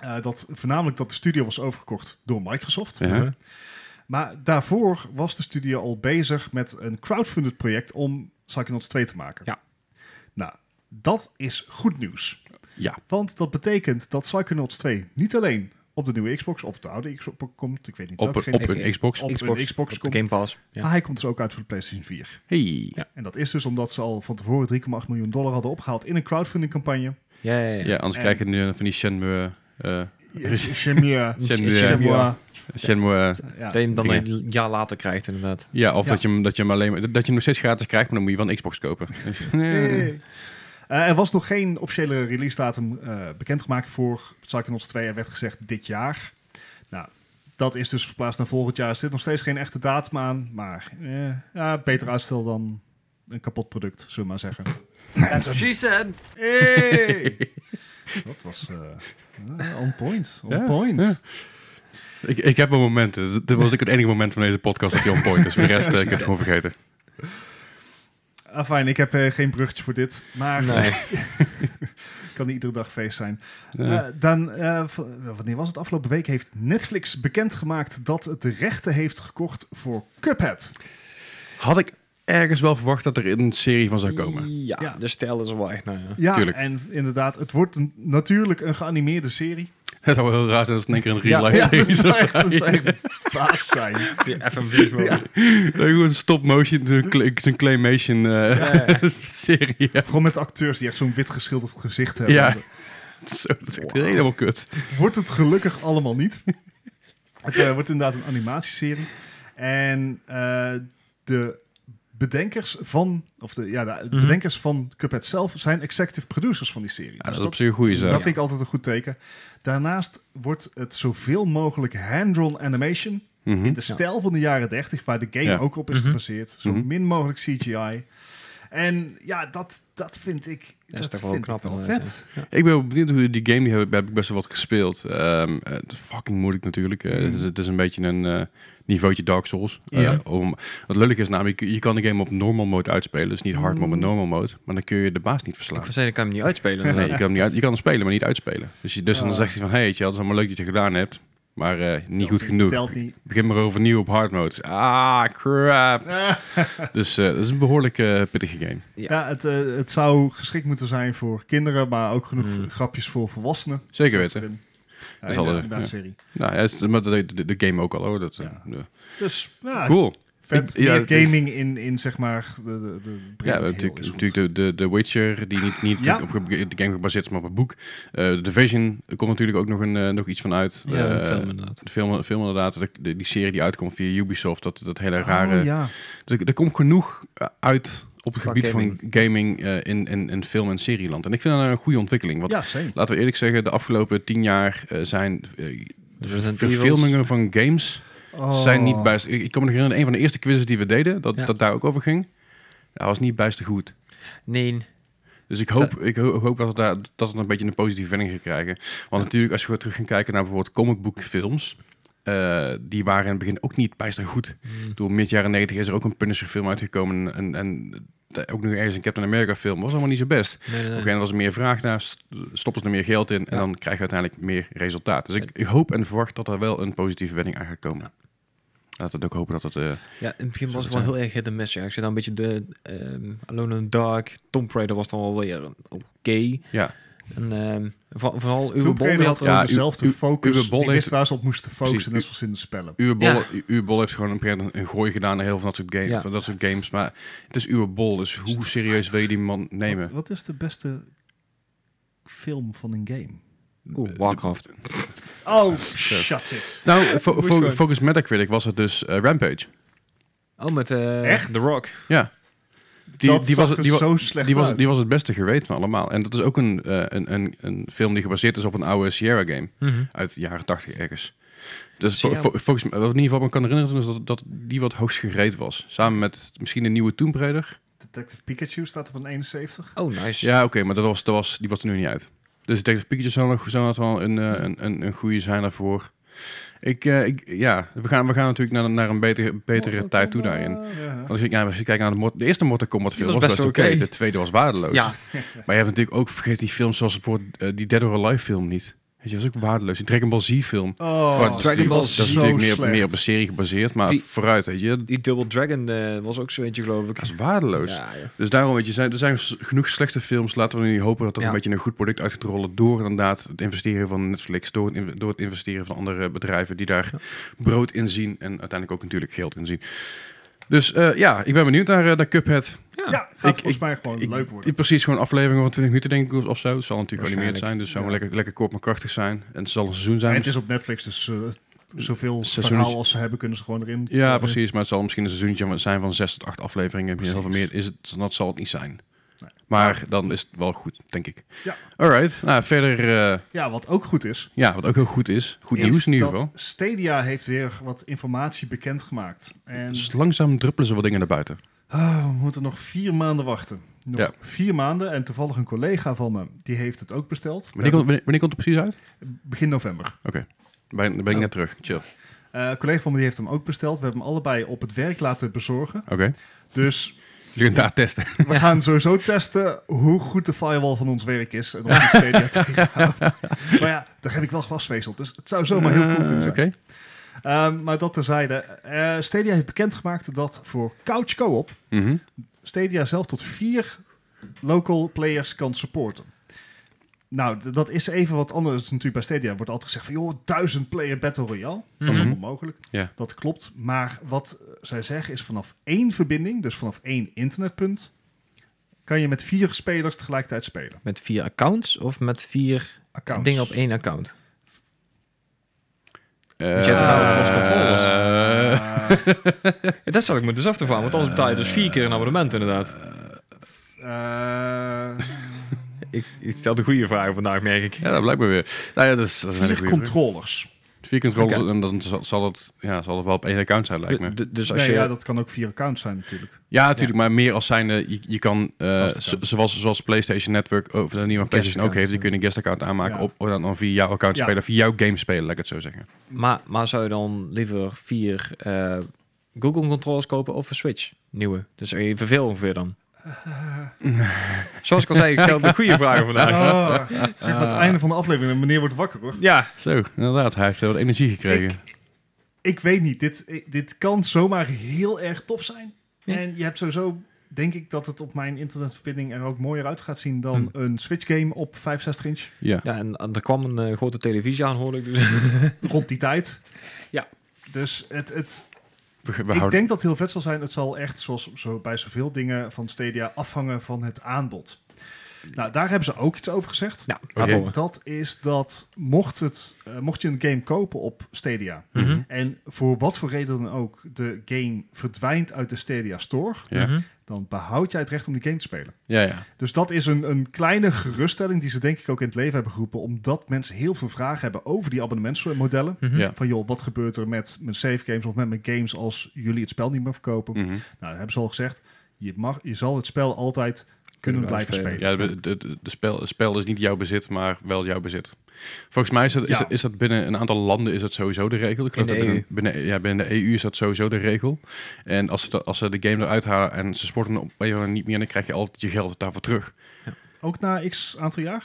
C: Eh, dat, voornamelijk dat de studio was overgekocht door Microsoft.
A: Ja.
C: Maar daarvoor was de studio al bezig met een crowdfunded project om Psychonauts 2 te maken.
B: Ja.
C: Nou, dat is goed nieuws.
A: Ja.
C: Want dat betekent dat Psychonauts 2 niet alleen op de nieuwe Xbox of de oude Xbox komt. Ik weet niet
A: Op,
C: welke
A: een- op
C: generatie.
A: een Xbox.
C: op
B: Xbox,
C: een Xbox
B: op de
C: komt.
B: Game Pass. Ja.
C: Maar hij komt dus ook uit voor de PlayStation 4.
A: Hey.
C: En dat is dus omdat ze al van tevoren 3,8 miljoen dollar hadden opgehaald in een crowdfunding campagne.
B: Ja, ja, ja.
A: Ja, anders
C: En-
A: krijg je nu van die Shenmue... eh
C: Shenmue.
A: Shenmue,
B: Ja.
A: Shenmue,
C: Shenmue.
B: Dat
C: Ja.
B: je hem dan
A: Dingen.
B: een jaar later krijgt, inderdaad.
A: eh, Ja, of
C: Ja.
A: Dat, je hem, dat, je hem alleen, maar- dat je hem nog steeds gratis krijgt, maar dan moet je wel een Xbox kopen.
C: Hey. Eh, er was nog geen officiële release datum eh, bekendgemaakt voor Psychonauts 2. Er werd gezegd dit jaar. Nou, dat is dus verplaatst naar volgend jaar. Er zit nog steeds geen echte datum aan, maar eh, ja, beter uitstel dan een kapot product, zullen we maar zeggen.
D: That's what she said.
C: Hey! dat was eh, eh, on point, on
A: Ja,
C: point.
A: ja. ik, ik heb mijn momenten. Dit was ik het enige moment van deze podcast dat je on point is. Voor de rest eh, ik heb het gewoon vergeten.
C: Ah, fijn, ik heb eh, geen bruggetje voor dit. Maar
B: Nee.
C: kan niet iedere dag feest zijn.
A: Eh,
C: Eh, dan, eh, v- wanneer was het? Afgelopen week heeft Netflix bekendgemaakt dat het de rechten heeft gekocht voor Cuphead.
A: had ik ergens wel verwacht dat er een serie van zou komen.
B: Ja,
C: Ja.
B: de stijl is wel echt, nou ja.
C: Ja,
A: Tuurlijk.
C: en inderdaad, het wordt een- natuurlijk een geanimeerde serie.
A: Het zou wel heel raar zijn als het in één keer een real
B: Ja,
A: life
C: ja,
A: serie
C: dat zou echt, dat zou
A: zijn.
C: echt baas zijn.
B: Die FMV's wel.
C: Ja.
A: Een stop motion, een cl- een claymation eh, serie. Ja,
C: Vooral met acteurs die echt zo'n wit geschilderd gezicht hebben.
A: Ja. Zo, dat is echt helemaal kut.
C: Wordt het gelukkig allemaal niet. Het eh, wordt inderdaad een animatieserie. En eh, de bedenkers van, of de, ja, de
B: Mhm.
C: bedenkers van Cuphead zelf zijn executive producers van die serie.
A: Ja, dat
C: Dus
A: is op zich een goede
C: dat
A: zaak.
C: vind ik altijd een goed teken. Daarnaast wordt het zoveel mogelijk hand-drawn animation in
A: Mhm.
C: de stijl van de jaren 30, waar de game
A: Ja.
C: ook op is
B: Mhm.
C: gebaseerd. Zo
A: Mhm.
C: min mogelijk CGI. En ja, dat, dat vind ik.
B: Dat is toch wel
C: vind
B: knap
C: ik wel
B: inderdaad,
C: vet.
A: Ik ben wel benieuwd hoe die game, die heb, ik- heb ik best wel wat gespeeld. Ehm, eh, het is fucking moeilijk natuurlijk. Eh,
C: Mm.
A: het, is, het is een beetje een eh niveautje Dark Souls. Eh,
C: Ja.
A: om, wat leuk is namelijk, je, je kan de game op normal mode uitspelen. Dus niet hard
C: Mhm.
A: mode, maar normal mode. Maar dan kun je de baas niet
B: Ik
A: verslaan.
B: wou zeggen, ik kan hem niet uitspelen.
A: Nee, je
B: inderdaad.
A: kan, hem niet uit, je kan hem spelen, maar niet uitspelen. Dus, je, dus
C: Ja.
A: dan zegt hij van, hey, tja, dat is allemaal leuk dat je het gedaan hebt. Maar eh, niet goed genoeg.
C: Telt niet.
A: Begin maar overnieuw op hard mode. Ah, crap. dus eh, dat is een behoorlijk eh, pittige game.
B: Ja.
C: Ja, het, eh, het zou geschikt moeten zijn voor kinderen, maar ook genoeg
A: Hmm.
B: Mm.
C: grapjes voor volwassenen.
A: Zeker weten.
C: Ja,
A: is
C: in de
A: al, eh,
C: animatie
A: ja.
C: serie.
A: Nou, ja, het is- maar dat deed de, de game ook al hoor. Dat, eh,
C: Ja.
A: ja.
C: Dus ja,
A: Cool.
C: vet.
A: Ik- ja,
C: meer
A: het is-
C: gaming in, in zeg maar de, de, de brede
A: Ja,
C: geheel
A: natuurlijk,
C: is goed.
A: natuurlijk de, de, de Witcher, die niet, niet
C: Ja.
A: op ge- de game gebaseerd is, maar op het boek. Eh de Division, er komt natuurlijk ook nog, een, eh, nog iets van uit.
B: Ja, een
A: Eh,
B: film inderdaad.
A: De film, film inderdaad, de, de- die serie die uitkomt via Ubisoft, dat, dat hele rare...
C: Oh, ja.
A: er, er komt genoeg eh, uit op het
B: Qua
A: gebied van gaming eh, in, in, in film- en serieland. En ik vind dat een goede ontwikkeling, want
C: ja, same.
A: laten we eerlijk zeggen, de afgelopen tien jaar eh, zijn... eh,
B: Resident
A: verfilmingen van games
C: Oh.
A: zijn niet bijst... Ik ik kan me nog herinneren, een van de eerste quizzes die we deden, dat,
B: Ja.
A: dat daar ook over ging. Dat was niet bijster goed.
B: Nee.
A: Dus ik hoop, ik ho- hoop dat, het daar, dat het een beetje een positieve wending gaat krijgen. Want natuurlijk, als je goed terug gaat kijken naar bijvoorbeeld comicboekfilms... eh die waren in het begin ook niet bijster goed.
B: Hmm.
A: Door mid jaren 90 is er ook een Punisher film uitgekomen... en, en eh, ook nu ergens een Captain America film. was allemaal niet zo best. Op een
B: Nee, nee,
A: gegeven
B: nee.
A: moment was er meer vraag naar, st- stopten ze er meer geld in... en
B: Ja.
A: dan krijg je uiteindelijk meer resultaat. Dus ik, ik hoop en verwacht dat er wel een positieve wending aan gaat komen. Laten we ook hopen dat het... eh,
B: Ja, in het begin was het
A: Zo
B: wel
A: te
B: heel erg hit en miss. Ja. Ik zit dan een beetje de ehm, Alone in the Dark, Tomb Raider was dan wel weer een- oké.
A: ja,
B: En ehm, voor- vooral uw
C: Tomb Raider
B: bol
C: had
B: had
A: Ja,
C: gewoon
A: u-
C: dezelfde
A: u-
C: focus.
A: Uwe Boll
C: die wist
A: heeft-
C: waar ze op moesten focussen, net
A: Precies,
C: zoals in de spellen.
A: Uwe Bol,
B: Ja.
A: U- Uwe Bol heeft gewoon een, keer een- een gooi gedaan naar heel veel van dat soort, games,
B: Ja.
A: van dat soort games. Maar het is Uwe Bol, dus hoe serieus wil je die man
C: Wat,
A: nemen?
C: wat is de beste film van een game?
B: Oeh, Warcraft.
C: Oh, shut it.
A: Nou, fo-
B: Moest
A: fo-
B: gewoon.
A: volgens Metacritic was het dus eh, Rampage.
B: Oh, met eh,
C: Echt?
B: The Rock.
A: Ja. Die,
C: dat
A: die, was, het-
C: zag er
A: die, wa-
C: zo slecht
A: die, was,
C: uit.
A: die was het beste geweten van allemaal. En dat is ook een, eh, een, een, een film die gebaseerd is op een oude Sierra game uit de jaren 80 ergens. Dus vo-
B: Sierra.
A: vo- volgens mij, wat ik in ieder geval me kan herinneren, is dat, dat die wat hoogst gereed was. Samen met misschien de nieuwe Tomb Raider.
C: Detective Pikachu staat op een 71.
B: Oh, nice.
A: Ja, oké, maar dat was, dat was, die was er nu niet uit. Dus ik denk dat Pikachu zou nog zou nog wel een, eh, een, een, een goede zijn daarvoor. Ik, eh, ik, ja, we gaan, we gaan natuurlijk naar, naar een betere, betere tijd toe daarin. Want
C: Ah, Ja.
A: als ik, ja, als je kijkt naar de, Mor- de eerste Mortal Kombat
B: Die
A: film,
B: was
A: was best
B: best
A: oké.
B: oké.
A: De tweede was waardeloos.
B: Ja,
A: Maar je hebt natuurlijk ook, vergeet die films zoals bijvoorbeeld eh, die Dead or Alive film niet. Weet je, dat is ook waardeloos. Die Dragon Ball Z film.
C: Oh,
A: dat is
B: Dragon
A: natuurlijk-
B: Ball
A: dat is
B: zo
A: natuurlijk meer, op-
C: slecht.
A: meer op een serie gebaseerd, maar
B: Die-
A: vooruit, weet je.
B: die Double Dragon eh, was ook zo eentje, geloof ik.
A: Dat is waardeloos.
B: Ja, ja.
A: Dus daarom, weet je, zijn, er zijn s- genoeg slechte films. Laten we nu hopen dat er
B: Ja.
A: een beetje een goed product uit gaat rollen. Door inderdaad het investeren van Netflix. Door het, in- door het investeren van andere bedrijven die daar brood in zien. En uiteindelijk ook natuurlijk geld in zien. Dus eh, ja, ik ben benieuwd naar, eh, naar Cuphead.
C: Ja,
B: Ja.
C: gaat
A: Ik-
C: volgens mij gewoon
A: Ik-
C: leuk worden.
A: Precies, gewoon afleveringen van 20 minuten denk ik of- of zo. Het zal natuurlijk geanimeerd zijn, dus het zal
C: Ja.
A: lekker, lekker kort maar krachtig zijn. En het zal een seizoen zijn.
C: En het is op Netflix, dus eh, zoveel
A: Seizoen
C: verhaal
A: is-
C: als ze hebben, kunnen ze gewoon erin.
A: Ja, precies. Maar het zal misschien een seizoentje zijn van zes tot acht afleveringen. Misschien Heel veel
C: Precies.
A: meer is het, dat zal het niet zijn.
C: Nee.
A: Maar dan is het wel goed, denk ik.
C: Ja.
A: Alright. Nou, verder, eh,
C: Ja, wat ook goed is.
A: ja, wat ook heel goed is. Goed
C: is
A: nieuws in ieder
C: dat
A: geval.
C: Stadia heeft weer wat informatie bekendgemaakt. En
A: Dus langzaam druppelen ze wat dingen naar buiten.
C: ah, we moeten nog vier maanden wachten. Nog
A: Ja.
C: vier maanden. En toevallig een collega van me, die heeft het ook besteld.
A: Wanneer, komt, wanneer, wanneer komt het precies uit?
C: Begin november.
A: Ben, dan ben ik
B: Oh.
A: net terug. Chill.
C: Eh, een collega van me die heeft hem ook besteld. We hebben hem allebei op het werk laten bezorgen.
A: Oké.
C: Dus
A: Jullie gaan daar testen.
C: We gaan sowieso testen hoe goed de firewall van ons werk is. En of die Stadia tegenhoudt. Maar ja, daar heb ik wel glasvezel. Dus het zou zomaar heel cool kunnen
A: Eh,
C: zijn.
A: Oké.
C: Ehm, maar dat terzijde. Eh Stadia heeft bekendgemaakt dat voor couch co-op
A: Mhm.
C: Stadia zelf tot vier local players kan supporten. Nou, d- dat is even wat anders natuurlijk bij Stadia. wordt altijd gezegd van, joh, duizend player Battle Royale. Dat is
B: Mhm.
C: allemaal mogelijk.
A: Ja.
C: Dat klopt. Maar wat eh, zij zeggen is vanaf één verbinding, dus vanaf één internetpunt, kan je met vier spelers tegelijkertijd spelen.
B: Met vier accounts of met vier
C: Accounts.
B: dingen op één account?
A: Eh,
B: je hebt er nou cross controllers.
A: eh,
C: Eh,
B: Ja, dat zou ik me dus af te vragen, want anders betaal je dus vier keer een abonnement inderdaad.
C: eh,
B: Ik, ik stel de goede vragen vandaag, merk ik.
A: Ja, dat blijkt me weer. Nou ja, dat is, dat is een hele
C: vier
A: goede vraag.
C: controllers.
A: Vier controllers en dan zal, zal het, ja, zal het wel op één account zijn, lijkt me.
B: D- d- dus als
C: Nee,
B: je...
C: ja, dat kan ook vier accounts zijn natuurlijk.
A: Ja, natuurlijk, maar meer als zijnde, je, je kan, eh,
C: Gastaccount.
A: zo- zoals, zoals PlayStation Network, of de nieuwe PlayStation ook
B: Guestaccount,
A: heeft, je kunt een guestaccount aanmaken
C: Ja.
A: op, of dan, dan via jouw account
C: Ja.
A: spelen, via jouw game spelen, laat ik het zo zeggen.
B: Maar, maar zou je dan liever vier eh, Google controllers kopen of een Switch? Nieuwe. Dus evenveel ongeveer dan. Zoals ik al zei, ik stel de goede vragen vandaag.
C: Ah, zeg maar het einde van de aflevering. De meneer wordt wakker hoor.
B: Ja,
A: Zo, inderdaad, hij heeft heel wat energie gekregen.
C: Ik weet niet. Dit, dit kan zomaar heel erg tof zijn.
B: Ja.
C: En je hebt sowieso, denk ik, dat het op mijn internetverbinding er ook mooier uit gaat zien dan
B: Hm.
C: een Switch game op 65 inch.
A: Ja.
B: ja en, en er kwam een eh, grote televisie aan, hoorde ik. Dus.
C: Rond die tijd.
B: Ja.
C: Dus het, het,
A: We, we
C: ik
A: houden...
C: denk dat het heel vet zal zijn. Het zal echt, zoals zo bij zoveel dingen van Stadia, afhangen van het aanbod. Nou, daar hebben ze ook iets over gezegd.
B: Nou, laat
A: Oké.
B: horen.
C: Dat is dat mocht, het, eh, mocht je een game kopen op Stadia,
B: Mhm.
C: En voor wat voor reden dan ook de game verdwijnt uit de Stadia Store,
A: Ja.
B: Mhm.
C: dan behoud jij het recht om die game te spelen.
A: ja, ja.
C: Dus dat is een, een kleine geruststelling die ze denk ik ook in het leven hebben geroepen, omdat mensen heel veel vragen hebben over die abonnementsmodellen.
B: Mhm.
A: Ja.
C: Van joh, wat gebeurt er met mijn save games of met mijn games als jullie het spel niet meer verkopen?
A: Mhm.
C: Nou, dat hebben ze al gezegd. Je, mag, je zal het spel altijd kunnen blijven spelen.
A: Ja, de, de, de- de spel, het spel is niet jouw bezit, maar wel jouw bezit. Volgens mij is dat, is,
C: Ja.
A: dat- is dat binnen een aantal landen is dat sowieso de regel. Ik geloof
B: In de
A: dat binnen, binnen- ja, binnen de EU is dat sowieso de regel. En als ze, dat- als ze de game eruit halen en ze sporten op een of andere manier niet meer, dan krijg je altijd je geld daarvoor terug.
C: Ook na x aantal jaar.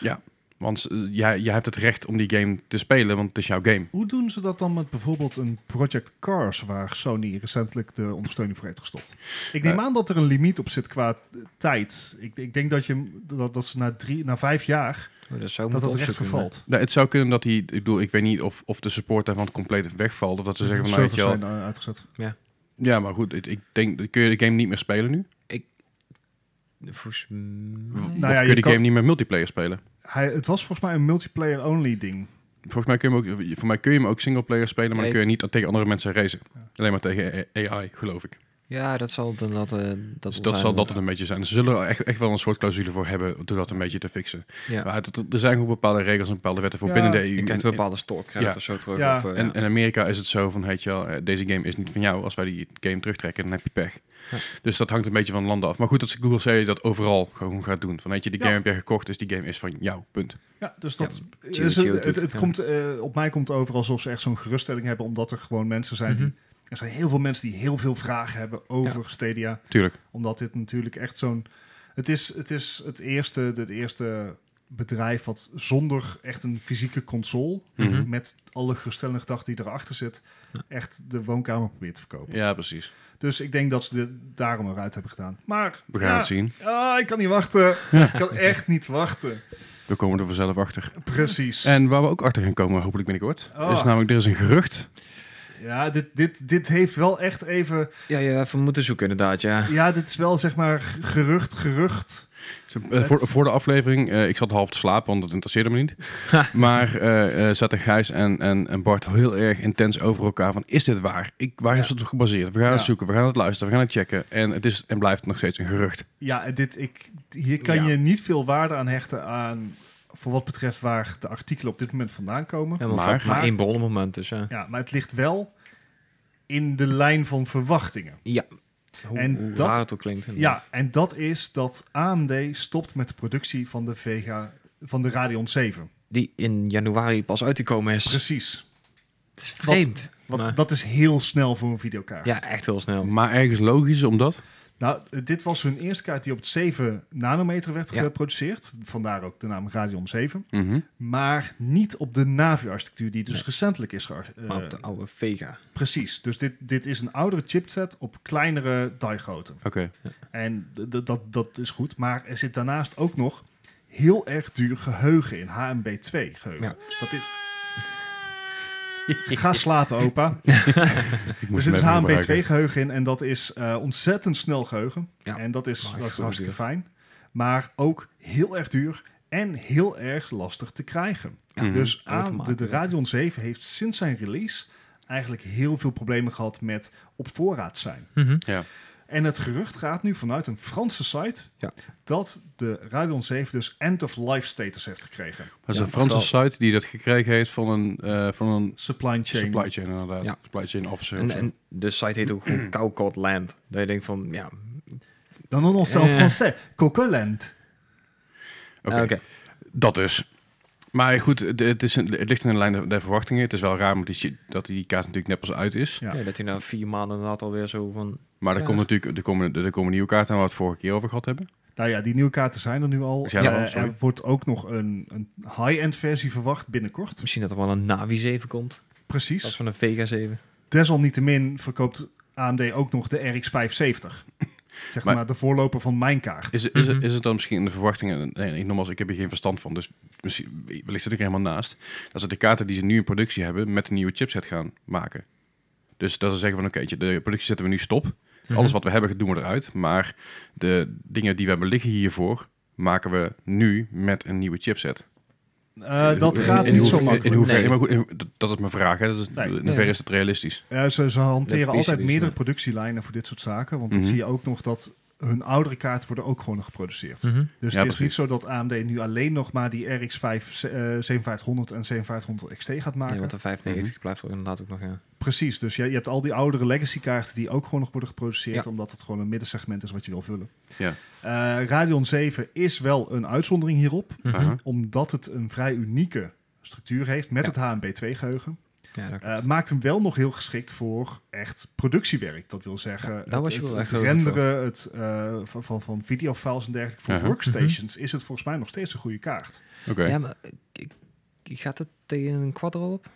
A: Want eh, jij, jij hebt het recht om die game te spelen, want het is jouw game.
C: Hoe doen ze dat dan met bijvoorbeeld een Project Cars, waar Sony recentelijk de ondersteuning voor heeft gestopt? Ik neem aan dat er een limiet op zit qua eh, tijd. Ik, ik denk dat, je, hem- dat, dat ze na, drie, na vijf jaar
B: Oh, dat zou ik
C: dat dat
B: moeten
C: recht
B: opzoeken,
C: vervalt.
A: Nou, het zou kunnen dat die, ik bedoel, ik weet niet of, of de support daarvan compleet wegvalt. Of dat ze zeggen van, nou, weet
C: Servers
A: je wel,
C: zijn eh, uitgezet.
A: ja, maar goed, ik, ik denk, kun je de game niet meer spelen nu?
B: maar- Volgens mij-
A: of
C: Nou ja,
A: kun
C: je
A: je de
C: kan-
A: game niet meer multiplayer spelen?
C: Hij, het was volgens mij een multiplayer-only ding.
A: Volgens mij kun je hem ook, voor mij kun je hem ook singleplayer spelen, maar
B: Ja,
A: dan kun je niet tegen andere mensen racen.
C: Ja.
A: Alleen maar tegen A- AI, geloof ik.
B: Ja, dat zal dan dat, eh, dat,
A: Dus
B: wel
A: dat
B: zijn.
A: zal dat het een beetje zijn. Ze zullen er echt, echt wel een soort clausule voor hebben door dat een beetje te fixen.
B: eh, Ja.
A: Maar het- er zijn gewoon bepaalde regels en bepaalde wetten voor
C: Ja,
A: binnen de E
B: Je
A: EU.
B: krijgt een bepaalde stok
A: Ja.
B: of zo terug.
C: Ja.
B: Of, eh,
A: En in Amerika is het zo van, heet je wel, eh, deze game is niet van jou. Als wij die game terugtrekken, dan heb je pech.
B: Ja.
A: Dus dat hangt een beetje van landen af. Maar goed, dat ze Google zei dat overal gewoon gaat doen. Van, weet je, die
C: Ja.
A: game heb je gekocht, dus die game is van jou, punt.
C: Ja, dus dat
B: Ja,
C: is-
B: chill, chill,
C: het, het,
B: dude. Ja.
C: komt, eh, op mij komt het over alsof ze echt zo'n geruststelling hebben, omdat er gewoon mensen zijn
B: Mhm.
C: die. Er zijn heel veel mensen die heel veel vragen hebben over Stadia.
A: Tuurlijk.
C: Omdat dit natuurlijk echt zo'n... Het is het, is het, eerste, het eerste bedrijf wat zonder echt een fysieke console...
B: Mhm.
C: met alle geruststellende gedachten die erachter zit... echt de woonkamer probeert te verkopen.
A: Ja, precies.
C: Dus ik denk dat ze dit daarom eruit hebben gedaan. Maar
A: We gaan
C: ja,
A: het zien.
C: ah, ik kan niet wachten. Ik kan echt niet wachten.
A: We komen er vanzelf achter.
C: Precies.
A: En waar we ook achter gaan komen, hopelijk binnenkort,
C: Oh.
A: is namelijk, er is een gerucht.
C: Ja, dit, dit, dit heeft wel echt even...
B: ja, ja, even moeten zoeken inderdaad, ja.
C: Ja, dit is wel zeg maar gerucht, gerucht.
A: Eh, voor, voor de aflevering, eh, ik zat half te slapen, want dat interesseerde me niet. maar eh, eh, zaten Gijs en, en, en Bart heel erg intens over elkaar van, is dit waar? Ik, waar is het op gebaseerd? We gaan het
C: Ja.
A: zoeken, we gaan het luisteren, we gaan het checken. En het is en blijft nog steeds een gerucht.
C: Ja, dit, ik, hier kan
B: Ja.
C: je niet veel waarde aan hechten aan... voor wat betreft waar de artikelen op dit moment vandaan komen.
B: Ja, want
A: Maar-
B: maar, maar,
C: maar-
B: één bron op het moment, dus ja.
C: Ja, maar het ligt wel in de lijn van verwachtingen.
B: Hoe,
C: En
B: hoe
C: dat-
B: raar het ook klinkt inderdaad.
C: Ja, en dat is dat AMD stopt met de productie van de Vega van de Radeon 7.
B: Die in januari pas uit te komen is.
C: Precies.
B: Het is vreemd.
C: Want
B: maar-
C: dat is heel snel voor een videokaart.
B: ja, echt heel snel.
A: Maar ergens logisch, omdat...
C: Nou, dit was hun eerste kaart die op het 7 nanometer werd
B: Ja.
C: geproduceerd. Vandaar ook de naam Radeon 7.
A: Mhm.
C: Maar niet op de Navi-architectuur die dus
B: Nee.
C: recentelijk is gear- eh,
B: Maar op de oude Vega.
C: Precies. Dus dit, dit is een oudere chipset op kleinere die-grootte.
A: Oké.
C: En d- d- dat, dat is goed. Maar er zit daarnaast ook nog heel erg duur geheugen in. HMB2 geheugen.
B: Ja.
C: Dat is... Ga slapen, opa.
A: Ik
C: Er
A: moest
C: zit dus
A: hem even
C: HMB2
A: gebruiken.
C: geheugen in. En dat is eh, ontzettend snel geheugen.
B: Ja.
C: En dat is,
B: Maar
C: dat is
B: zo
C: hartstikke fijn. Maar ook heel erg duur en heel erg lastig te krijgen.
A: Mhm.
C: Dus aan de,
B: Automaat,
C: de
B: ja.
C: Radeon 7 heeft sinds zijn release eigenlijk heel veel problemen gehad met op voorraad zijn.
B: Mhm.
C: En het gerucht gaat nu vanuit een Franse site
B: Ja.
C: dat de Radeon 7 dus end-of-life status heeft gekregen.
A: Dat is
B: Ja,
A: een Franse
B: wel.
A: site die dat gekregen heeft van een, eh, van een
C: Supply chain.
A: supply chain, inderdaad.
B: Ja.
A: Supply chain officer.
B: En,
A: of zo.
B: en de site heet ook gewoon Cowcod Land. Dat je denkt van, ja...
C: Dan nog ons zelf
B: Eh.
C: Français, Coqueland.
B: ah,
A: Oké. Dat dus. Maar goed, het, het is een, het ligt in de lijn der, der verwachtingen. Het is wel raar omdat die, shit- dat die kaart natuurlijk net pas uit is.
C: Ja.
B: Ja, dat hij na vier maanden inderdaad alweer zo van...
A: Maar er
B: Ja.
A: komt natuurlijk er komen, er komen nieuwe kaarten aan waar we het vorige keer over gehad hebben.
C: Nou ja, die nieuwe kaarten zijn er nu al.
A: Zijn er
C: Eh,
A: al, sorry.
C: er wordt ook nog een, een high-end versie verwacht binnenkort.
B: Misschien dat er wel een Navi 7 komt. Dat is
C: Precies.
B: van een Vega 7.
C: Desalniettemin verkoopt AMD ook nog de RX570. Zeg maar,
A: Maar-
C: de voorloper van mijn kaart.
A: Is, is,
B: Mhm.
A: is het dan misschien in de verwachtingen... Nee, nee, nogmaals, ik heb hier geen verstand van. Dus misschien, wellicht zit ik er helemaal naast. Dat ze de kaarten die ze nu in productie hebben... met de nieuwe chipset gaan maken. Dus dat ze zeggen van... Oké, tje, de productie zetten we nu stop.
B: Mhm.
A: Alles wat we hebben doen we eruit. Maar de dingen die we hebben liggen hiervoor... maken we nu met een nieuwe chipset.
C: Eh,
A: In
C: dat
A: hoe-
C: gaat
A: in, in
C: niet
A: hoever-
C: zo makkelijk.
A: In hoeverre,
B: Nee.
A: maar goed, in hoe- dat- dat is mijn vraag. Hè. Dat is,
C: Nee.
A: in hoeverre
B: Nee.
A: is dat realistisch?
C: Ja, ze, ze hanteren
B: Ja,
C: altijd
B: precies,
C: meerdere
B: ja.
C: productielijnen voor dit soort zaken. Want
A: Mhm.
C: dan zie je ook nog dat hun oudere kaarten worden ook gewoon nog geproduceerd. Dus
A: Mhm. Ja,
C: het is
A: precies.
C: niet zo dat AMD nu alleen nog maar die RX 5, eh 7500 en 7500 XT gaat maken.
B: Ja, want de 95
A: Mhm.
B: blijft er inderdaad ook nog... Ja.
C: Precies, dus je, je hebt al die oudere legacy kaarten die ook gewoon nog worden geproduceerd,
B: Ja.
C: omdat het gewoon een middensegment is wat je wil vullen.
A: Ja.
C: Eh, Radeon 7 is wel een uitzondering hierop,
B: Mhm.
A: Aha.
C: omdat het een vrij unieke structuur heeft met
B: Ja.
C: het HMB2 geheugen.
B: Ja, dat
C: Eh,
B: klopt.
C: het maakt hem wel nog heel geschikt voor echt productiewerk. Dat wil zeggen,
B: Ja, daar
C: het,
B: was je
C: het-
B: wel
C: het
B: echt heel goed
C: renderen het, eh, van, van, van videofiles en dergelijke. Voor
A: Aha.
C: workstations
A: Mm-hmm.
C: is het volgens mij nog steeds een goede kaart.
A: Oké.
B: Ja, maar ik- ik- gaat het tegen een Quadro op?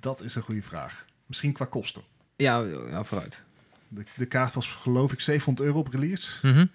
C: Dat is een goede vraag. Misschien qua kosten.
B: Ja, ja vooruit.
C: De, de kaart was geloof ik 700 euro op release.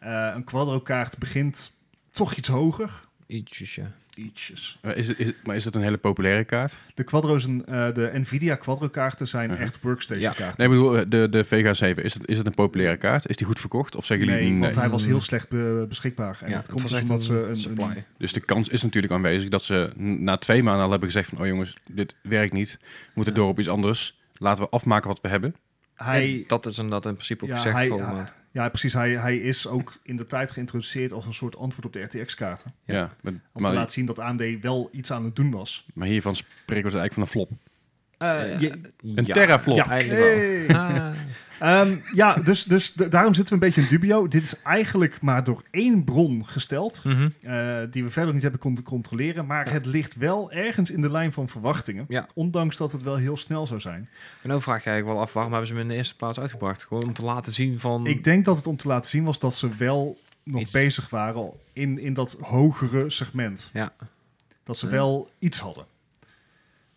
C: Eh, een Quadro-kaart begint toch iets hoger.
B: Ietsjes, ja.
C: Ietsjes.
A: Maar Eh, Is het, is, maar is het een hele populaire kaart?
C: De Quadro's en eh, de Nvidia Quadro-kaarten zijn
A: Mhm.
C: echt workstation-kaarten.
A: Nee, ik bedoel, eh, de, de Vega 7, is het, is het een populaire kaart? Is die goed verkocht? Of zeggen
C: Nee,
A: jullie nee?
C: want hij was heel
B: Mm.
C: slecht be- beschikbaar. En
B: ja,
C: dat komt
B: was
C: dus
B: echt
C: omdat
B: een
C: ze een,
B: supply.
C: een-
A: Dus de kans is natuurlijk aanwezig dat ze n- na twee maanden al hebben gezegd van... oh jongens, dit werkt niet. We moeten
B: Ja.
A: door op iets anders. Laten we afmaken wat we hebben.
C: hij,
B: En dat is inderdaad in principe ook
C: Ja,
B: gezegd
C: hij-
B: voor
C: ja.
B: maand.
C: Ja, precies. Hij, hij is ook in de tijd geïntroduceerd als een soort antwoord op de RTX-kaarten.
A: Ja.
B: Ja.
A: maar,
C: Om te
A: maar,
C: laten zien dat AMD wel iets aan het doen was.
A: maar hiervan spreken we dus eigenlijk van een flop.
C: Eh,
B: Eh,
C: je-
A: Een teraflop.
C: ja,
B: Eigenlijk wel.
C: Hey.
B: Ah.
C: Ehm, ja dus, dus d- daarom zitten we een beetje in dubio. Dit is eigenlijk maar door één bron gesteld, eh, die we verder niet hebben kunnen controleren. Maar het ligt wel ergens in de lijn van verwachtingen.
B: Ja.
C: Ondanks dat het wel heel snel zou zijn.
B: En dan vraag je eigenlijk wel af, waarom hebben ze hem in de eerste plaats uitgebracht? Gewoon om te laten zien van...
C: Ik denk dat het om te laten zien was dat ze wel nog
B: Hmm. Iets.
C: bezig waren in, in dat hogere segment.
B: Ja.
C: Dat ze
B: Ja.
C: wel iets hadden.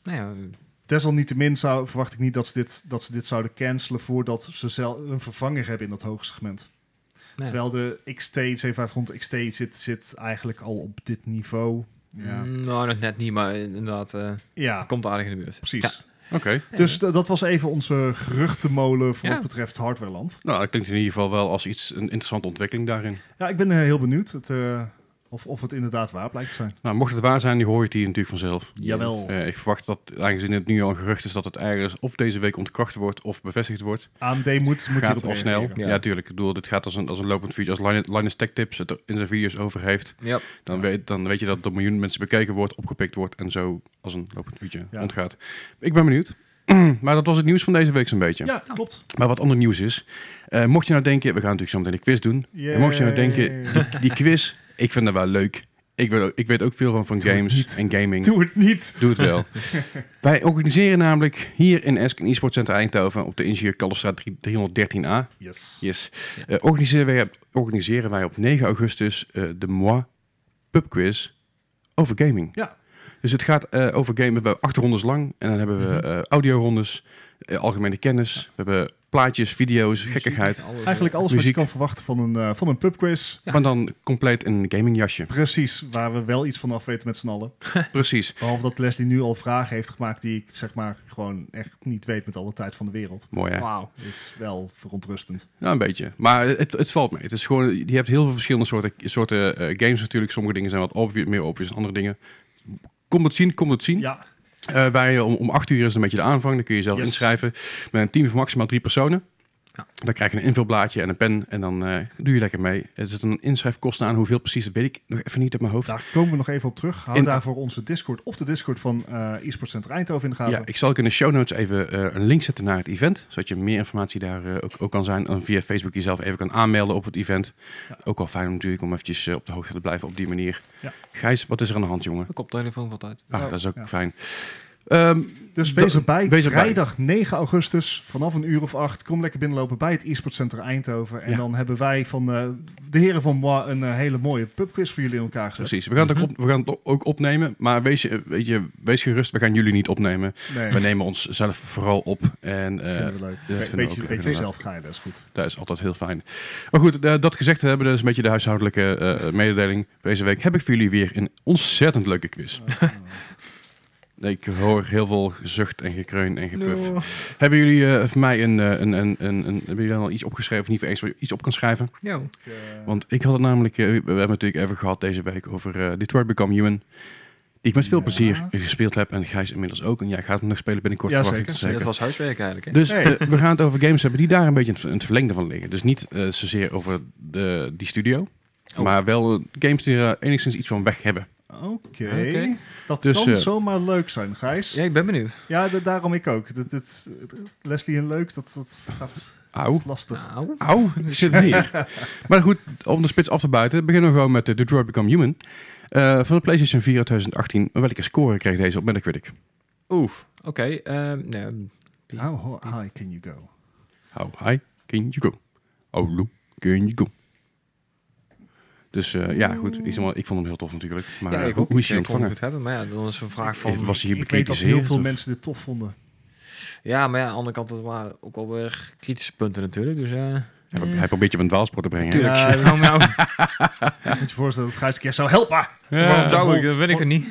B: Nou ja,
C: Desalniettemin zou, verwacht ik niet dat ze, dit, dat ze dit zouden cancelen voordat ze zelf een vervanger hebben in dat hoge segment.
B: nou ja.
C: Terwijl de XT, 7500 XT zit, zit eigenlijk al op dit niveau. Ja,
B: Mm, Nou, nog net niet, maar inderdaad, eh,
C: ja
B: komt aardig in de buurt.
C: precies.
B: Ja.
A: Oké.
C: Dus d- dat was even onze geruchtenmolen voor
B: Ja.
C: wat betreft hardwareland.
A: Nou, dat klinkt in ieder geval wel als iets, een interessante ontwikkeling daarin.
C: Ja, ik ben eh, heel benieuwd het, eh, of, of het inderdaad waar blijkt te zijn.
A: Nou, mocht het waar zijn, die hoor je het hier natuurlijk vanzelf.
C: Jawel.
A: Eh, ik verwacht dat, aangezien het nu al een gerucht is, dat het ergens of deze week ontkracht wordt of bevestigd wordt.
C: AMD moet, moet
A: gaat
C: hierop
A: al snel.
C: reageren.
A: Ja.
B: Ja.
A: tuurlijk. Ik bedoel, dit gaat als een, als een lopend feature. Als Linus- Linus Tech Tips het er in zijn video's over heeft,
B: Ja.
A: dan, weet, dan weet je dat door miljoenen mensen bekeken wordt, opgepikt wordt en zo als een lopend feature
C: Ja.
A: ontgaat. Ik ben benieuwd. maar dat was het nieuws van deze week zo'n beetje.
C: Ja, klopt.
A: Maar wat ander nieuws is, eh, mocht je nou denken, we gaan natuurlijk zo meteen een quiz doen. En mocht je nou denken,
C: Yay.
A: die, die quiz, ik vind dat wel leuk. Ik weet ook, ik weet ook veel van, van
C: Doe het
A: games
C: niet.
A: en gaming.
C: Doe het niet.
A: Doe het wel. Wij organiseren namelijk hier in Esk, in eSports Center Eindhoven, op de Ingenieur Kalfstraat 313a.
C: Yes.
A: Yes. Eh, organiseren, wij, organiseren wij op 9 augustus eh, de Moi pubquiz over gaming.
C: Ja.
A: Dus het gaat eh, over gamen. We hebben acht rondes lang. En dan hebben we eh audiorondes, eh, algemene kennis. We hebben plaatjes, video's, gekkigheid.
C: Eigenlijk alles wat
A: Muziek.
C: je kan verwachten van een, eh, van een pubquiz.
B: Ja.
A: Maar dan compleet een gamingjasje.
C: Precies, waar we wel iets van af weten met z'n allen.
A: Precies.
C: Behalve dat Leslie nu al vragen heeft gemaakt die ik zeg maar gewoon echt niet weet met alle tijd van de wereld.
A: Mooi hè?
C: Wauw, is wel verontrustend.
A: Nou, een beetje. Maar het, het valt mee. Het is gewoon, je hebt heel veel verschillende soorten, soorten eh, games natuurlijk. Sommige dingen zijn wat obvious, meer obvious dan andere dingen. Kom het zien, kom het zien.
C: Ja,
A: Eh, wij, om, om acht uur is een beetje de aanvang. Dan kun je jezelf
C: Yes.
A: inschrijven met een team van maximaal drie personen.
B: Ja.
A: Dan krijg je een invulblaadje en een pen en dan eh, doe je lekker mee. Er zit een inschrijfkosten aan. Hoeveel precies, dat weet ik nog even niet uit mijn hoofd.
C: daar komen we nog even op terug. Hou
A: In-
C: daarvoor onze Discord of de Discord van eh eSports Center Eindhoven in de gaten.
A: Ja, ik zal ook in de show notes even eh, een link zetten naar het event. Zodat je meer informatie daar eh, ook, ook kan zijn. En via Facebook jezelf even kan aanmelden op het event.
C: Ja.
A: Ook al fijn om natuurlijk om eventjes eh, op de hoogte te blijven op die manier.
C: Ja. Nou,
A: Gijs, wat is er aan de hand, jongen?
B: Mijn koptelefoon valt uit.
A: Ah, dat is ook
C: Ja.
A: fijn. Ehm,
C: Dus wees
A: Da-
C: erbij,
A: wees erbij.
C: vrijdag 9 augustus, vanaf een uur of acht. Kom lekker binnenlopen bij het eSports Center Eindhoven. En
A: Ja.
C: dan hebben wij van eh, de heren van Moi een eh, hele mooie pubquiz voor jullie in elkaar gezet.
A: precies. We gaan, het ook op, we gaan het ook opnemen. Maar wees, je- weet je, wees gerust, we gaan jullie niet opnemen.
C: Nee,
A: We nemen onszelf vooral op. En
C: dat
A: eh,
C: vinden we
A: vinden
C: leuk.
A: we ook
C: Een beetje,
A: leuk,
C: beetje
A: inderdaad.
C: zelf gaan, dat is goed.
A: dat is altijd heel fijn. Maar goed, eh, dat gezegd hebben, dat is een beetje de huishoudelijke eh, mededeling. Deze week heb ik voor jullie weer een ontzettend leuke quiz.
C: Oh,
A: Ik hoor heel veel gezucht en gekreun en gepuff.
C: No.
A: Hebben jullie eh, voor mij een, eh, een, een, een, een- Hebben jullie dan al iets opgeschreven? Of niet voor eens wat je iets op kan schrijven?
B: Ja.
A: Want ik had het namelijk... eh, we hebben natuurlijk even gehad deze week over eh, Detroit Become Human. Die ik met veel
C: Ja.
A: plezier gespeeld heb. En Gijs inmiddels ook. En jij gaat hem nog spelen binnenkort.
C: Ja,
A: verwacht ik
C: zeker.
B: Dat was huiswerk eigenlijk. Hè?
A: Dus
C: Hey.
A: eh, we gaan het over games hebben die daar een beetje in het- in het verlengde van liggen. Dus niet eh, zozeer over de, die studio.
B: Oh.
A: Maar wel eh, games die er enigszins iets van weg hebben.
C: Oké,
B: Oké.
C: dat
A: Dus,
C: kan
A: eh,
C: zomaar leuk zijn, Gijs.
B: ja,
C: Ja,
B: ik ben benieuwd.
C: da- daarom ik ook. Dat, dat, Leslie en leuk, dat, dat gaat
A: Auw.
C: lastig.
B: Nou,
A: Auw, ik zit hier. maar goed, om de spits af te buiten, beginnen we gewoon met The Detroit Become Human. Eh, van de PlayStation 4 uit 2018. Welke score kreeg deze op Metacritic?
B: oeh, oké. ehm, nee,
C: How ho- high can you go?
A: How high can you go? Oh, look, can you go? Dus eh, ja, goed. Ik, zeg maar, ik vond hem heel tof natuurlijk. Maar
B: ja, ik
A: hoe,
B: ook
A: hoe is hij
B: niet. Ik kon
A: ontvangen?
B: het goed hebben, maar ja, dan is een vraag
A: Eh,
B: van...
A: Was hij
C: Ik weet dat heel
A: bekritiseerd
C: veel
A: of-
C: mensen dit tof vonden.
B: Ja, maar ja, aan de andere kant, dat waren ook wel weer kritische punten natuurlijk. Dus ja...
A: Hij pro- Hij probeert je op een dwaalspoor te brengen.
C: Tuurlijk.
B: Ja,
C: Ja,
B: nou, nou,
C: Moet je je voorstellen dat Gijs een keer zou helpen.
A: Ja,
B: waarom zou ik?
C: vol-
B: Dat weet ik er niet.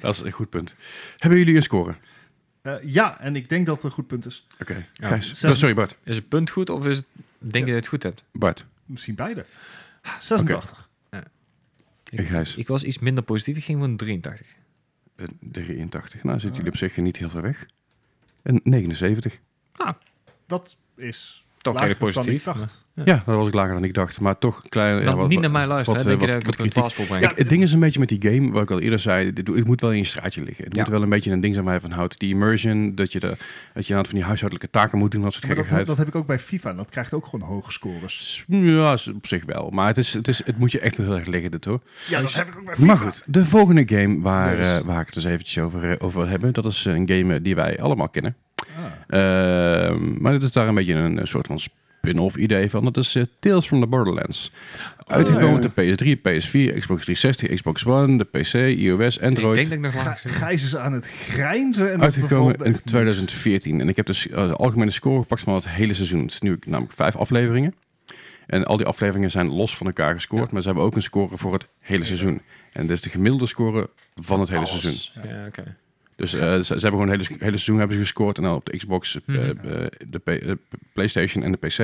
A: Dat is een goed punt. Hebben jullie een score?
C: Eh, ja, en ik denk dat het een goed punt is.
A: Oké.
B: Ja.
A: Gijs.
C: Zes-
A: Oh, sorry, Bart.
B: Is het punt goed of is het, denk je dat je het goed hebt?
A: Bart.
C: Misschien beide. 86.
A: En Eh, Gijs.
B: Ik was iets minder positief. Ik ging voor een 83.
A: Eh, 83. Nou, zitten jullie op zich niet heel ver weg. En 79.
C: Dat is
B: Toch
C: lager
B: redelijk positief.
C: dan ik
B: maar-
C: dacht.
B: Ja.
A: Ja. dat was ik lager dan ik dacht. Maar toch klein. ja,
B: Nou,
A: wat-
B: niet naar
A: wat-
B: mij luisteren.
A: wat,
B: hè. denk
A: eh,
B: je dat
A: wat-
B: ik het
A: wat
B: op een
A: kritiek.
B: 12 wil
C: Ja,
B: brengen?
A: Het ding is een beetje met die game, wat ik al eerder zei, dit- het moet wel in je straatje liggen. Het
B: Ja.
A: moet wel een beetje een ding zijn waar je van houdt. Die immersion, dat je, de, dat je aan het van die huishoudelijke taken moet doen, dat soort
C: Maar dat,
A: gekkigheid.
C: dat heb ik ook bij FIFA. En dat krijgt ook gewoon hoge scores.
A: Ja, is op zich wel. Maar het, is, het, is, het moet je echt wel heel erg liggen, dit hoor.
C: Ja, dat heb ik ook bij
A: Maar goed, de volgende game waar,
B: Yes.
A: eh, waar ik het eens eventjes over, eh, over wil hebben, dat is een game eh, die wij allemaal kennen.
C: Ah.
A: Ehm, maar dit is daar een beetje een, eh, soort van spin-off idee van. Dat is eh, Tales from the Borderlands. Uitgekomen
C: ja.
A: op de PS3, PS4, Xbox 360, Xbox One, de PC, iOS, Android.
B: Ik denk dat ik nog
C: Gij-
B: laag zit.
C: Gijs is aan het grijnzen. En dat
A: Uitgekomen
C: bevalt me
A: in
C: echt
A: 2014. En ik heb dus eh, de algemene score gepakt van het hele seizoen. Het is nu namelijk vijf afleveringen. En al die afleveringen zijn los van elkaar gescoord. Maar ze hebben ook een score voor het hele seizoen. En dit is de gemiddelde score van het hele
B: Alles.
A: seizoen.
B: Ja, oké.
A: Dus eh, ze, ze hebben gewoon het hele, hele seizoen hebben ze gescoord. En dan op de Xbox, eh,
B: Mhm.
A: eh, de P- eh, PlayStation en de PC.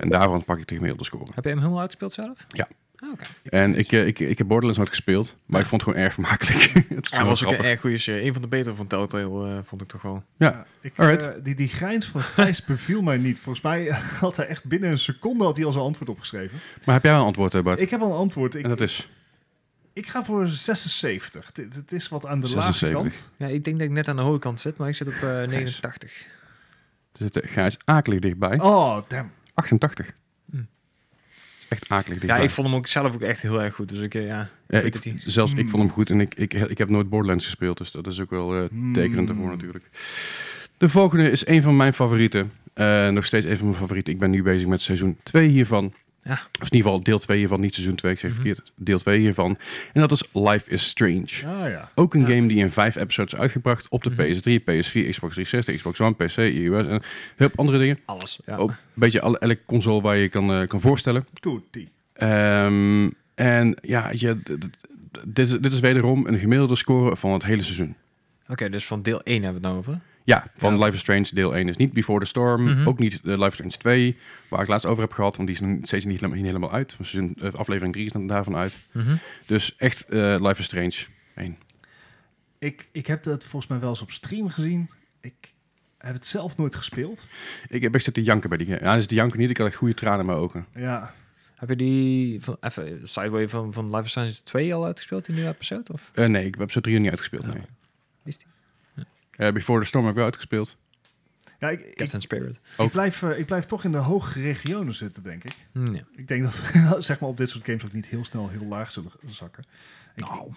A: En daarvan pak ik de gemiddelde score.
B: Heb je hem helemaal uitgespeeld zelf?
A: Ja.
B: Ah, oké.
A: En ik, eh, ik, ik heb Borderlands nooit gespeeld. Maar
B: Ja.
A: ik vond het gewoon erg vermakelijk. het is
B: Hij
A: gewoon
B: was ook
A: grappig.
B: een erg goede serie. Een van de betere van Telltale eh, vond ik toch wel.
A: Ja.
C: Ik,
A: Alright.
C: eh, die, die grijns van Gijs beviel mij niet. Volgens mij had hij echt binnen een seconde had hij al zijn antwoord opgeschreven.
A: Maar heb jij een antwoord, eh, Bart?
C: Ik heb al een antwoord. Ik,
A: en dat is
C: ik ga voor 76. Dit, dit is wat aan de lage
A: 76.
C: kant.
B: Ja, ik denk dat ik net aan de hoge kant zit, maar ik zit op eh, 89.
A: er zit eh, Gijs akelig dichtbij.
C: Oh, damn.
A: 88. echt akelig.
B: Mm. Ja,
A: dichtbij.
B: ik vond hem ook zelf ook echt heel erg goed. Dus ik, eh, ja,
A: Ja,
B: weet
A: ik,
B: het niet. Hmm.
A: zelfs ik
C: Mm.
A: vond hem goed en ik, ik, ik heb nooit Borderlands gespeeld, dus dat is ook wel eh,
C: Mm.
A: tekenend ervoor
B: Hmm.
A: natuurlijk. De volgende is een van mijn favorieten. Eh, nog steeds een van mijn favorieten. Ik ben nu bezig met seizoen 2 hiervan.
B: Ja.
A: Of in ieder geval deel 2 hiervan, niet seizoen 2, ik zeg
B: Mhm.
A: verkeerd. Deel 2 hiervan. En dat is Life is Strange.
C: Ah ja.
A: Ook een
C: Ja.
A: game die in vijf episodes is uitgebracht op de
B: Mhm.
A: PS3, PS4, Xbox 360, Xbox One, PC, iOS en heel veel andere dingen.
B: Alles. Ja.
A: Ook een beetje alle, elke console waar je kan, eh, kan voorstellen.
C: Toetie.
A: Ehm, en ja, je, d- d- d- dit, is- dit is wederom een gemiddelde score van het hele seizoen.
B: Oké, dus van deel 1 hebben we het nou over.
A: Ja, van
B: Ja.
A: Life is Strange deel 1 is niet Before the Storm.
B: Mhm.
A: Ook niet eh, Life is Strange 2, waar ik laatst over heb gehad. Want die is nog steeds niet helemaal, niet helemaal uit. Want Seizoen, eh, aflevering 3 is dan daarvan uit. Dus echt eh, Life is Strange 1.
C: Ik, ik heb het volgens mij wel eens op stream gezien. Ik heb het zelf nooit gespeeld.
A: Ik heb echt zitten janken bij die game. Ja, dus die janken niet. Ik had echt goede tranen in mijn ogen.
C: Ja.
B: Heb je die van, even, Sideway van, van Life is Strange 2 al uitgespeeld, die nieuwe episode? Of?
A: Eh, nee, ik heb zo 3 niet uitgespeeld.
B: Oh.
A: Nee.
B: Is die?
A: Eh, Before the Storm heb ik wel uitgespeeld.
C: ja ik, ik,
B: Captain Spirit.
A: Ook.
C: ik blijf, eh, ik blijf toch in de hogere regionen zitten, denk ik.
A: Mm,
B: Hm, ja.
C: Ik denk dat zeg maar, op dit soort games ook niet heel snel heel laag zullen zakken. Ik-
B: Nou.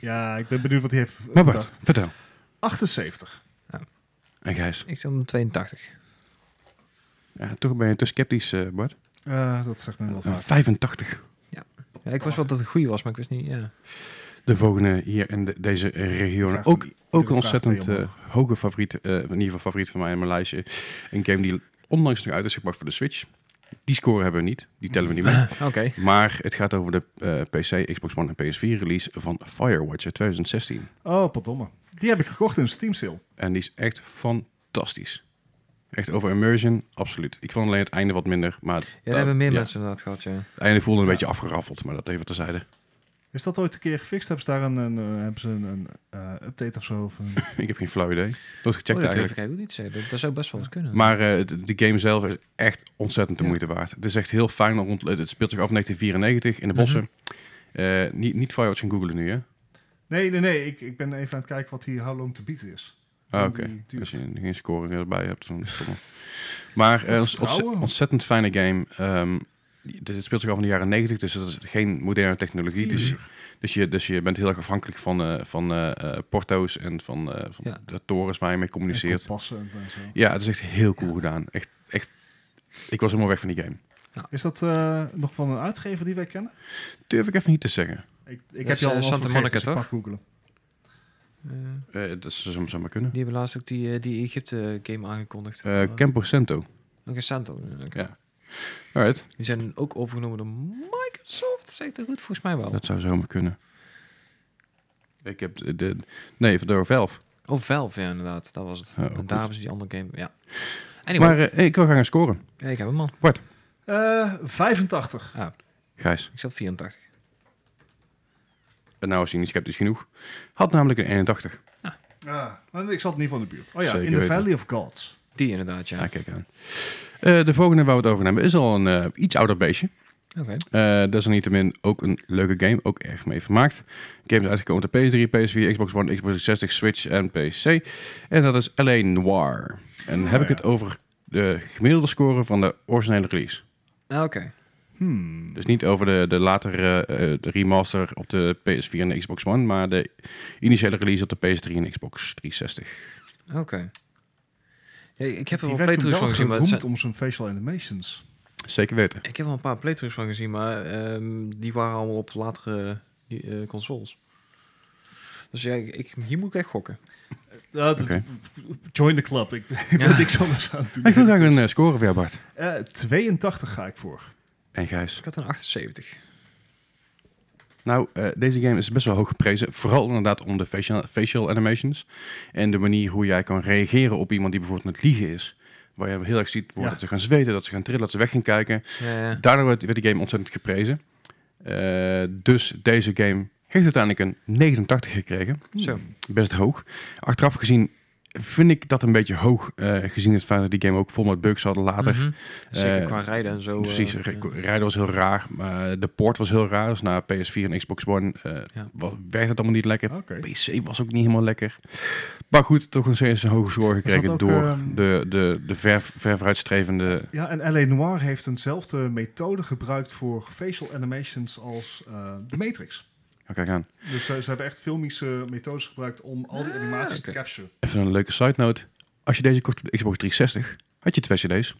C: Ja, ik ben benieuwd wat hij heeft eh,
A: Maar
C: bedacht.
A: Bart, vertel.
C: 78.
A: En Gijs.
B: Ik zit op een 82.
A: Ja, toch ben je te sceptisch, eh, Bart.
C: Eh, dat zegt men wel vaak.
A: 85.
B: Ja, ik was wel dat het goede was, maar ik wist niet. Ja.
A: De volgende hier in de- deze regionen.
C: Vraag van
A: Ook,
C: i-
A: ook
C: vraag
A: een ontzettend
C: twee
A: eh, hoge favoriet, eh, in ieder geval favoriet van mij in mijn lijstje. Een game die onlangs nog uit is gebracht voor de Switch. Die score hebben we niet, die tellen we niet mee.
B: Oké.
A: Maar het gaat over de eh, PC, Xbox One en PS4 release van Firewatch uit 2016.
C: Oh, potdomme. Die heb ik gekocht in een Steam sale.
A: En die is echt fantastisch. Echt over immersion, absoluut. Ik vond alleen het einde wat minder, maar
B: Ja, daar hebben meer
A: ja.
B: mensen inderdaad gehad, ja.
A: het einde voelde een
C: Ja.
A: beetje afgeraffeld, maar dat even terzijde.
C: Is dat ooit een keer gefixt? Hebben ze daar een, een, eh, hebben ze een, een, eh, update of zo? Of een-
A: Ik heb geen flauw idee. Nooit
B: Oh,
A: gecheckt
B: dat durf
A: eigenlijk.
B: ik eigenlijk ook niet te zeggen. Dat, dat zou best wel eens kunnen.
A: Maar eh, de, de game zelf is echt ontzettend de
B: Ja.
A: moeite waard. Het is echt heel fijn. Rond, het speelt zich af in 1994 in de bossen. Eh, niet, niet Firewatch gaan googlen nu, hè?
C: Nee, nee, nee. Ik, ik ben even aan het kijken wat hier How Long to Beat is.
A: Ah,
C: Hoe
A: Oké,
C: die duurt.
A: als je geen scoring erbij hebt. Dan is het allemaal. maar eh, ont-
C: Vertrouwen?
A: ontze- ontzettend fijne game. Ehm, dit- het speelt zich af in de jaren 90, dus dat is geen moderne technologie. Dus,
C: Vier uur.
A: dus, je, dus je bent heel erg afhankelijk van, eh, van eh, eh, porto's en van, eh, van
B: Ja.
A: de torens waar je mee
C: En
A: communiceert.
C: kompassen en zo.
A: Ja, het is echt heel cool gedaan. Echt, echt, ik was helemaal weg van die game.
C: Is dat eh, nog van een uitgever die wij kennen?
A: Durf ik even niet te zeggen.
C: Ik,
B: is,
C: ik heb je al
B: eh,
C: een dus
B: Santa Monica, toch?
C: googelen.
B: Eh,
A: Eh, dat zou zou maar kunnen.
B: die hebben laatst ook die, eh, die Egypte-game aangekondigd.
A: Eh
B: Oh.
A: Campo Santo.
B: Oké, Santo. Oké.
A: Ja. Alright.
B: Die zijn ook overgenomen door Microsoft. Zegt er goed, volgens mij wel.
A: Dat zou zomaar kunnen. Ik heb de... de- nee, van door Valve.
B: Oh, Valve, ja, inderdaad. Dat was het.
A: Ja, Oh, ook
B: en
A: goed.
B: daar hebben ze die andere game. Ja. Anyway,
A: Maar eh, ik wil graag gaan scoren.
B: ja, ik heb hem al.
C: Eh, 85.
A: Gijs.
B: Ik zat 84.
A: En nou is hij niet sceptisch genoeg. Had namelijk een 81.
C: Ah, maar ik zat niet van de buurt. Oh ja,
A: Zeker
C: in the
A: weten.
C: Valley of Gods.
B: Die inderdaad, ja.
A: Ja, kijk aan. Eh, de volgende waar we het over gaan hebben is al een eh, iets ouder beestje.
B: Oké.
A: Eh, desalniettemin ook een leuke game. Ook erg mee vermaakt. Game is uitgekomen op de PS3, PS4, Xbox One, Xbox 360, Switch en PC. En dat is L.A. Noir. En dan heb ik
C: ja.
A: het over de gemiddelde score van de originele release.
B: Ah, Oké.
C: Hmm.
A: Dus niet over de, de latere eh, eh, de remaster op de PS4 en de Xbox One, maar de initiële release op de PS3 en Xbox 360.
B: Oké. Ja, ik heb er
C: die
B: wel
C: werd toen wel
B: playthroughs van gezien, maar het
C: geroemd
B: zijn-
C: om zijn facial animations.
A: Zeker weten.
B: ik heb wel een paar playthroughs van gezien, maar ehm, die waren allemaal op latere die, eh, consoles. Dus ja, ik, ik- hier moet ik echt gokken.
C: Ja, Eh, dat-
A: Oké.
C: Join the club. Ik, ik ben
B: Ja.
C: niks anders aan het doen.
A: Ik wil graag een eh, score weer, Bart.
C: Eh, 82 ga ik voor.
A: En Gijs.
B: Ik had een 78.
A: Nou, eh, deze game is best wel hoog geprezen. Vooral inderdaad om de facial, facial animations. En de manier hoe jij kan reageren op iemand die bijvoorbeeld aan het liegen is. Waar je heel erg ziet wordt
C: Ja.
A: dat ze gaan zweten, dat ze gaan trillen, dat ze weg gaan kijken.
B: Ja, ja.
A: Daardoor werd, werd de game ontzettend geprezen. Eh, dus deze
C: Hmm.
A: game heeft uiteindelijk een 89 gekregen.
B: Zo.
A: Best hoog. Achteraf gezien vind ik dat een beetje hoog, eh, gezien het feit dat die game ook vol met bugs hadden later.
B: Mhm. Zeker
A: Eh,
B: qua rijden en zo. eh,
A: Precies,
B: ja.
A: re- rijden was heel raar. Maar de port was heel raar. Dus na PS4 en Xbox One eh
B: Ja.
A: wa- werkte het allemaal niet lekker.
C: Oh, Oké.
A: PC was ook niet helemaal lekker. Maar goed, toch nog steeds een hoge score gekregen
C: ook,
A: door
C: ehm,
A: de, de, de ver, ver vooruitstrevende...
C: Ja, en L.A. Noir heeft eenzelfde methode gebruikt voor facial animations als eh The Matrix.
A: Oh, kijk aan.
C: Dus ze, ze hebben echt filmische methodes gebruikt om al die animaties
B: oké.
C: te capturen.
A: Even een leuke side note. Als je deze kocht op de Xbox 360, had je twee cd's.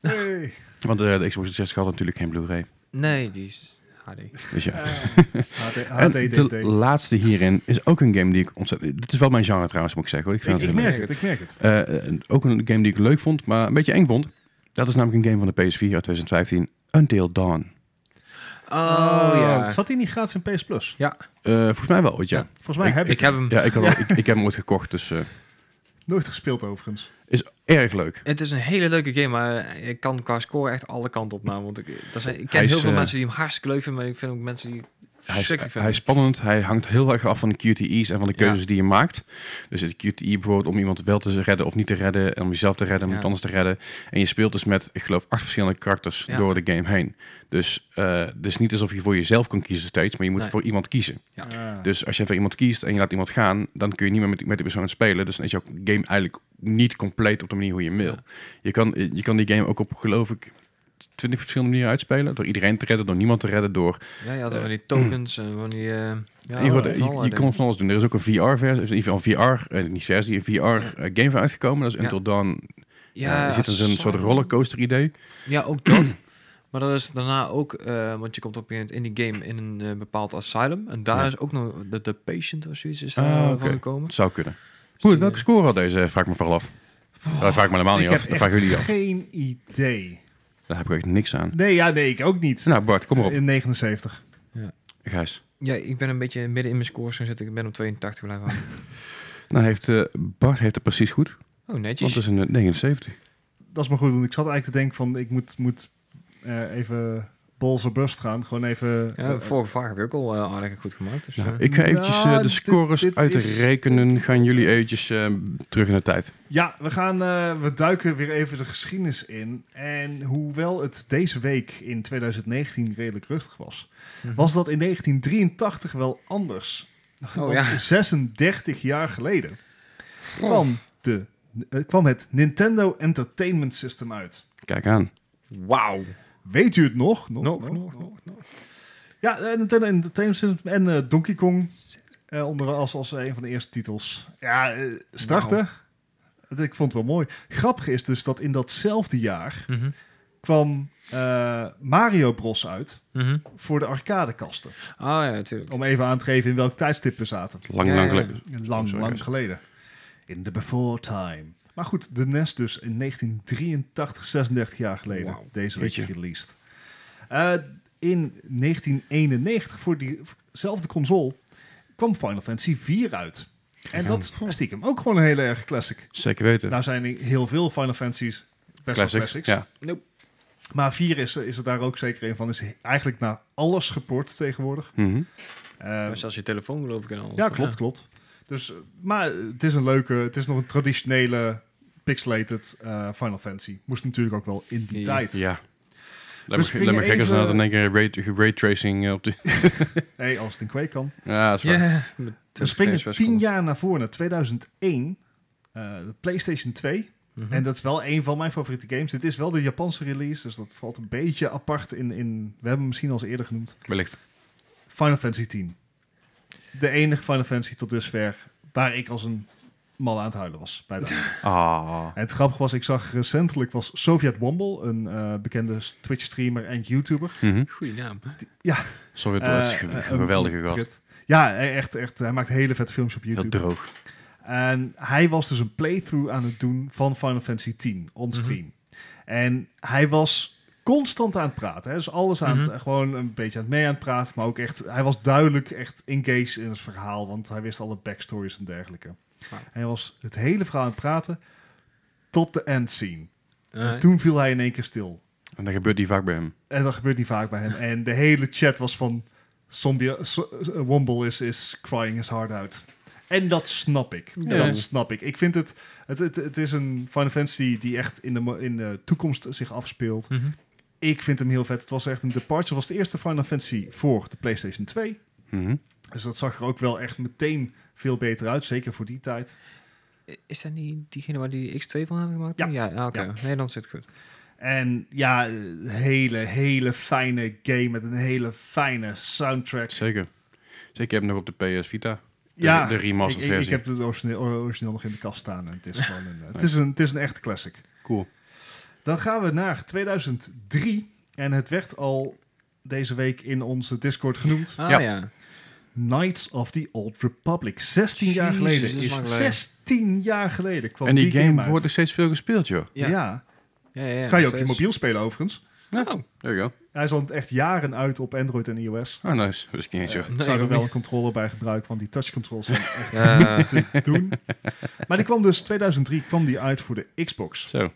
C: Hey.
A: Want eh, de Xbox 360 had natuurlijk geen Blu-ray.
B: Nee, die is
C: Oh,
B: HD.
A: Dus
C: Eh,
A: ja.
C: HD,
A: En de
C: HDDD.
A: laatste hierin is ook een game die ik ontzettend... Dit is wel mijn genre trouwens, moet ik zeggen. hoor. Ik, vind
C: Ik,
A: het
C: ik
A: heel
C: merk het, ik merk het.
A: Eh, en ook een game die ik leuk vond, maar een beetje eng vond. Dat is namelijk een game van de PS4 uit 2015, Until Dawn.
B: Oh, ja.
C: Zat hij niet gratis in PS Plus?
A: Eh, volgens mij wel ooit, ja.
C: Volgens mij heb ik,
B: Ik heb hem.
A: Ja, ik, had al- ik, ik heb hem ooit gekocht, dus eh,
C: nooit gespeeld overigens.
A: is erg leuk.
B: Het is een hele leuke game, maar ik kan qua score echt alle kanten op nou, Want ik, er zijn, ik ken
A: Hij is,
B: heel veel
A: eh,
B: mensen die hem hartstikke leuk vinden, maar ik vind ook mensen die
A: Hij is,
B: verschrikkelijk
A: hij is
B: vinden.
A: spannend, hij hangt heel erg af van de QTE's en van de
B: Ja.
A: keuzes die je maakt. Dus de QTE bijvoorbeeld om iemand wel te redden of niet te redden, en om jezelf te redden, om
B: Ja.
A: iemand anders te redden. En je speelt dus met, ik geloof, acht verschillende karakters
B: Ja.
A: door de game heen. Dus eh, het is niet alsof je voor jezelf kan kiezen steeds, maar je moet
B: Nee.
A: voor iemand kiezen.
B: Ja.
C: Ah.
A: Dus als je voor iemand kiest en je laat iemand gaan, dan kun je niet meer met, met die persoon spelen. Dus dan is jouw game eigenlijk niet compleet op de manier hoe je hem wil.
B: Ja.
A: Je, kan, je kan die game ook op, geloof ik, 20 verschillende manieren uitspelen. Door iedereen te redden, door niemand te redden, door...
B: Ja, je had dan van die tokens en van die... eh, ja,
A: je,
C: oh,
A: wordt-
B: van
A: je-
B: alle
A: je
B: dingen.
A: kon van alles doen. Er is ook een VR-versie, in ieder geval VR, eh, niet versie, een VR-game van uitgekomen. Dat is
B: Ja.
A: Until Dawn. Ja,
B: ja,
A: er zit dus een soort
B: zo.
A: rollercoaster-idee.
B: Ja, ook dat. Maar dat is daarna ook, eh, want je komt op een gegeven moment in die game in een eh, bepaald asylum. En daar
A: Ja.
B: is ook nog de, de patient of zoiets is
A: Ah,
B: daar eh,
A: oké.
B: van gekomen.
A: Het zou kunnen.
B: Dus
A: Goed,
B: die,
A: welke
B: eh, Oh,
A: score had deze? Vraag ik me vooral af. Nou, dat vraag ik me helemaal
C: ik
A: niet af.
C: heb
A: Dat vraag
C: echt
A: jullie af.
C: geen idee.
A: Daar heb ik echt niks aan.
C: Nee, ja, nee, ik ook niet.
A: Nou Bart, kom maar op.
C: In 79.
B: Eh,
A: Gijs.
B: Ja, ik ben een beetje midden in mijn scores gaan zitten. Ik ben op 82 blijven hangen.
A: Nou, heeft, eh, Bart heeft het precies goed.
B: Oh, netjes.
A: Want het is een eh, 79.
C: Dat is maar goed, want ik zat eigenlijk te denken van... ik moet, moet eh, even balls or bust gaan. Gewoon even... eh,
B: Ja, vorige vraag heb je ook al eh, aardig goed gemaakt. Dus,
A: Nou,
B: eh,
A: ik ga eventjes eh,
C: Nou,
A: de
C: dit-
A: scores
C: dit is-
A: uitrekenen. Gaan jullie eventjes eh, terug in de tijd.
C: Ja, we, gaan, eh, we duiken weer even de geschiedenis in. En hoewel het deze week in 2019 redelijk rustig was,
B: mhm.
C: was dat in 1983 wel anders.
B: Oh,
C: Want
B: ja. Oh.
C: 36 jaar geleden kwam, de, eh, kwam het Nintendo Entertainment System uit.
A: Kijk aan.
B: Wauw.
C: Weet u het nog?
B: Nog, nog, nog, nog.
C: Ja, eh, Nintendo Entertainment System en eh, Donkey Kong eh, onder als, als een van de eerste titels. Ja, eh, starten. Het- Ik vond het wel mooi. Grappig is dus dat in datzelfde jaar
B: Mhm,
C: kwam eh, Mario Bros uit
B: mhm.
C: voor de arcadekasten.
B: Ah ja, natuurlijk.
C: Om even aan te geven in welk tijdstip we zaten.
A: Lang,
B: Ja,
A: lang
B: ja.
A: geleden.
C: Lang,
A: Sorry,
C: lang
A: guys.
C: geleden. In the before time. Maar goed, de NES dus in 1983, 36 jaar geleden.
B: Wauw.
C: Deze week
A: Jeetje.
C: released. Eh, in 1991, voor diezelfde console, kwam Final Fantasy 4 uit. En
A: Ja.
C: dat is stiekem ook gewoon een hele erg classic.
A: Zeker weten.
C: Nou zijn er heel veel Final Fantasy's best wel classics.
A: Ja.
C: Maar 4 is, is het daar ook zeker een van. Is eigenlijk naar alles geport tegenwoordig.
A: Mhm.
C: Eh,
B: Maar zelfs je telefoon geloof ik en al.
C: ja, klopt, klopt. Dus, eh, maar het is een leuke, het is nog een traditionele pixelated eh, Final Fantasy. Moest natuurlijk ook wel in die
B: Ja.
C: tijd.
A: ja.
C: We
A: Laat me,
C: springen
A: laat me gek als
C: even-
A: dat in één keer ray, ray tracing eh, op de...
C: Hey, als het in Quake kan.
A: Ja, dat is
B: Ja,
A: waar.
B: met
C: We
B: 20
C: springen
B: PS
C: tien jaar naar voren, naar 2001. eh, de PlayStation 2.
B: Mhm.
C: En dat is wel een van mijn favoriete games. Dit is wel de Japanse release, dus dat valt een beetje apart in... in we hebben hem misschien al eens eerder genoemd.
A: Wellicht.
C: Final Fantasy 10. De enige Final Fantasy tot dusver waar ik als een mal aan het huilen was. Bij het einde.
A: Ah.
C: en het grappige was, ik zag recentelijk was Soviet Womble, een eh, bekende Twitch-streamer en YouTuber.
A: Mhm.
B: Goeie naam.
A: Sorry,
C: Eh,
A: dat is ge-
C: eh,
A: een geweldige
C: een-
A: gast.
C: Ja, e- echt, echt. Hij maakt hele vette films op
A: Dat
C: YouTube.
A: droog.
C: En hij was dus een playthrough aan het doen van Final Fantasy 10
B: Mhm.
C: onstream. En hij was constant aan het praten. Hè? Dus alles aan het,
B: Mhm.
C: gewoon een beetje aan het mee aan het praten. Maar ook echt, hij was duidelijk echt engaged in het verhaal. Want hij wist alle backstories en dergelijke.
B: Wauw.
C: Hij was het hele verhaal aan het praten tot de end scene.
B: Eh,
C: Toen viel hij in één keer stil.
A: En dat gebeurt die vaak bij hem.
C: En dat gebeurt niet vaak bij hem. En eh, de hele chat was van... Zombie, so- eh, Womble is, is crying his heart out. En dat snap ik.
A: Ja.
C: Dat snap ik. Ik vind het het, het... het is een Final Fantasy die echt in de, mo- in de toekomst zich afspeelt.
B: Mhm.
C: Ik vind hem heel vet. Het was echt een departure. Het was de eerste Final Fantasy voor de PlayStation 2.
A: Mhm.
C: Dus dat zag er ook wel echt meteen veel beter uit. Zeker voor die tijd.
B: Is dat niet diegene waar die X2 van hebben gemaakt?
C: Ja.
B: toen? ja, ah, oké.
C: Ja.
B: Nee, dan zit het goed.
C: En ja, een hele, hele fijne game met een hele fijne soundtrack.
A: Zeker. Zeker, ik heb hem nog op de PS Vita. De,
C: ja,
A: de
C: ik,
A: remastered
C: ik, ik
A: versie.
C: heb het origineel, origineel nog in de kast staan. En het, is gewoon een, eh, het, is een, het is een echte classic.
A: Cool.
C: Dan gaan we naar 2003. En het werd al deze week in onze Discord genoemd.
B: Ah
A: Ja.
B: ja.
C: Knights of the Old Republic. 16 jaar
B: Jezus,
C: geleden.
B: dat is
C: Is
B: lang geleden.
C: 16 jaar geleden kwam
A: En die, game,
C: uit.
A: wordt dus- er steeds veel gespeeld, joh.
C: ja.
B: Ja. Ja, ja, ja.
C: kan je ook
B: Steeds.
C: je mobiel spelen overigens.
B: Oh,
A: There you
C: Hij is al echt jaren uit op Android en iOS.
A: go. Ah, nice. Wist ik niet eens, joh.
C: Ik
B: Nee,
C: zou er
B: ook
C: wel
B: niet.
C: een controller bij gebruiken, want die touch controls zijn echt
B: Ja.
C: niet te doen. Maar die kwam dus 2003 kwam die uit voor de Xbox.
A: Zo,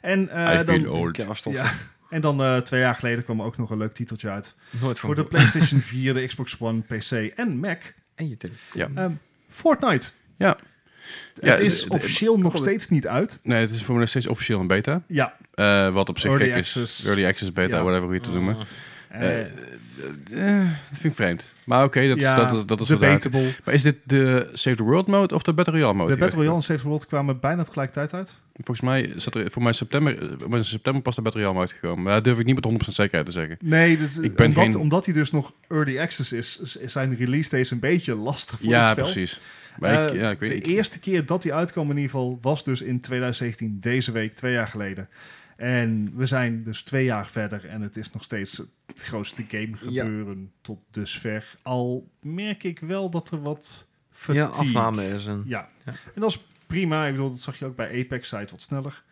C: En, eh,
A: I feel
C: dan,
A: old.
B: kerststof.
C: ja, en dan eh, twee jaar geleden kwam er ook nog een leuk titeltje uit.
B: Nooit van
C: Voor de
B: gehoord.
C: PlayStation 4, de Xbox One, PC en Mac.
B: En je telefoon.
C: Ehm, Fortnite.
A: Ja. Ja,
C: Het is
A: de- de-
C: officieel nog
A: de-
C: steeds niet uit.
A: Nee, het is voor me nog steeds officieel een beta.
C: Ja.
A: Eh, wat op zich
C: Early
A: gek
C: access.
A: is. Early access beta,
C: Ja.
A: whatever hoe je het te
B: Oh.
A: noemen.
C: eh,
A: Eh, eh, dat vind ik vreemd. Maar oké, dat, is-
C: ja,
A: dat, is- dat is Oh, inderdaad.
C: debatable.
A: Maar is dit de Save the World mode of de Battle Royale mode?
C: De Battle Royale en Save the World kwamen bijna tegelijkertijd uit.
A: Volgens mij zat er voor mij september, eh, maar in september pas de Battle Royale mode gekomen. Maar dat durf ik niet met 100% zekerheid te zeggen.
C: Nee, dat,
A: Ik ben
C: omdat,
A: geen-
C: omdat hij dus nog early access is, is- zijn release dates een beetje lastig voor het
A: ja,
C: spel.
A: precies. Maar ik,
C: Eh,
A: ja, ik weet
C: de
A: ik-
C: eerste keer dat die uitkwam in ieder geval was dus in 2017, deze week, twee jaar geleden. En we zijn dus twee jaar verder en het is nog steeds het grootste game
B: Ja.
C: gebeuren tot dusver. Al merk ik wel dat er wat
B: Ja,
C: fatigue...
B: afname is een...
C: Ja.
B: Ja.
C: en dat is prima. Ik bedoel, dat zag je ook bij Apex, zei het wat sneller.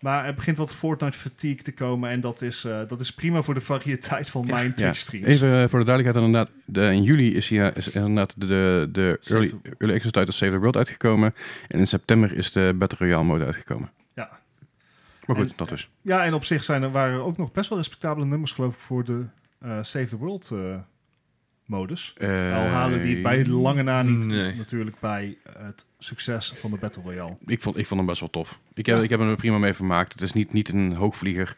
C: Maar er begint wat Fortnite fatigue te komen en dat is, eh, dat is prima voor de variëteit van
B: Ja.
C: mijn Twitch streams.
A: Even eh, voor de duidelijkheid, inderdaad, de, in juli is, hier, is inderdaad de, de, de
C: Save
A: early,
C: the-
A: early access title Save the World uitgekomen. En in september is de Battle Royale mode uitgekomen.
C: Ja.
A: Maar goed,
C: En-
A: dat dus.
C: Ja, en op zich zijn er, waren er ook nog best wel respectabele nummers, geloof ik, voor de eh, Save the World eh, modus. Al eh, halen die
A: Eh,
C: het bij lange na niet
B: Nee.
C: natuurlijk bij het succes van de Battle Royale.
A: Ik vond, ik vond hem best wel tof. Ik heb,
C: Ja.
A: ik heb hem er prima mee vermaakt. Het is niet, niet een hoogvlieger,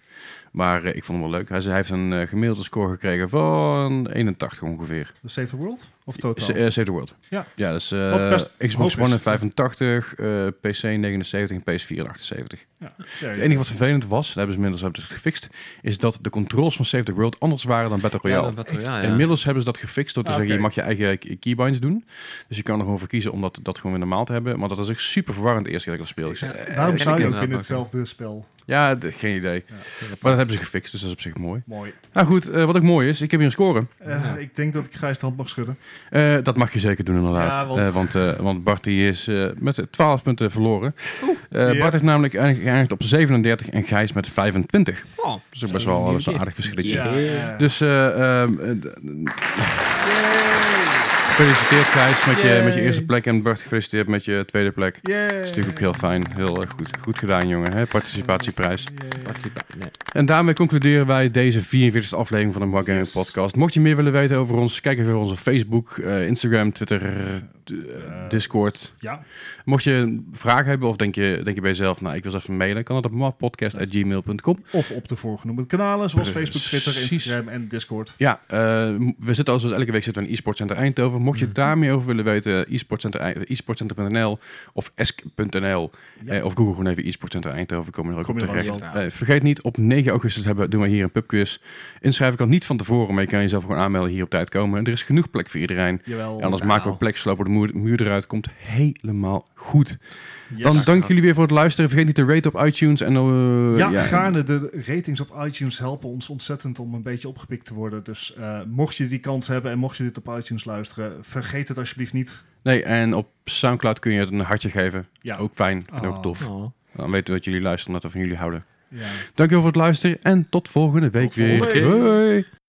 A: maar eh, ik vond hem wel leuk. Hij, zei- hij heeft een eh, gemiddelde score gekregen van 81 ongeveer.
C: De Save the World? Of
A: S- eh,
C: totaal?
A: Save the World.
C: Ja.
A: ja dus eh,
C: Wat best
A: Xbox
C: hoog is.
A: One en 85, eh, PC 79 en PS4 en 78.
C: Ja,
A: Het enige wat vervelend was, dat hebben ze inmiddels hebben ze het gefixt, is dat de controls van Save the World anders waren dan Battle Royale.
B: Ja, dat Battle
C: Echt.
B: Royale, ja.
A: Inmiddels hebben ze dat gefixt door te
C: Ah,
A: zeggen,
C: oké.
A: je mag je eigen k- keybinds doen. Dus je kan er gewoon voor kiezen om dat, dat gewoon in de maal te hebben. Maar dat was echt super verwarrend de eerste keer dat ik dat speelde. Ik zei,
B: Ja.
A: eh,
C: Waarom
B: en
C: zou
B: ik
C: je
B: heb
C: ook
B: het
C: in
B: ook.
C: hetzelfde spel?
A: Ja, d- geen idee. Maar dat hebben ze gefixt, dus dat is op zich mooi.
C: Mooi.
A: Nou goed, eh, wat ook mooi is, ik heb hier een score.
C: Eh, Ik denk dat ik Gijs de hand mag schudden.
A: Eh, dat mag je zeker doen inderdaad.
C: Ja, want-
A: want... want, eh, want Bart die is eh, met 12 punten verloren. Eh,
C: Ja.
A: Bart heeft namelijk eindig- geëindigd op 37 en Gijs met 25.
B: Oh,
A: Dat is ook best wel, best wel een aardig verschilletje.
B: Ja.
C: eh,
A: Dus eh, ehm, eh, d- gefeliciteerd Gijs met je,
C: Yay.
A: met je eerste plek en Bart gefeliciteerd met je tweede plek.
C: yay.
A: Dat is natuurlijk ook heel fijn. Heel eh, goed, goed gedaan jongen, hè? participatieprijs.
C: Yay.
B: participa- nee.
A: En daarmee concluderen wij deze 44e aflevering van de Mark Gaming
C: Yes.
A: Podcast. Mocht je meer willen weten over ons, kijk even op onze Facebook, eh, Instagram, Twitter, eh, d- eh,
C: Eh,
A: Discord.
C: Ja,
A: Mocht je vragen hebben of denk je, denk je bij jezelf, nou ik wil eens even mailen, kan dat op marpodcast.gmail.com.
C: of op de voorgenoemde kanalen, zoals Facebook, Twitter,
A: Precies.
C: Instagram en Discord.
A: Ja, eh, m- we zitten al zoals elke week zitten we in e-sport center Eindhoven. Mocht je
B: Mhm.
A: daar meer over willen weten, e-sportcenter Eind- e-sportcenter.nl of esk.nl
C: Ja.
A: eh, of Google gewoon even e-sport center Eindhoven, komen we er ook
C: Kom
A: op
C: je er ook
A: terecht.
C: wel.
A: Eh, vergeet niet, op 9 augustus hebben, doen we hier een pubquiz. Inschrijven kan niet van tevoren, maar je kan jezelf gewoon aanmelden hier op tijd komen. En er is genoeg plek voor iedereen.
C: Jawel.
A: En anders
C: Nou.
A: maken we plek, slopen we de muur, muur eruit, komt helemaal goed.
C: Yes.
A: Dan dank jullie weer voor het luisteren. Vergeet niet te raten op iTunes en... eh,
C: Ja, gaarne. De ratings op iTunes helpen ons ontzettend om een beetje opgepikt te worden. Dus eh, mocht je die kans hebben en mocht je dit op iTunes luisteren, vergeet het alsjeblieft niet.
A: Nee, en op Soundcloud kun je het een hartje geven.
C: Ja.
A: Ook fijn, vind ik
C: Oh.
A: ook tof.
B: Oh.
A: Dan weten we dat jullie luisteren, en dat we van jullie houden.
C: Ja.
A: Dankjewel voor het luisteren en tot volgende week
C: Tot volgende
A: weer.
C: week.
A: Hoi.